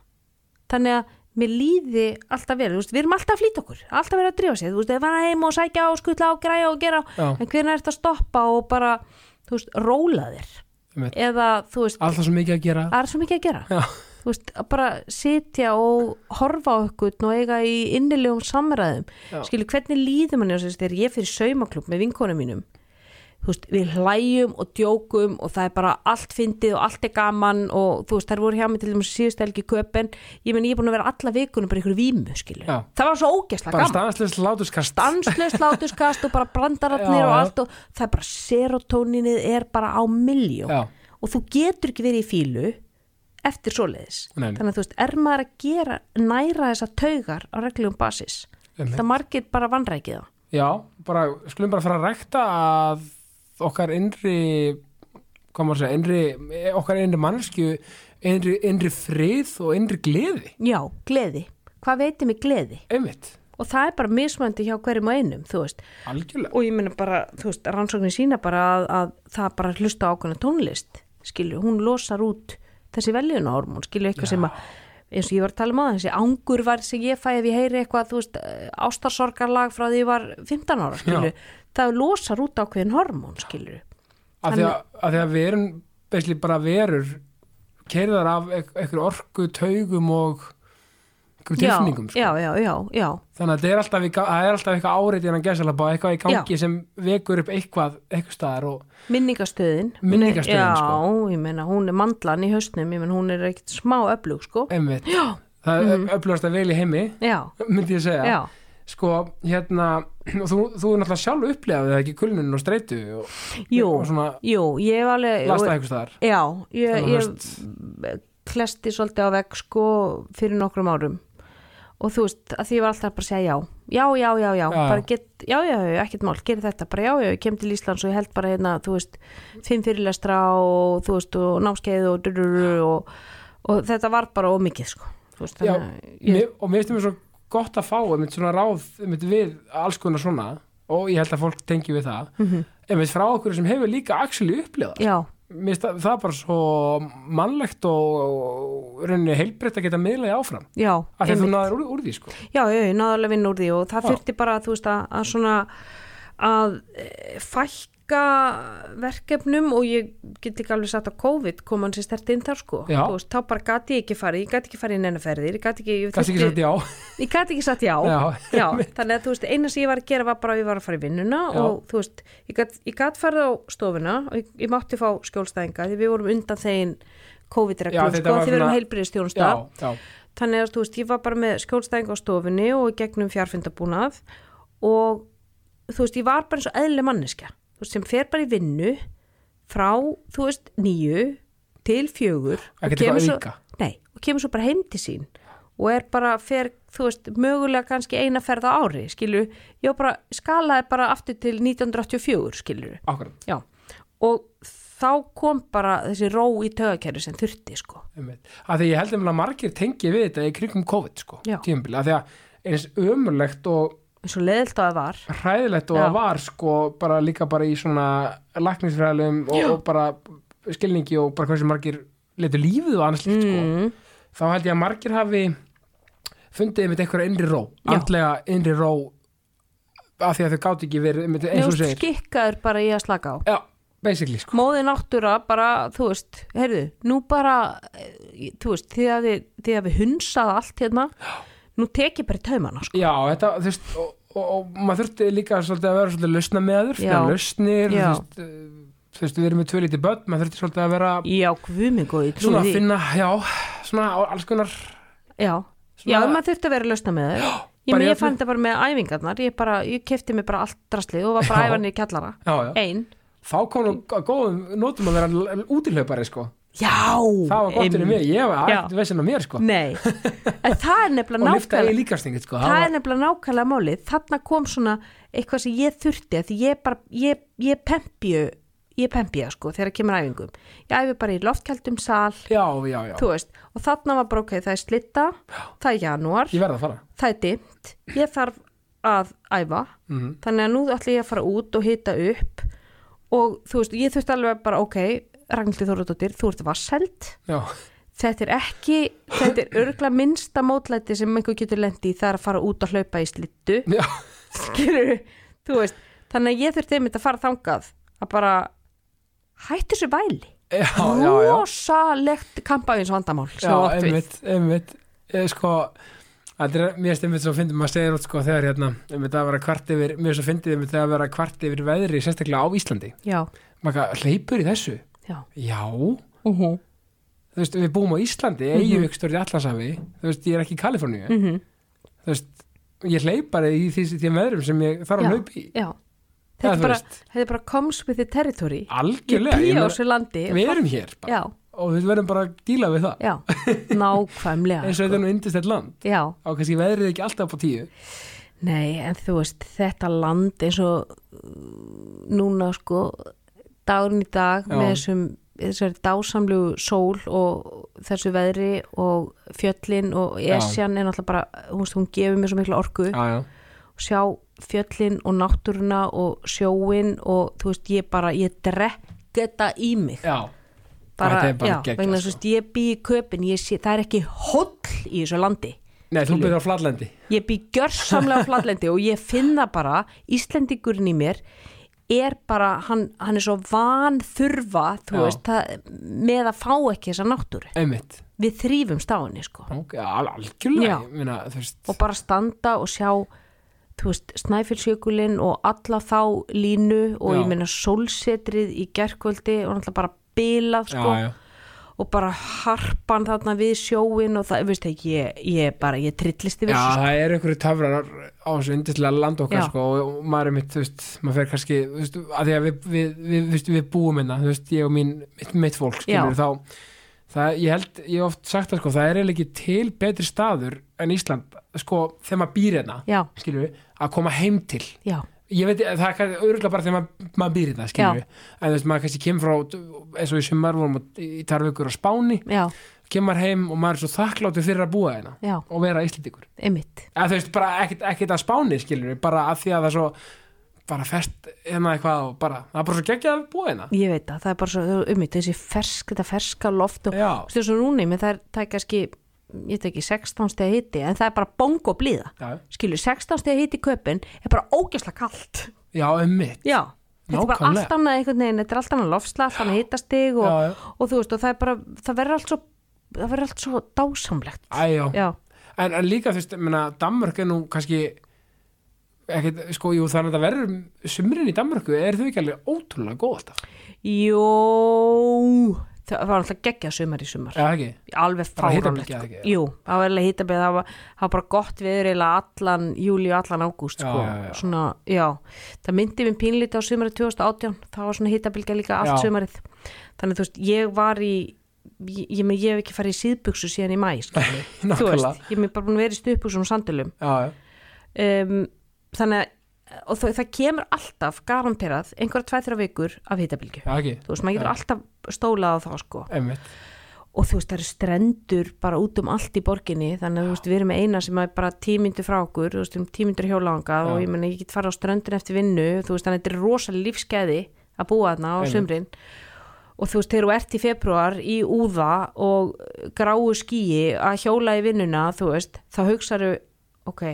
Speaker 2: þannig að mér líði alltaf vel, þú veist, við erum alltaf að flýta okkur alltaf að vera að drífa sér, þú veist, ef hann heim og sækja og skutla og græja og gera
Speaker 1: Já.
Speaker 2: en hvernig er þetta að stoppa og bara þú veist, róla þér
Speaker 1: einmitt
Speaker 2: eða, þú veist,
Speaker 1: allt það sem mikið að gera
Speaker 2: það er svo mikið að gera
Speaker 1: já,
Speaker 2: þú veist, að bara sitja og horfa á okkur og eiga í innilegum samræðum
Speaker 1: Já.
Speaker 2: skilu, hvernig líður manni á þess þegar ég fyrir saumaklub með vinkonum mínum þú veist, við hlæjum og djókum og það er bara allt fyndið og allt er gaman og þú veist, þær voru hjá mig til þess síðust helgi í köpen, ég meni ég er búin að vera alla vikunum bara í einhverju vímu, skilu
Speaker 1: Já.
Speaker 2: það var svo ógæslega
Speaker 1: bara
Speaker 2: gaman
Speaker 1: staðanslust látuskast
Speaker 2: stanslust látuskast og bara brandararnir
Speaker 1: Já,
Speaker 2: og
Speaker 1: já.
Speaker 2: allt og það er bara serotóninið er bara á miljón
Speaker 1: Já.
Speaker 2: og þú getur ekki verið í fílu eftir svoleiðis
Speaker 1: Nei.
Speaker 2: þannig að þú veist, er maður að gera næra þessa taugar á reglum basis
Speaker 1: Einmitt.
Speaker 2: það margir bara vanrækið það
Speaker 1: já, bara, skulum bara fara að rekta að okkar innri hvað maður að segja, innri eh, okkar innri mannskju innri, innri frið og innri gleði
Speaker 2: já, gleði, hvað veitir mig gleði
Speaker 1: einmitt,
Speaker 2: og það er bara mismöndi hjá hverjum og einum þú veist,
Speaker 1: algjörlega
Speaker 2: og ég meina bara, þú veist, rannsóknir sína bara að, að það bara að hlusta á ákveðna tónlist skilju, hún losar út þessi veljunaormón, skilju, eitthvað sem að eins og ég var að tala um aðeins, þessi angur var sem ég fæ ef ég heyri eitthvað, þú veist ástarsorgarlag frá því ég var 15 ára skilju,
Speaker 1: Já.
Speaker 2: það losar út ákveðin hormón, skilju,
Speaker 1: af því að, að, því að við erum beisli bara verur keirðar af ek- einhverju orku, taugum og einhverju
Speaker 2: já,
Speaker 1: tilfinningum sko.
Speaker 2: já, já, já, já
Speaker 1: þannig að þetta er alltaf, í ga- það er alltaf eitthvað árið innan gæsalabba, eitthvað í gangi sem vekur upp eitthvað, eitthvað staðar og
Speaker 2: minningastöðin, Hún er-
Speaker 1: Minningastöðin,
Speaker 2: já,
Speaker 1: sko.
Speaker 2: ég meina hún er mandlan í hausnum, ég meina hún er ekkert smá öflug, sko,
Speaker 1: einmitt,
Speaker 2: já,
Speaker 1: það mm -hmm. öflast að vel í heimi
Speaker 2: já,
Speaker 1: myndi ég segja
Speaker 2: já.
Speaker 1: sko, hérna, og þú, þú er náttúrulega sjálf upplegaði það ekki kulnun og streitu og,
Speaker 2: Jú,
Speaker 1: og svona
Speaker 2: jú, ég hef alveg
Speaker 1: lasta einhvers staðar
Speaker 2: Já,
Speaker 1: Þannig
Speaker 2: ég,
Speaker 1: að
Speaker 2: ég
Speaker 1: höst-
Speaker 2: klesti svolítið á vegg sko fyrir nokkrum árum og þú veist, að því ég var alltaf bara að segja já já, já, já, já,
Speaker 1: Já.
Speaker 2: bara get, já, já, já, ekkert mál, gerir þetta, bara já, já, ég kem til Íslands og ég held bara hérna, þú veist fimm fyrirlestra og þú veist og námskeið og dururur og, og þetta var bara ómikið sko þú veist,
Speaker 1: Já,
Speaker 2: þannig að ég,
Speaker 1: mér, og mér finnst mér svo gott að fá einmitt svona ráð einmitt við alls konar svona og ég held að fólk tengi við það einmitt frá okkur sem hefur líka actually upplegað
Speaker 2: Mhm. já,
Speaker 1: mér finnst það, það bara svo mannlegt og rauninni heilbreytt að geta miðlaði áfram
Speaker 2: já,
Speaker 1: af því að þú
Speaker 2: einmitt.
Speaker 1: náður úr, úr því sko
Speaker 2: já, já, ég náðu alveg vinn úr því og það
Speaker 1: Já.
Speaker 2: þurfti bara, þú veist, að, að svona að eh, fækka verkefnum og ég get ekki alveg satt að COVID kom hann sér stert inn þar sko,
Speaker 1: Já.
Speaker 2: þú veist, þá bara gati ég ekki farið, ég gati ekki farið inn ennaferðir, ég gati ekki, ég
Speaker 1: kannski ekki sagt
Speaker 2: þurfti-
Speaker 1: já
Speaker 2: ég gæti ekki sagt já,
Speaker 1: Já,
Speaker 2: þannig að þú veist, eina sem ég var að gera var bara að ég var að fara í vinnuna
Speaker 1: Já.
Speaker 2: og þú veist, ég gat, ég gat farið á stofuna og ég, ég mátti fá skjólstæðinga því við vorum undan þegin
Speaker 1: Já,
Speaker 2: COVID-reglum
Speaker 1: þetta
Speaker 2: sko,
Speaker 1: var
Speaker 2: því við erum
Speaker 1: svona-
Speaker 2: heilbriðistjónusta
Speaker 1: já, já,
Speaker 2: þannig að þú veist, ég var bara með skjólstæðinga á stofunni og í gegnum fjárfundabúnað og þú veist, ég var bara eins og eðlileg manneskja þú veist, sem fer bara í vinnu frá, þú veist, nýju til fjögur
Speaker 1: Ekkert
Speaker 2: og kemur
Speaker 1: eitthvað
Speaker 2: svo,
Speaker 1: auka.
Speaker 2: nei, og kemur svo bara heim til sín og er bara, fer, þú veist, mögulega kannski eina ferð á ári, skilur ég var bara, skalaði bara aftur til 1984, skilur
Speaker 1: akkurat
Speaker 2: já, og þá kom bara þessi ró í tögakerfi sem þurfti, sko
Speaker 1: einmitt. af því ég held einmitt að margir tengi við þetta í krigum COVID sko
Speaker 2: Já.
Speaker 1: tímabili, af því að eins ömurlegt og
Speaker 2: eins og leðilt að það var
Speaker 1: hræðilegt og
Speaker 2: Já.
Speaker 1: það var sko bara líka bara í svona læknisfræðilegum og, og bara skilningi og bara hversu margir letur lífið og annars líkt
Speaker 2: Mm.
Speaker 1: sko þá held ég að margir hafi fundið einmitt einhverja innri ró
Speaker 2: Já.
Speaker 1: andlega innri ró af því að þau gátt ekki verið einmitt, eins og þú
Speaker 2: Njóst
Speaker 1: segir
Speaker 2: skikkaður bara í að slaka á
Speaker 1: já, basically sko
Speaker 2: Móði náttúra bara, þú veist heyrðu, nú bara eh, þú veist, þið hafi, þið hafi hunsað allt hérna, nú tekið bara í taumana sko.
Speaker 1: já, þetta, þú veist og, og, og maður þurfti líka svolítið að vera svolítið lausna með þur,
Speaker 2: Já.
Speaker 1: lausnir þú
Speaker 2: Já.
Speaker 1: veist, eh, þú veist, við erum með tvö lítið börn maður þurfti svolítið að vera
Speaker 2: Já, guðmingu, ég trúi
Speaker 1: svona að
Speaker 2: því
Speaker 1: finna, já, svona alls konar
Speaker 2: Já,
Speaker 1: Svona-
Speaker 2: já um maður þurfti að vera að lausna með þeir Ég,
Speaker 1: bara í
Speaker 2: meni, ég
Speaker 1: öllu.
Speaker 2: fann þetta bara með æfingarnar ég, bara, ég kefti mig bara allt draslið og var bara
Speaker 1: Já.
Speaker 2: æfanir í kjallara
Speaker 1: já, já.
Speaker 2: Ein,
Speaker 1: þá kom nú að góðum nótum að vera l- l- útihlaupari sko
Speaker 2: já
Speaker 1: það var gott fyrir
Speaker 2: einmitt.
Speaker 1: mig, ég var
Speaker 2: Já.
Speaker 1: ekkert vesinn á mér sko
Speaker 2: Nei, en það er
Speaker 1: og
Speaker 2: nefnilega
Speaker 1: lifta
Speaker 2: nákvæmlega
Speaker 1: í líkastingið sko
Speaker 2: það er
Speaker 1: var,
Speaker 2: nefnilega nákvæmlega málið þarna kom svona eitthvað sem ég þurfti að því ég bara, ég, ég pempju ég pempja sko þegar kemur æfingum ég æfi bara í loftkjaldum sal
Speaker 1: já, já, já,
Speaker 2: þú veist, og þarna var bara ok það er slitta, það er janúar
Speaker 1: ég verð að fara
Speaker 2: það er dimmt, ég þarf að æfa,
Speaker 1: Mhm.
Speaker 2: þannig að nú ætla ég að fara út og hita upp og þú veist, ég þurfti alveg bara ok Ragnhildur Þóruðdóttir, þú ert vasseld
Speaker 1: já,
Speaker 2: þetta er ekki, þetta er örgla minnsta mótlæti sem einhver getur lendi í það er að fara út að hlaupa í slittu
Speaker 1: já,
Speaker 2: skilur, þú veist þannig að ég þurfti einmitt að fara þangað að bara hættu þessu væli
Speaker 1: já, já, já.
Speaker 2: rosalegt kampavíns vandamál sem
Speaker 1: já
Speaker 2: þú átt við.
Speaker 1: einmitt, einmitt eh, sko þetta er mér stemmið svo fyndið maður segir út sko þegar hérna, einmitt að vera kvart yfir mér svo fyndið einmitt að vera kvart yfir veðri sérstaklega á Íslandi,
Speaker 2: já,
Speaker 1: maður hleypur í þessu
Speaker 2: já
Speaker 1: já,
Speaker 2: uh -huh.
Speaker 1: þú veist, við búum á Íslandi
Speaker 2: Mhm.
Speaker 1: mm -hmm. eigum ykkur stóri allansafi, þú veist, ég er ekki í Kaliforníu þú veist, ég hleyp bara í því því meðrum sem ég þarf
Speaker 2: já,
Speaker 1: að hlaupa í Já,
Speaker 2: já.
Speaker 1: þú
Speaker 2: Þetta, er bara,
Speaker 1: veist.
Speaker 2: þetta er bara comes with the territory ég
Speaker 1: algjörlega,
Speaker 2: býja á
Speaker 1: meina,
Speaker 2: þessu landi
Speaker 1: við erum hér bara,
Speaker 2: já,
Speaker 1: og við verðum bara að díla við það
Speaker 2: já, nákvæmlega sko.
Speaker 1: eins og þetta er nú yndistett land
Speaker 2: já,
Speaker 1: og kannski veðrið ekki alltaf på tíu
Speaker 2: Nei, en þú veist, þetta land eins og uh, núna sko, dagurinn í dag
Speaker 1: Já.
Speaker 2: með þessum, þessari dásamlu sól og þessu veðri og fjöllin og
Speaker 1: Já.
Speaker 2: esjan er náttúrulega bara, hún, veist, hún gefur mér svo mikla orku
Speaker 1: já, já,
Speaker 2: sjá fjöllin og náttúruna og sjóin og þú veist, ég bara, ég drekk þetta í mig
Speaker 1: já,
Speaker 2: bara,
Speaker 1: þetta er bara
Speaker 2: já,
Speaker 1: geggjað,
Speaker 2: vegna
Speaker 1: sko.
Speaker 2: þess að þú veist, ég bý í köpin ég sé, það er ekki hóll í þessu landi
Speaker 1: nei, þú byrjar á flatlendi
Speaker 2: ég bý gjörsamlega á flatlendi og ég finn það bara, Íslendingurinn í mér er bara, hann, hann er svo van þurfa, þú
Speaker 1: Já.
Speaker 2: veist það, með að fá ekki þessa náttúru
Speaker 1: einmitt,
Speaker 2: við þrýfum stáðinni sko
Speaker 1: ok, al algjörlega
Speaker 2: Já.
Speaker 1: ég meina, þú veist,
Speaker 2: og bara standa og sjá þú veist, snæfilsjökulinn og alla þá línu og
Speaker 1: Já.
Speaker 2: ég meina sólsetrið í gerkvöldi og náttúrulega bara bilað sko
Speaker 1: já, já,
Speaker 2: og bara harpan þarna við sjóin og það, veist ekki, ég, ég bara, ég trillist yfir
Speaker 1: Já,
Speaker 2: þessu, sko.
Speaker 1: það er einhverju töfrar á þessu yndislega land okkar
Speaker 2: Já.
Speaker 1: sko, og og maður er mitt, þú veist, maður fer kannski þú veist, að því að við, við, við, við, við búum hérna, þú veist, ég og mín, mitt, mitt fólk skilur þá, það, ég held ég hef oft sagt það, sko, það er eiginlega ekki til betri staður en Ísland, sko þegar maður býr hérna,
Speaker 2: Já,
Speaker 1: skilur við að koma heim til,
Speaker 2: já,
Speaker 1: ég veit, það er kannski örgulega bara þegar maður, maður býr hérna,
Speaker 2: Já.
Speaker 1: skilur við en þú veist, maður kannski kemur frá, eins og í sumar vorum á- í Tarvíkur á Spáni,
Speaker 2: já,
Speaker 1: kemur heim og maður er svo þakkláttur fyrir að búa hérna
Speaker 2: já,
Speaker 1: og vera Íslendingur
Speaker 2: einmitt,
Speaker 1: eða þú veist, bara ekkert, ekkert að spáni skilur við, bara að því að það er svo bara fest hérna eitthvað og bara það er bara svo geggjað að búa hérna
Speaker 2: ég veit það, það er bara svo, einmitt, þessi fersk, þetta ferska loft og,
Speaker 1: já,
Speaker 2: þú veist, þessu núni, menn það er, það er kannski, ég veit ekki, 16 stegi hiti, en það er bara bongo blíða,
Speaker 1: já,
Speaker 2: skilur, 16 stegi hiti í köpinn er bara ógæsla kalt,
Speaker 1: já, um mitt
Speaker 2: já, þetta er bara
Speaker 1: Nákvæmlega.
Speaker 2: allt annað einhvern veginn, þetta er allt annað lofsla, allt annað hitastig og,
Speaker 1: Já, já.
Speaker 2: og þú veist, og það er bara, það verður allt svo, það verður allt svo dásamlegt,
Speaker 1: Æjó,
Speaker 2: já,
Speaker 1: en, en líka þú veist, menna, Danmörk er nú kannski ekkert, sko, jú, þannig að það verður sumrin í Danmörku, er þau ekki alveg ótrúlega góð alltaf,
Speaker 2: jó, það var alltaf geggjað sumar í sumar.
Speaker 1: eða ekki?
Speaker 2: alveg
Speaker 1: Bara
Speaker 2: fáránlegt
Speaker 1: hitabylgja,
Speaker 2: sko.
Speaker 1: ekki?
Speaker 2: Jú, það var alveg hitabið það var, það var bara gott viður eiginlega allan júli og allan ágúst
Speaker 1: Já,
Speaker 2: sko.
Speaker 1: já, já.
Speaker 2: Svona, já, það myndi mér pínlítið á sumarið 2018, það var svona hitabylgja líka allt
Speaker 1: Já.
Speaker 2: sumarið þannig þú veist, ég var í ég, ég, meina, ég hef ekki farið í síðbuksu síðan í mæ skilurðu. þú
Speaker 1: Nákvæmlega.
Speaker 2: veist, ég hef mér bara búin að vera í stuðbuksum og sandulum
Speaker 1: Já, já,
Speaker 2: um, þannig að og það, það kemur alltaf garanterað einhverja tvæð þrjá vikur af hitabylgju
Speaker 1: já, ekki,
Speaker 2: þú veist, maður getur alltaf stólað á það sko
Speaker 1: einmitt
Speaker 2: og þú veist það eru strendur bara út um allt í borginni þannig að þú veist við erum með eina sem er bara tímyndu frá okkur þú veist um við erum tímyndur hjólanga og ég menna ég get farið á ströndin eftir vinnu þú veist þannig að þetta er rosa lífskeiði að búa þarna á
Speaker 1: Einmitt.
Speaker 2: sumrin og þú veist þegar þú ert í februar í úða og gráu skýi að hjóla í vinnuna þú veist þá hugsaðu ok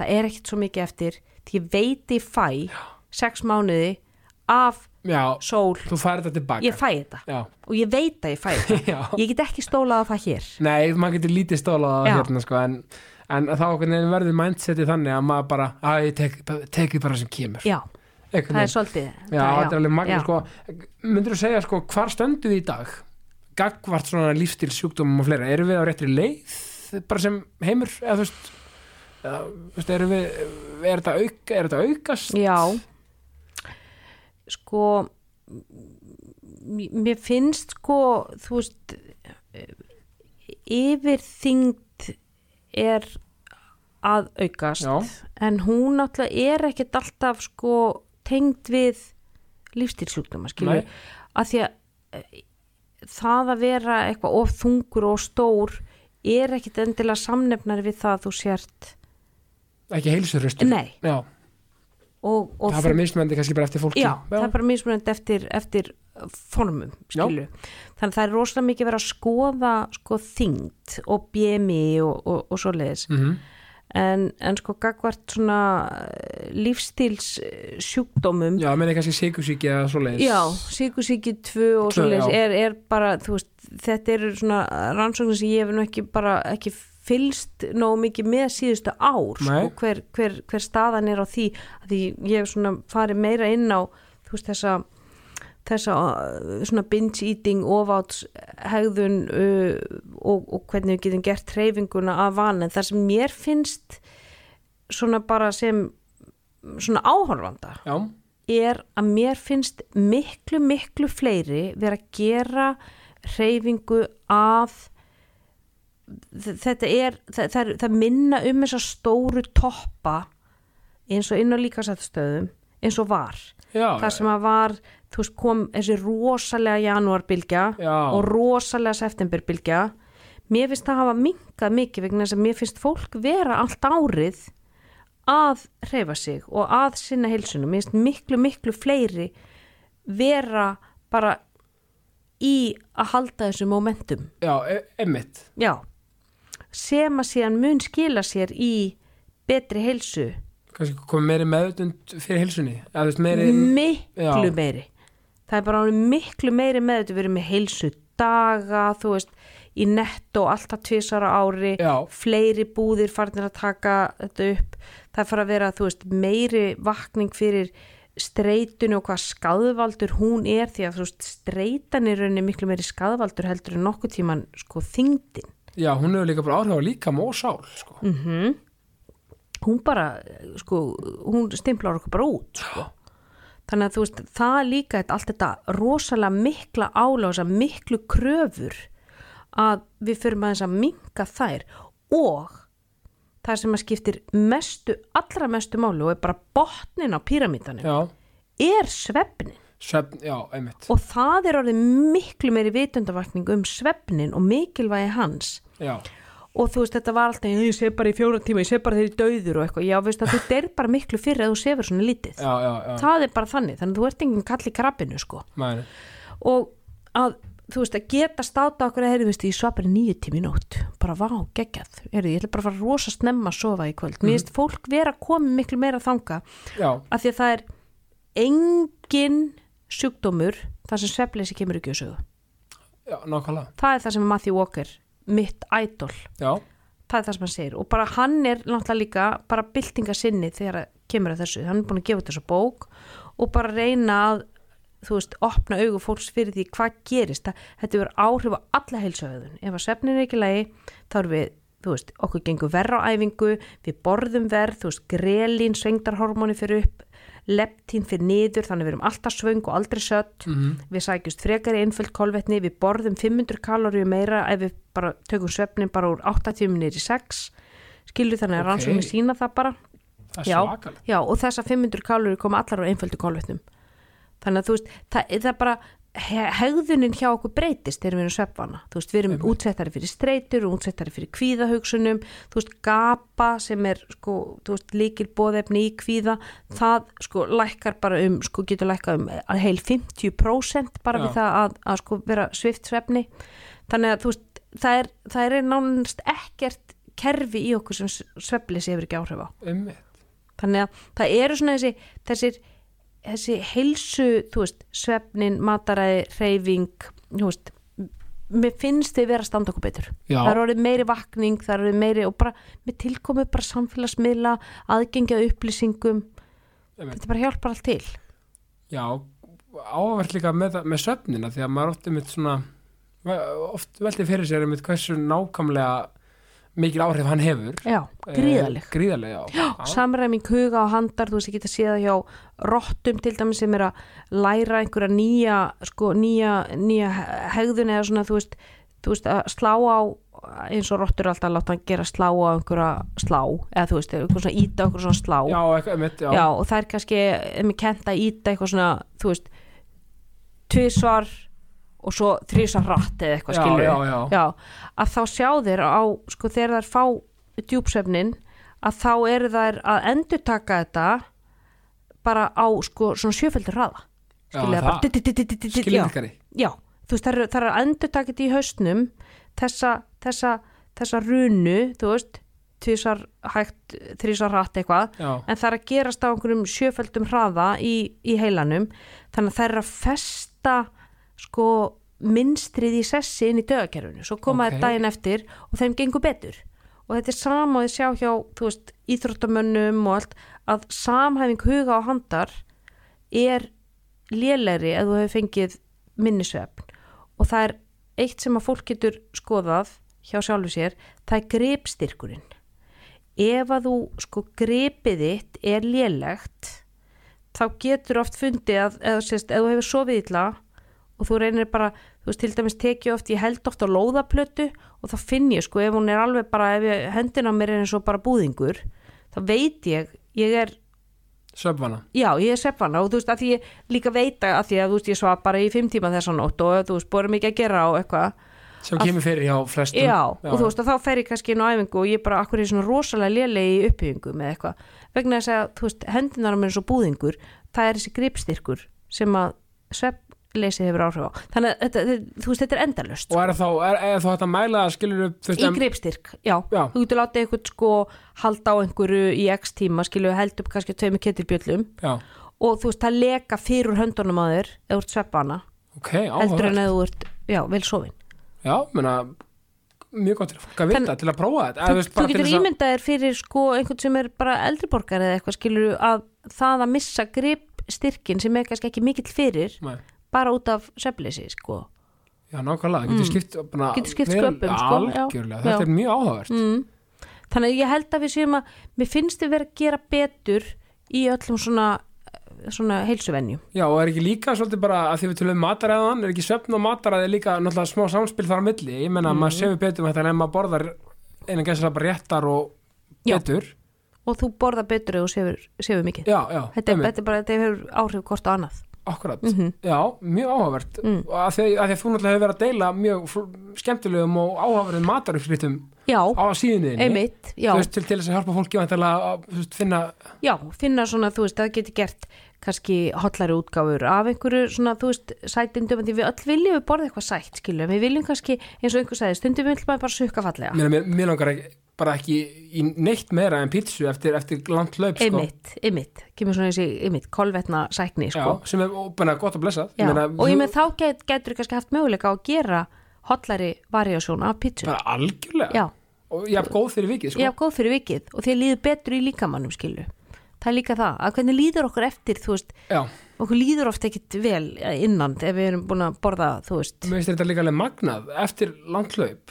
Speaker 2: það er ekkert svo mikið eftir því ég veit ég fæ sex mánuði af
Speaker 1: Já,
Speaker 2: sól
Speaker 1: þú færir þetta tilbaka
Speaker 2: ég fæ þetta
Speaker 1: Já,
Speaker 2: og ég veit að ég fæ þetta
Speaker 1: já
Speaker 2: ég get ekki stólað á það hér
Speaker 1: Nei, maður getur lítið stólað
Speaker 2: Já.
Speaker 1: hérna, sko, en, en þá einhvern veginn verður mindseti þannig að maður bara, að ég tek- tekið bara sem kemur
Speaker 2: já,
Speaker 1: Einhvern
Speaker 2: það er
Speaker 1: veginn.
Speaker 2: svolítið
Speaker 1: Já,
Speaker 2: það,
Speaker 1: þetta er alveg magna
Speaker 2: já.
Speaker 1: sko. Myndur þú segja sko, hvar stöndum við í dag gagvart svona lífstil sjúkdómum og fleira, erum við á réttri leið bara sem heimur eða þú veist, eða, þú veist erum við, er þetta auka er þetta aukast?
Speaker 2: já sko m- mér finnst sko þú veist yfirþyngd er að aukast
Speaker 1: Já.
Speaker 2: en hún náttúrulega er ekkert alltaf sko tengd við lífstilsjúkdóma skilur
Speaker 1: Nei.
Speaker 2: að því að e, það að vera eitthvað of þungur og stór er ekkit endilega samnefnar við það að þú sért
Speaker 1: ekki heilsurustur?
Speaker 2: Nei.
Speaker 1: Já,
Speaker 2: og, og
Speaker 1: það er bara mismöndi kannski bara eftir fólki
Speaker 2: já, það er bara mismunandi eftir, eftir formum skilu þannig að það er rosalega mikið verið að skoða sko þyngd og BMI og, og, og svoleiðis
Speaker 1: Mhm.
Speaker 2: en, en sko gagvart svona eh, lífstíls sjúkdómum
Speaker 1: Já, meni kannski sikursíki eða svoleiðis
Speaker 2: Já, síkusíki 2 og
Speaker 1: Tvö,
Speaker 2: svoleiðis
Speaker 1: já.
Speaker 2: er, er bara, þú veist, þetta eru svona rannsóknir sem ég hef nú ekki bara ekki fylst nógu mikið með síðustu ár,
Speaker 1: Nei.
Speaker 2: sko, hver, hver, hver staðan er á því, að því ég hef svona farið meira inn á, þú veist, þessa þessa uh, svona binge eating ofáts hegðun uh, og, og hvernig við getum gert treyfinguna af van en það sem mér finnst svona bara sem svona áhorfanda
Speaker 1: Já,
Speaker 2: er að mér finnst miklu, miklu fleiri vera að gera hreyfingu að þetta er, það, það, er, það minna um þessa stóru toppa eins og inn á líkasættstöðum eins og var
Speaker 1: já,
Speaker 2: það sem að var, þú veist, kom þessi rosalega janúarbylgja
Speaker 1: Já.
Speaker 2: og rosalega septemberbylgja mér finnst það hafa minkað mikið vegna þess að mér finnst fólk vera allt árið að hreyfa sig og að sinna heilsunum, mér finnst miklu, miklu fleiri vera bara í að halda þessu momentum,
Speaker 1: já, e- emmitt
Speaker 2: já sem að síðan mun skila sér í betri heilsu
Speaker 1: kannski komið meiri meðutund fyrir heilsunni eða þú veist meiri
Speaker 2: miklu
Speaker 1: Já.
Speaker 2: meiri það er bara orðið miklu meiri með þetta við erum með heilsu daga þú veist, í netto alltaf tvisara ári,
Speaker 1: Já.
Speaker 2: fleiri búðir farnir að taka þetta upp það er fara að vera, þú veist, meiri vakning fyrir streitunni og hvað skadvaldur hún er því að þú veist, streitan er í rauninni miklu meiri skadvaldur heldur en nokkuð tíman sko þyngdin
Speaker 1: já, hún hefur líka bara áhrif á líka mósál sko. mm.
Speaker 2: hún bara, sko, hún stimplar okkur bara út sko. þannig að þú veist, það er líka þetta- allt þetta rosalega mikla álása miklu kröfur að við förum aðeins að minka þær og það sem að skiptir mestu, allra mestu máli og er bara botnin á píramítanum
Speaker 1: já,
Speaker 2: er svefnin
Speaker 1: svefn, já, einmitt
Speaker 2: og það er orðið miklu meiri vitundavakning um svefnin og mikilvægi hans
Speaker 1: já,
Speaker 2: og þú veist þetta var alltaf ég sé bara í fjóra tíma, ég sé bara þeir döður og eitthvað já veist að þú deyr bara miklu fyrir að þú sefur svona lítið
Speaker 1: já, já, já.
Speaker 2: það er bara þannig, þannig að þú ert enginn kall í krabbinu sko
Speaker 1: Mæni.
Speaker 2: og að þú veist að geta státa okkur að heyrðu, veist, ég svaf bara í nýju tími í nótt bara vá, geggjað, heyrðu, ég ætla bara að fara rosa snemma að sofa í kvöld, mér veist fólk vera komið miklu meira þanga
Speaker 1: já,
Speaker 2: af því að það er engin sjúkdómur þar sem svefleysi kemur ekki að sögu
Speaker 1: já, nákvæmlega
Speaker 2: það er það sem Matthew Walker, mitt idol
Speaker 1: já,
Speaker 2: það er það sem hann segir og bara hann er náttúrulega líka bara byltinga sinni þegar að kemur að þessu hann er búin að gefa út þessa bók og bara reyna að þú veist, opna augu fólks fyrir því hvað gerist það, þetta verður áhrif á alla heilsuhöðun ef að svefnin er ekki í lagi þá erum við, þú veist, okkur gengur verra á æfingu við borðum verð, þú veist, grelín svengdarhormóni fyrir upp leptín fyrir niður, þannig við erum alltaf svöng og aldrei sött, við sækjumst frekari einföld kolvetni, við borðum 500 kaloríu meira ef við bara tökum svefnin bara úr 80 niður í 6 skilur þannig að
Speaker 1: Ok.
Speaker 2: okay. rannsóknir sína það bara
Speaker 1: það er
Speaker 2: já,
Speaker 1: svakalegt
Speaker 2: já, og þessar 500 kaloríu koma allar úr einföldu kolvetnum þannig að þú veist, það, það er bara he- hegðunin hjá okkur breytist þegar við erum svefvana, þú veist, við erum útsettari fyrir streytur og útsettari fyrir kvíðahugsunum þú veist, gapa sem er sko, þú veist, líkil bóðefni í kvíða það sko lækkar bara um, sko getur lækkað um að heil 50% bara
Speaker 1: Já.
Speaker 2: við það að, að sko vera svift svefni þannig að þú veist, það er, það er nánast ekkert kerfi í okkur sem sveflis hefur ekki áhrif á
Speaker 1: einmitt,
Speaker 2: þannig að það eru svona þessi þessir, þessi heilsu þú veist, svefnin, mataræði reyfing, þú veist mér finnst þau vera að standa okkur betur
Speaker 1: Já.
Speaker 2: það er orðið meiri vakning, það er orðið meiri og bara, mér tilkomið bara samfélagsmiðla aðgengja upplýsingum
Speaker 1: Einmitt.
Speaker 2: þetta bara hjálpar allt til
Speaker 1: já áverð líka með, það- með svefnina því að maður oft einmitt svona oft veldi fyrir sér einmitt hversu nákvæmlega mikil áhrif hann hefur
Speaker 2: já, gríðaleg
Speaker 1: eh, gríðarleg, já, já.
Speaker 2: samræming huga og handar, þú veist ég geta séð það hjá rottum til dæmis sem er að læra einhverja nýja sko, nýja, nýja hegðun eða svona þú veist, þú veist að slá á eins og rottur er alltaf að láta hann gera slá á einhverja slá eða þú veist, einhverja svona íta okkur svona slá
Speaker 1: já, eitthvað, einmitt, já,
Speaker 2: Já, og það er kannski er mér kent að íta eitthvað svona þú veist, tvisvar og svo þrísvar rætt eða eitthvað
Speaker 1: Já,
Speaker 2: skilur
Speaker 1: já, já.
Speaker 2: að þá sjá þeir á, sko, þegar þær fá djúpsefnin að þá eru þær að endurtaka þetta bara á, sko, svona sjöföldur hraða
Speaker 1: Já,
Speaker 2: skilur
Speaker 1: það-
Speaker 2: bara dit, dit, dit, dit, dit, dit, já.
Speaker 1: skilvirkari
Speaker 2: Já, þú veist, það er, það er að endurtaka þetta í hausnum þessa, þessa, þessa runu, þú veist tvisar hægt, þrísar rætt eitthvað
Speaker 1: já,
Speaker 2: en það er að gerast á einhverjum sjöföldum hraða í, í heilanum þannig að það er að festa sko minnstrið í sessi inn í dögakerfinu svo koma
Speaker 1: Ok.
Speaker 2: okay. daginn eftir og þeim gengur betur og þetta er sama og þið sjá hjá þú veist, íþróttamönnum og allt að samhæfing huga og handar er lélegri ef þú hefur fengið minnisvefn og það er eitt sem að fólk getur skoðað hjá sjálfu sér, það er gripstyrkurinn ef að þú sko gripið þitt er lélegt þá getur oft fundið að eða, sérst, ef þú hefur sofið illa og þú reynir bara, þú veist til dæmis tekið oft, ég held oft á lóðaplötu og þá finn ég sko ef hún er alveg bara ef ég, höndin á mér er eins og bara búðingur þá veit ég, ég er
Speaker 1: svefnvana
Speaker 2: já, ég er svefana og þú veist að því ég líka veit að því að þú veist ég svaf bara í fimm tíma þessan nótt og þú veist búið mikið að gera og eitthvað
Speaker 1: sem kemur fyrir hjá flestum
Speaker 2: já, og þú veist að þá fer ég kannski inn á æfingu og ég bara akkur er ég svona rosalega lélegi í uppbyggingu með eitthvað, vegna þess að þú veist, hendunar á mér er svo búðingur það er þessi gripstyrkur sem að svefnleysið hefur áhrif á þannig að þetta, þetta- þú veist, þetta er endalust
Speaker 1: og er þá, er, er þá hægt að mæla það skilur upp
Speaker 2: í gripstyrk, já.
Speaker 1: Já.
Speaker 2: þú getur látið einhvern sko halda á einhverju í x tíma skilu held upp kannski tveimur kettilbjöllum
Speaker 1: já,
Speaker 2: og þú veist, það leka fyrir úr höndunum að þér eða úr svefana,
Speaker 1: ok,
Speaker 2: heldur
Speaker 1: áhverð
Speaker 2: en eða úr já, vel sofin
Speaker 1: já, menna mjög gott til fólk að vita,
Speaker 2: Þann-
Speaker 1: til að prófa þetta eða
Speaker 2: þú,
Speaker 1: veist,
Speaker 2: þú
Speaker 1: bara til
Speaker 2: getur
Speaker 1: þess að-
Speaker 2: ímyndað þér fyrir sko einhvern sem er bara eldriborgar eða eitthvað skilur að það að missa grip styrkin sem er kannski ekki mikill fyrir
Speaker 1: Nei.
Speaker 2: bara út af svefleysi sko.
Speaker 1: Já, nákvæmlega, getur skipt, bara,
Speaker 2: Mm. Getur skipt
Speaker 1: vel-
Speaker 2: sköpum, sko, já.
Speaker 1: Algjörlega,
Speaker 2: Já. Mm.
Speaker 1: þetta er mjög áhugavert
Speaker 2: þannig að ég held að við séum að mér finnst við vera að gera betur í öllum svona, eh, svona heilsuvenju
Speaker 1: Já, og er ekki líka svolítið bara að því við tölum um mataræðan, er ekki svefn og mataræði líka náttúrulega smá samspil þar á milli ég
Speaker 2: Mm.
Speaker 1: menna að maður sefur betur með þetta en maður borðar einan gæslega bara réttar og
Speaker 2: Já.
Speaker 1: betur
Speaker 2: og þú borða betur og sefur, sefur mikið
Speaker 1: Já, já,
Speaker 2: þetta, er,
Speaker 1: einmitt.
Speaker 2: þetta er bara, þetta hefur áhrif hvort á annað
Speaker 1: Akkurat,
Speaker 2: Mhm.
Speaker 1: já, mjög áhugavert mm. að, því, að því að þú náttúrulega hefur verið að deila mjög fl- skemmtilegum og áhugaverðum mataruppskriftum
Speaker 2: já,
Speaker 1: á síðinni
Speaker 2: einmitt, já,
Speaker 1: Þú veist, til, til þess að hjálpa fólki væntanlega að þú veist, finna
Speaker 2: já finna svona, þú veist, það geti gert kannski hollari útgáfur af einhverju svona, þú veist, sætindum en því við öll viljum við borða eitthvað sætt, skilum við viljum kannski, eins og einhver sagði, stundum viljum maður bara sukka fallega,
Speaker 1: mér, mér, mér langar ekki, bara ekki í neitt meira en pítsu eftir, eftir langt laup sko.
Speaker 2: einmitt, einmitt kemur svona þessi, einmitt, kolvetna sækni sko.
Speaker 1: Já, sem er ópenna gott að blessa
Speaker 2: Já, og ég með þá get, getur kannski haft möguleika á að gera hollari variasjón af pítsu.
Speaker 1: bara algjörlega
Speaker 2: Já,
Speaker 1: og ég haf góð fyrir vikið sko.
Speaker 2: ég haf góð fyrir vikið og því að líður betur í líkamannum skilu. Það er líka það, að hvernig líður okkur eftir, þú veist,
Speaker 1: Já,
Speaker 2: okkur líður oft ekkit vel innan ef við erum búin að borða, þú veist.
Speaker 1: mér finnst þetta líka alveg magnað eftir langt laup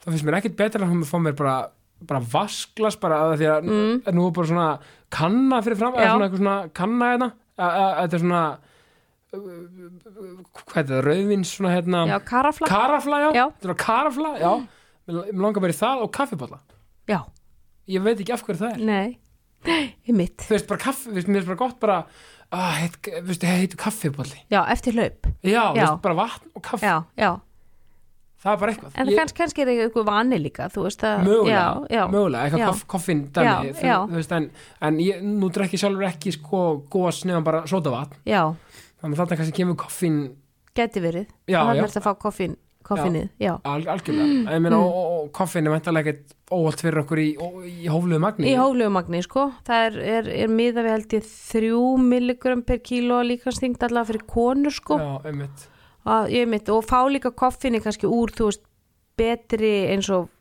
Speaker 1: þá finnst mér ekkit betra að hún fá mér bara bara vasklas bara að því að mm. nú er bara svona kanna fyrir fram eða
Speaker 2: Já.
Speaker 1: svona, eitthvað svona kanna hérna að- að- að þetta er svona uh, hvað er þetta, rauðvins svona hérna
Speaker 2: Já, karafla.
Speaker 1: karafla, já,
Speaker 2: Já.
Speaker 1: þetta er karafla, já mér mér langar mér í það og kaffiballa
Speaker 2: Já,
Speaker 1: ég veit ekki af hverju það er
Speaker 2: nei, í mitt.
Speaker 1: þú veist bara kaffi, þú veist, mér finnst bara gott bara að heit, heit, heitu kaffiballi já,
Speaker 2: Já, eftir hlaup.
Speaker 1: já.
Speaker 2: Já.
Speaker 1: Veist, bara vatn og kaffi
Speaker 2: Já, já.
Speaker 1: það er bara eitthvað
Speaker 2: En
Speaker 1: Ég-
Speaker 2: kannski, kannski er eitthvað vani líka, þú veist að...
Speaker 1: mögulega,
Speaker 2: Já, já.
Speaker 1: mögulega
Speaker 2: Já.
Speaker 1: eitthvað koff, koffin
Speaker 2: Já,
Speaker 1: dæmi þú-
Speaker 2: já.
Speaker 1: þú veist, en, en ég, nú drekki sjálfur ekki sko gos nefn bara sótavatn
Speaker 2: Já,
Speaker 1: þannig að þetta kannski kemur koffin
Speaker 2: geti verið.
Speaker 1: Já,
Speaker 2: Þannig
Speaker 1: já.
Speaker 2: er þetta að fá koffin, koffinið, já.
Speaker 1: al, algjörlega mm. meina, og, og, og koffin er mæntalega ekkert óvalt fyrir okkur í, ó- í hófluðu magni
Speaker 2: Í hóflugumagni, sko. Það er, er, er miða við held ég þrjú milligram per kíló líkansþyngd allavega fyrir konur, sko.
Speaker 1: já, einmitt
Speaker 2: Að, ég mitt, og fá líka koffinni kannski úr, þú veist, betri eins og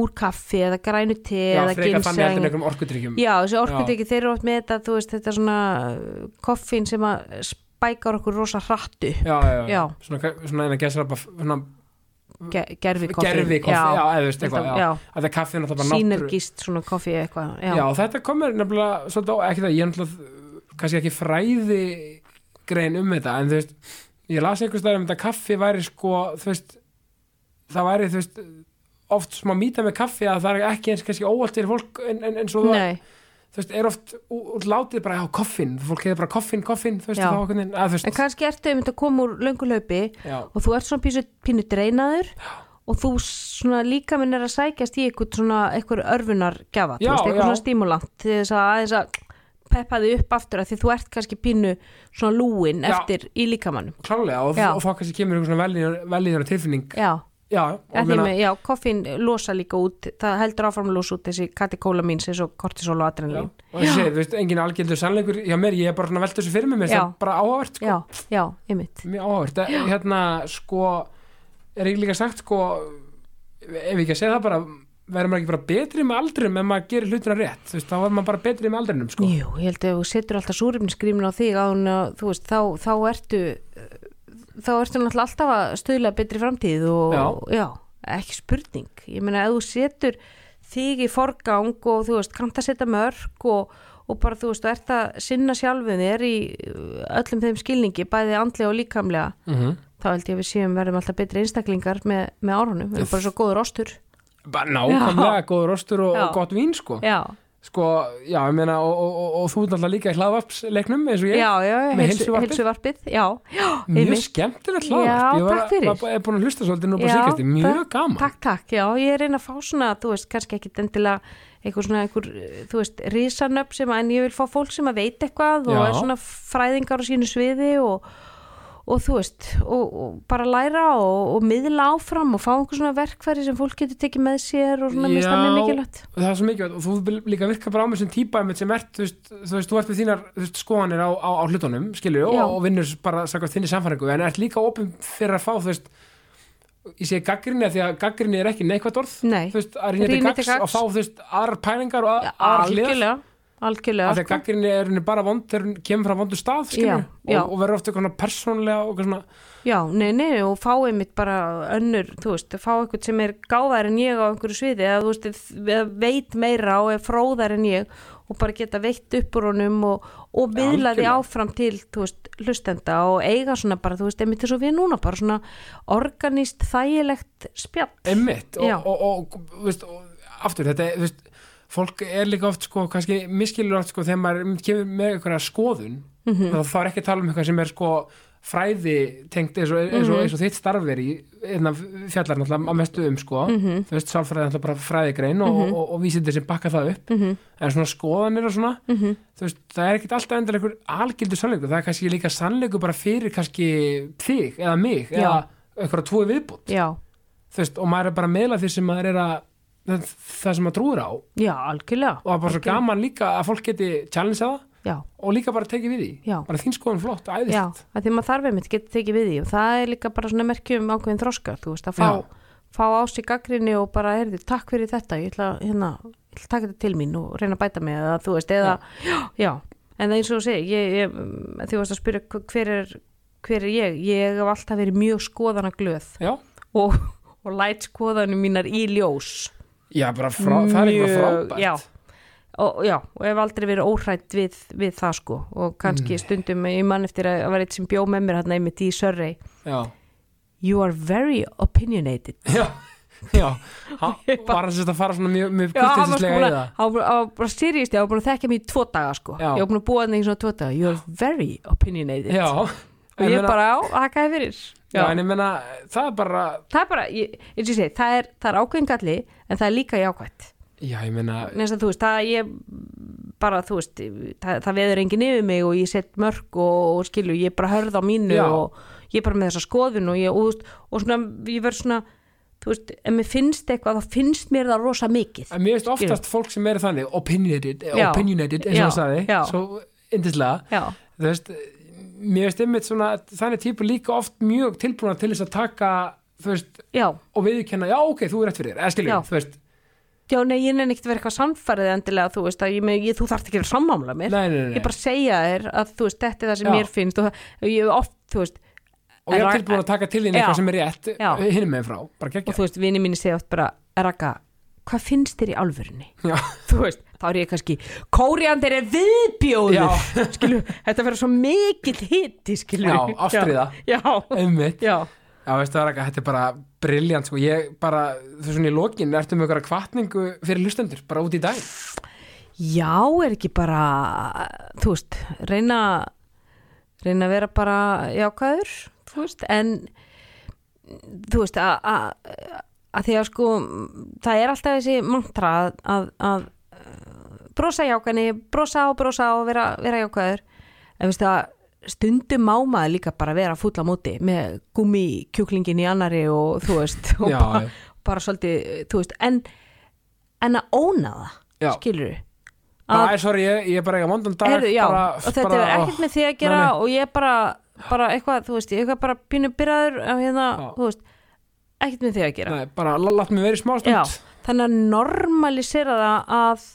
Speaker 2: úr kaffi eða grænu te
Speaker 1: já,
Speaker 2: eða
Speaker 1: frekar þannig heldur en
Speaker 2: ginseng.
Speaker 1: einhverjum orkudrykkjum
Speaker 2: Já, þessi orkutekki, þeir eru oft með þetta, þú veist, þetta er svona uh, koffin sem að spækar okkur rosa hrattu.
Speaker 1: já, já, já.
Speaker 2: Já.
Speaker 1: svona, ka- svona en að gesa bara svona
Speaker 2: Ge gerfi koffin.
Speaker 1: gerfi koffi, Mm. já, eða þú veist eitthvað
Speaker 2: Þetta-
Speaker 1: já.
Speaker 2: já.
Speaker 1: Að það er kaffi náttúrulega bara náttúru
Speaker 2: Sýnergist svona koffi eitthvað, já.
Speaker 1: Já, þetta komur nefnilega svolítið á, ekki það, ég er náttúrulega kannski ekki fræði grein um þetta, en þú veist ég las einhvers staðar um þetta að kaffi væri sko, þú veist það væri, þú veist, oft smá mýta með kaffi að það er ekki eins kannski óvalt fyrir fólk en, en, en svo það,
Speaker 2: Nei,
Speaker 1: þú veist, er oft ú- út látið bara, já, koffin, fólk hefur bara koffin, koffin, þú veist,
Speaker 2: Já.
Speaker 1: þá okkur, að þú
Speaker 2: en
Speaker 1: veist
Speaker 2: kannski ertu einmitt að koma úr löngulaupi
Speaker 1: Já,
Speaker 2: og þú ert svona pínu, pínu dreinaður og þú svona líka minn er að sækjast í eitthvað svona eitthvað örfunar gjafa,
Speaker 1: Já,
Speaker 2: eitthvað
Speaker 1: já.
Speaker 2: svona stímulant til þess að aðeins að peppa þig upp aftur að því þú ert kannski pínu svona lúin
Speaker 1: Já.
Speaker 2: eftir í líkamannum
Speaker 1: klálega, og,
Speaker 2: Já.
Speaker 1: og þá kannski kemur einhver svona velíðan tilfinning,
Speaker 2: já,
Speaker 1: já,
Speaker 2: að
Speaker 1: og
Speaker 2: því með, já, koffin losa líka út, það heldur áfram að losa út þessi katikóla mín sem svo kortisol og adrenalín
Speaker 1: og þessi, þú veist, engin algjöldur sannleikur, já, mér, ég er bara svona að velta þessu fyrir mig, mér,
Speaker 2: Já.
Speaker 1: það bara áhvert, sko
Speaker 2: já, já, einmitt
Speaker 1: Mjög áhört, hérna sko er ekki líka sagt sko ef ekki að segja það bara verður maður ekki bara betri með aldrinum ef maður gerir hlutina rétt þú veist, þá verður maður bara betri með aldrinum sko
Speaker 2: Jú, ég held að ef þú setur alltaf súrefniskrímin á þig á hún að, þú veist, þá, þá ertu þá ertu náttúrulega alltaf að stöðla betri framtíð og já. ekki spurning, ég meina ef þú setur þig í forgang og þú veist, kannt að setja mörg og, og bara þú veist, þú ert að sinna sjálfum þér í uh, öllum þeim skilningi bæði andlega og líkamlega
Speaker 1: mm -hmm.
Speaker 2: þá held ég að við séum verðum alltaf betri einstaklingar með, með árunum, við erum bara svo góður ostur
Speaker 1: bara nákvæmlega góður ostur og,
Speaker 2: Já.
Speaker 1: og gott vín sko
Speaker 2: Já,
Speaker 1: sko, já, ég meina og, og, og, og þú ert alltaf líka í hlaðvarpsleiknum eins og
Speaker 2: já,
Speaker 1: ég, Með
Speaker 2: já, heilsu-
Speaker 1: heilsuvarpið?
Speaker 2: heilsuvarpið Já, já,
Speaker 1: mjög
Speaker 2: einmitt.
Speaker 1: skemmtilegt
Speaker 2: Já,
Speaker 1: hlaðvarp ég var,
Speaker 2: takk fyrir.
Speaker 1: var, er búin að hlusta svolítið nú bara
Speaker 2: Já,
Speaker 1: síkast mjög
Speaker 2: takk-
Speaker 1: gaman
Speaker 2: Takk, takk, já, ég er einn að fá svona, þú veist, kannski ekki endilega einhver svona, einhver, eh, þú veist, risanöpp sem að, en ég vil fá fólk sem að veit eitthvað og
Speaker 1: Já.
Speaker 2: er svona fræðingar á sínu sviði og, og þú veist, og, og bara læra og, og miðla áfram og fá einhver svona verkfæri sem fólk getur tekið með sér og svona, mér finnst það mjög mikilvægt.
Speaker 1: og það er svo mikilvægt og þú vil líka virka bara á mér sem típa einmitt sem ert, þú veist, þú veist, þú ert með þínar þú veist, skoðanir á, á, á hlutunum, skilur og,
Speaker 2: Já.
Speaker 1: og vinnur bara sagast þinni samfæringu en ert líka opinn fyrir að fá, þú veist ég segi gaggrinni því að gaggrinni er ekki neikvætt orð,
Speaker 2: Nei,
Speaker 1: þú veist, að rýna til
Speaker 2: Rýna til
Speaker 1: gags og
Speaker 2: gags.
Speaker 1: fá, þú veist, aðrar pælingar og að-
Speaker 2: Ja,
Speaker 1: aðrar hliðar
Speaker 2: algjörlega, Sko,
Speaker 1: af
Speaker 2: algjörlega
Speaker 1: því að gaggrinni er henni bara vond þegar hún kemur frá vondu stað skilur,
Speaker 2: Já, já.
Speaker 1: og, og verður ofta eitthvað svona persónlega og eitthvað svona,
Speaker 2: Já, nei, nei, og fáið mitt bara önnur, þú veist, fá eitthvað sem er gáðar en ég á einhverju sviði eða, þú veist, eða veit meira og er fróðar en ég og bara geta veitt upp úr honum og, og viðlaði
Speaker 1: algjörlega.
Speaker 2: áfram til, þú veist, hlustenda og eiga svona bara, þú veist, einmitt eins og við núna bara svona organist þægilegt spjall.
Speaker 1: emmitt og,
Speaker 2: Já.
Speaker 1: og, og, og, þú veist, og aftur þetta, er, þú veist, fólk er líka oft sko, kannski miskilur oft sko þegar maður einmitt kemur með einhverja skoðun mm
Speaker 2: Mhm.
Speaker 1: -hmm. þá er ekki að tala um eitthvað sem er sko fræði tengt eins og, eins
Speaker 2: Mhm.
Speaker 1: og, eins og þitt starf er í hérna, fjallar náttúrulega á mestu um sko
Speaker 2: Mhm.
Speaker 1: þú veist, sálfræði er náttúrulega bara fræðigrein og, og, og vísindir sem bakka það upp
Speaker 2: Mhm.
Speaker 1: -hmm. en svona skoðanir og svona -hmm. veist, það er ekkit alltaf endur einhver algildur sannleikur það er kannski líka sannleikur bara fyrir kannski þig eða mig
Speaker 2: Já.
Speaker 1: eða einhverja tvoi viðbútt
Speaker 2: Já,
Speaker 1: þú veist, og maður er bara að meðla því sem maður er að það það sem maður trúir á og
Speaker 2: já, algjörlega.
Speaker 1: það er bara svo gaman líka að fólk geti challengea það
Speaker 2: Já.
Speaker 1: og líka bara tekið við því
Speaker 2: Já.
Speaker 1: bara þín skoðan flott, æðist
Speaker 2: Já, að því maður þarf einmitt geta tekið við því og það er líka bara svona merkjum ákveðin þroska, þú veist, að fá, fá á sig gaggrinni og bara, heyrðu, takk fyrir þetta ég ætla, hérna, ég ætla að taka þetta til mín og reyna að bæta mig, eða þú veist, eða já, já. en það eins og þú segir ég, ég, mm, því varst að spyrja hv- hver er hver er ég, ég hef alltaf verið mjög skoðanaglöð
Speaker 1: Já.
Speaker 2: og, og læt skoðanum mínar í ljós
Speaker 1: Já, bara frá, það er eitthvað
Speaker 2: Mjög-
Speaker 1: frábært
Speaker 2: já. Og, já, og hef aldrei verið óhrætt við, við það sko og
Speaker 1: Mm.
Speaker 2: kannski stundum ég mann eftir að, að var eitt sem bjó með mér hérna einmitt í Surrey
Speaker 1: Já.
Speaker 2: You are very opinionated
Speaker 1: Já. Já. Ha, bara sem þetta fara svona mjög, mjög
Speaker 2: hann var sko
Speaker 1: kurteisislega
Speaker 2: búin
Speaker 1: í
Speaker 2: að-
Speaker 1: það
Speaker 2: hann var hann var bara seriðist, ég var búin að þekkja mér í tvo daga sko,
Speaker 1: Já.
Speaker 2: ég var búin að búa þannig í svona tvo daga You are very opinionated
Speaker 1: Já,
Speaker 2: og
Speaker 1: En
Speaker 2: ég
Speaker 1: meina-
Speaker 2: bara á, hakaði fyrir
Speaker 1: já, en ég meina, það er bara
Speaker 2: það er bara, ég, eins og ég segi, það er, það er ákveðingalli en það er líka jákvætt
Speaker 1: Já, ég meina,
Speaker 2: Neins að þú veist, það ég bara, þú veist, það, það veður enginn yfir mig og ég set mörg og, og skilju, ég bara hörð á mínu
Speaker 1: Já.
Speaker 2: og ég er bara með þessa skoðun og ég, og, þú veist, og svona, ég verð svona, þú veist, ef mér finnst eitthvað, þá finnst mér það rosa mikið.
Speaker 1: en mér veist oftast fólk sem eru þannig opinionated,
Speaker 2: Já.
Speaker 1: opinionated eins og
Speaker 2: Já.
Speaker 1: það sagði,
Speaker 2: Já.
Speaker 1: svo yndislega
Speaker 2: Já,
Speaker 1: þú veist, mér veist einmitt svona þannig típu líka oft mjög tilbúna til þess að taka, þú veist
Speaker 2: já,
Speaker 1: og viðkenna, já ok, þú er rétt fyrir þér, eða
Speaker 2: Já.
Speaker 1: skiljum, þú veist
Speaker 2: já, nei, ég nenni ekkert að vera eitthvað samfærið endilega, þú veist, að ég, með- ég, þú þarft ekki að sammála mér.
Speaker 1: nei, nei, nei,
Speaker 2: Ég bara segja þér að, þú veist, þetta er það sem
Speaker 1: Já.
Speaker 2: mér finnst og það, ég hef oft, þú veist,
Speaker 1: og ég
Speaker 2: en-
Speaker 1: er tilbúin að taka til þín
Speaker 2: Já.
Speaker 1: eitthvað sem er rétt
Speaker 2: Já.
Speaker 1: hinum með frá, bara
Speaker 2: og
Speaker 1: geggja
Speaker 2: þú veist, vini mínu segja oft bara, Raka, hvað finnst þér í alvörunni?
Speaker 1: já,
Speaker 2: þú veist, þá er ég kannski kóriandir er viðbjóður
Speaker 1: Já.
Speaker 2: skilu, þetta verður svo mikill hitti, skilu
Speaker 1: Já, ástríða.
Speaker 2: já, já,
Speaker 1: einmitt,
Speaker 2: já,
Speaker 1: já veistu það er ekki þetta er bara briljant, sko, ég bara þú veist svona í lokin, ertu með einhverja kvartningu fyrir lustendur, bara út í dag
Speaker 2: já, er ekki bara þú veist, reyna reyna að vera bara jákvæður, þú veist, en þú veist að- að að því að sko það er alltaf þessi mantra að, að, að eh, brosa jákvæðni, brosa og brosa og vera, vera jákvæður en veistu að stundum má maður líka bara vera fúll á móti með gummi kjúklingin í annari og þú veist og
Speaker 1: Já,
Speaker 2: bara,
Speaker 1: já.
Speaker 2: bara svolítið, þú veist en, en að óna
Speaker 1: Já.
Speaker 2: það skilur
Speaker 1: bara, æ, sorry, ég, ég er bara eitthvað mondan dag
Speaker 2: Heyrðu, já,
Speaker 1: bara,
Speaker 2: og þetta er ekkert með því að gera
Speaker 1: nei, nei.
Speaker 2: og ég er bara, bara eitthvað, þú veist, ég er bara pínu byrjaður á hérna,
Speaker 1: Já.
Speaker 2: þú veist, ekkert með því að gera.
Speaker 1: Nei, bara la- látt mig verið smá
Speaker 2: já,
Speaker 1: stund
Speaker 2: þannig að normalisera það að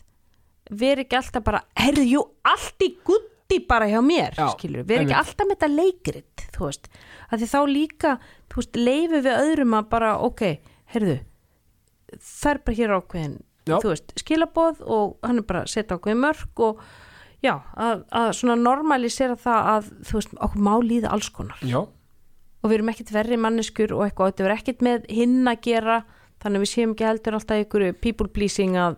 Speaker 2: vera ekki alltaf bara, heyrðu, jú, allt í gutti bara hjá mér,
Speaker 1: Já,
Speaker 2: skilur, vera ekki
Speaker 1: einmitt.
Speaker 2: alltaf með þetta leikrit, þú veist, að því þá líka, þú veist, leifu við öðrum að bara, ok, heyrðu, það er bara hér ákveðin
Speaker 1: Já.
Speaker 2: þú veist, skilaboð og hann er bara að setja ákveðin mörg og já, að, að svona normalisera það að þú veist, okkur má líða alls konar
Speaker 1: já,
Speaker 2: og við erum ekkit verri manneskur og eitthvað, þetta er ekkit með hinn að gera þannig að við séum ekki heldur alltaf ykkur people pleasing að,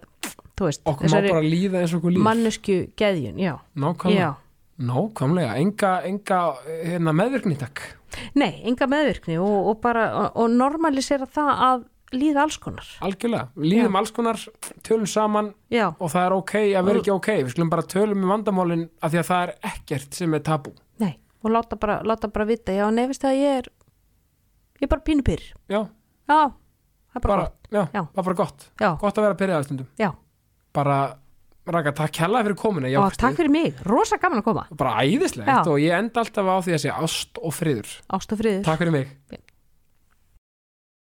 Speaker 2: þú veist
Speaker 1: okkur má bara líða eins og okkur líf
Speaker 2: mannesku geðjun, já,
Speaker 1: nákvæmlega,
Speaker 2: já.
Speaker 1: nákvæmlega enga, enga hérna, meðvirkni takk
Speaker 2: Nei, enga meðvirkni og, og bara og, og normalisera það að líða alls konar
Speaker 1: Algjörlega, líðum alls konar, tölum saman
Speaker 2: Já,
Speaker 1: og það er ok að vera ekki ok, við skulum bara tölum um vandamálin af því að það er ekkert sem er tabú.
Speaker 2: nei, og láta bara, láta bara vita, já, nefist að ég er ég er bara pínupyr
Speaker 1: Já,
Speaker 2: Já, það er bara,
Speaker 1: bara,
Speaker 2: gott.
Speaker 1: já,
Speaker 2: Já.
Speaker 1: bara, bara gott,
Speaker 2: Já.
Speaker 1: gott að vera að byrjaða stundum.
Speaker 2: Já,
Speaker 1: Bara, Raka, takk hella fyrir komuna,
Speaker 2: og takk fyrir mig, rosa gaman að koma
Speaker 1: Bara æðislegt
Speaker 2: Já.
Speaker 1: og ég enda alltaf á því að segja ást og friður.
Speaker 2: Ást og friður,
Speaker 1: Takk fyrir mig.
Speaker 2: takk.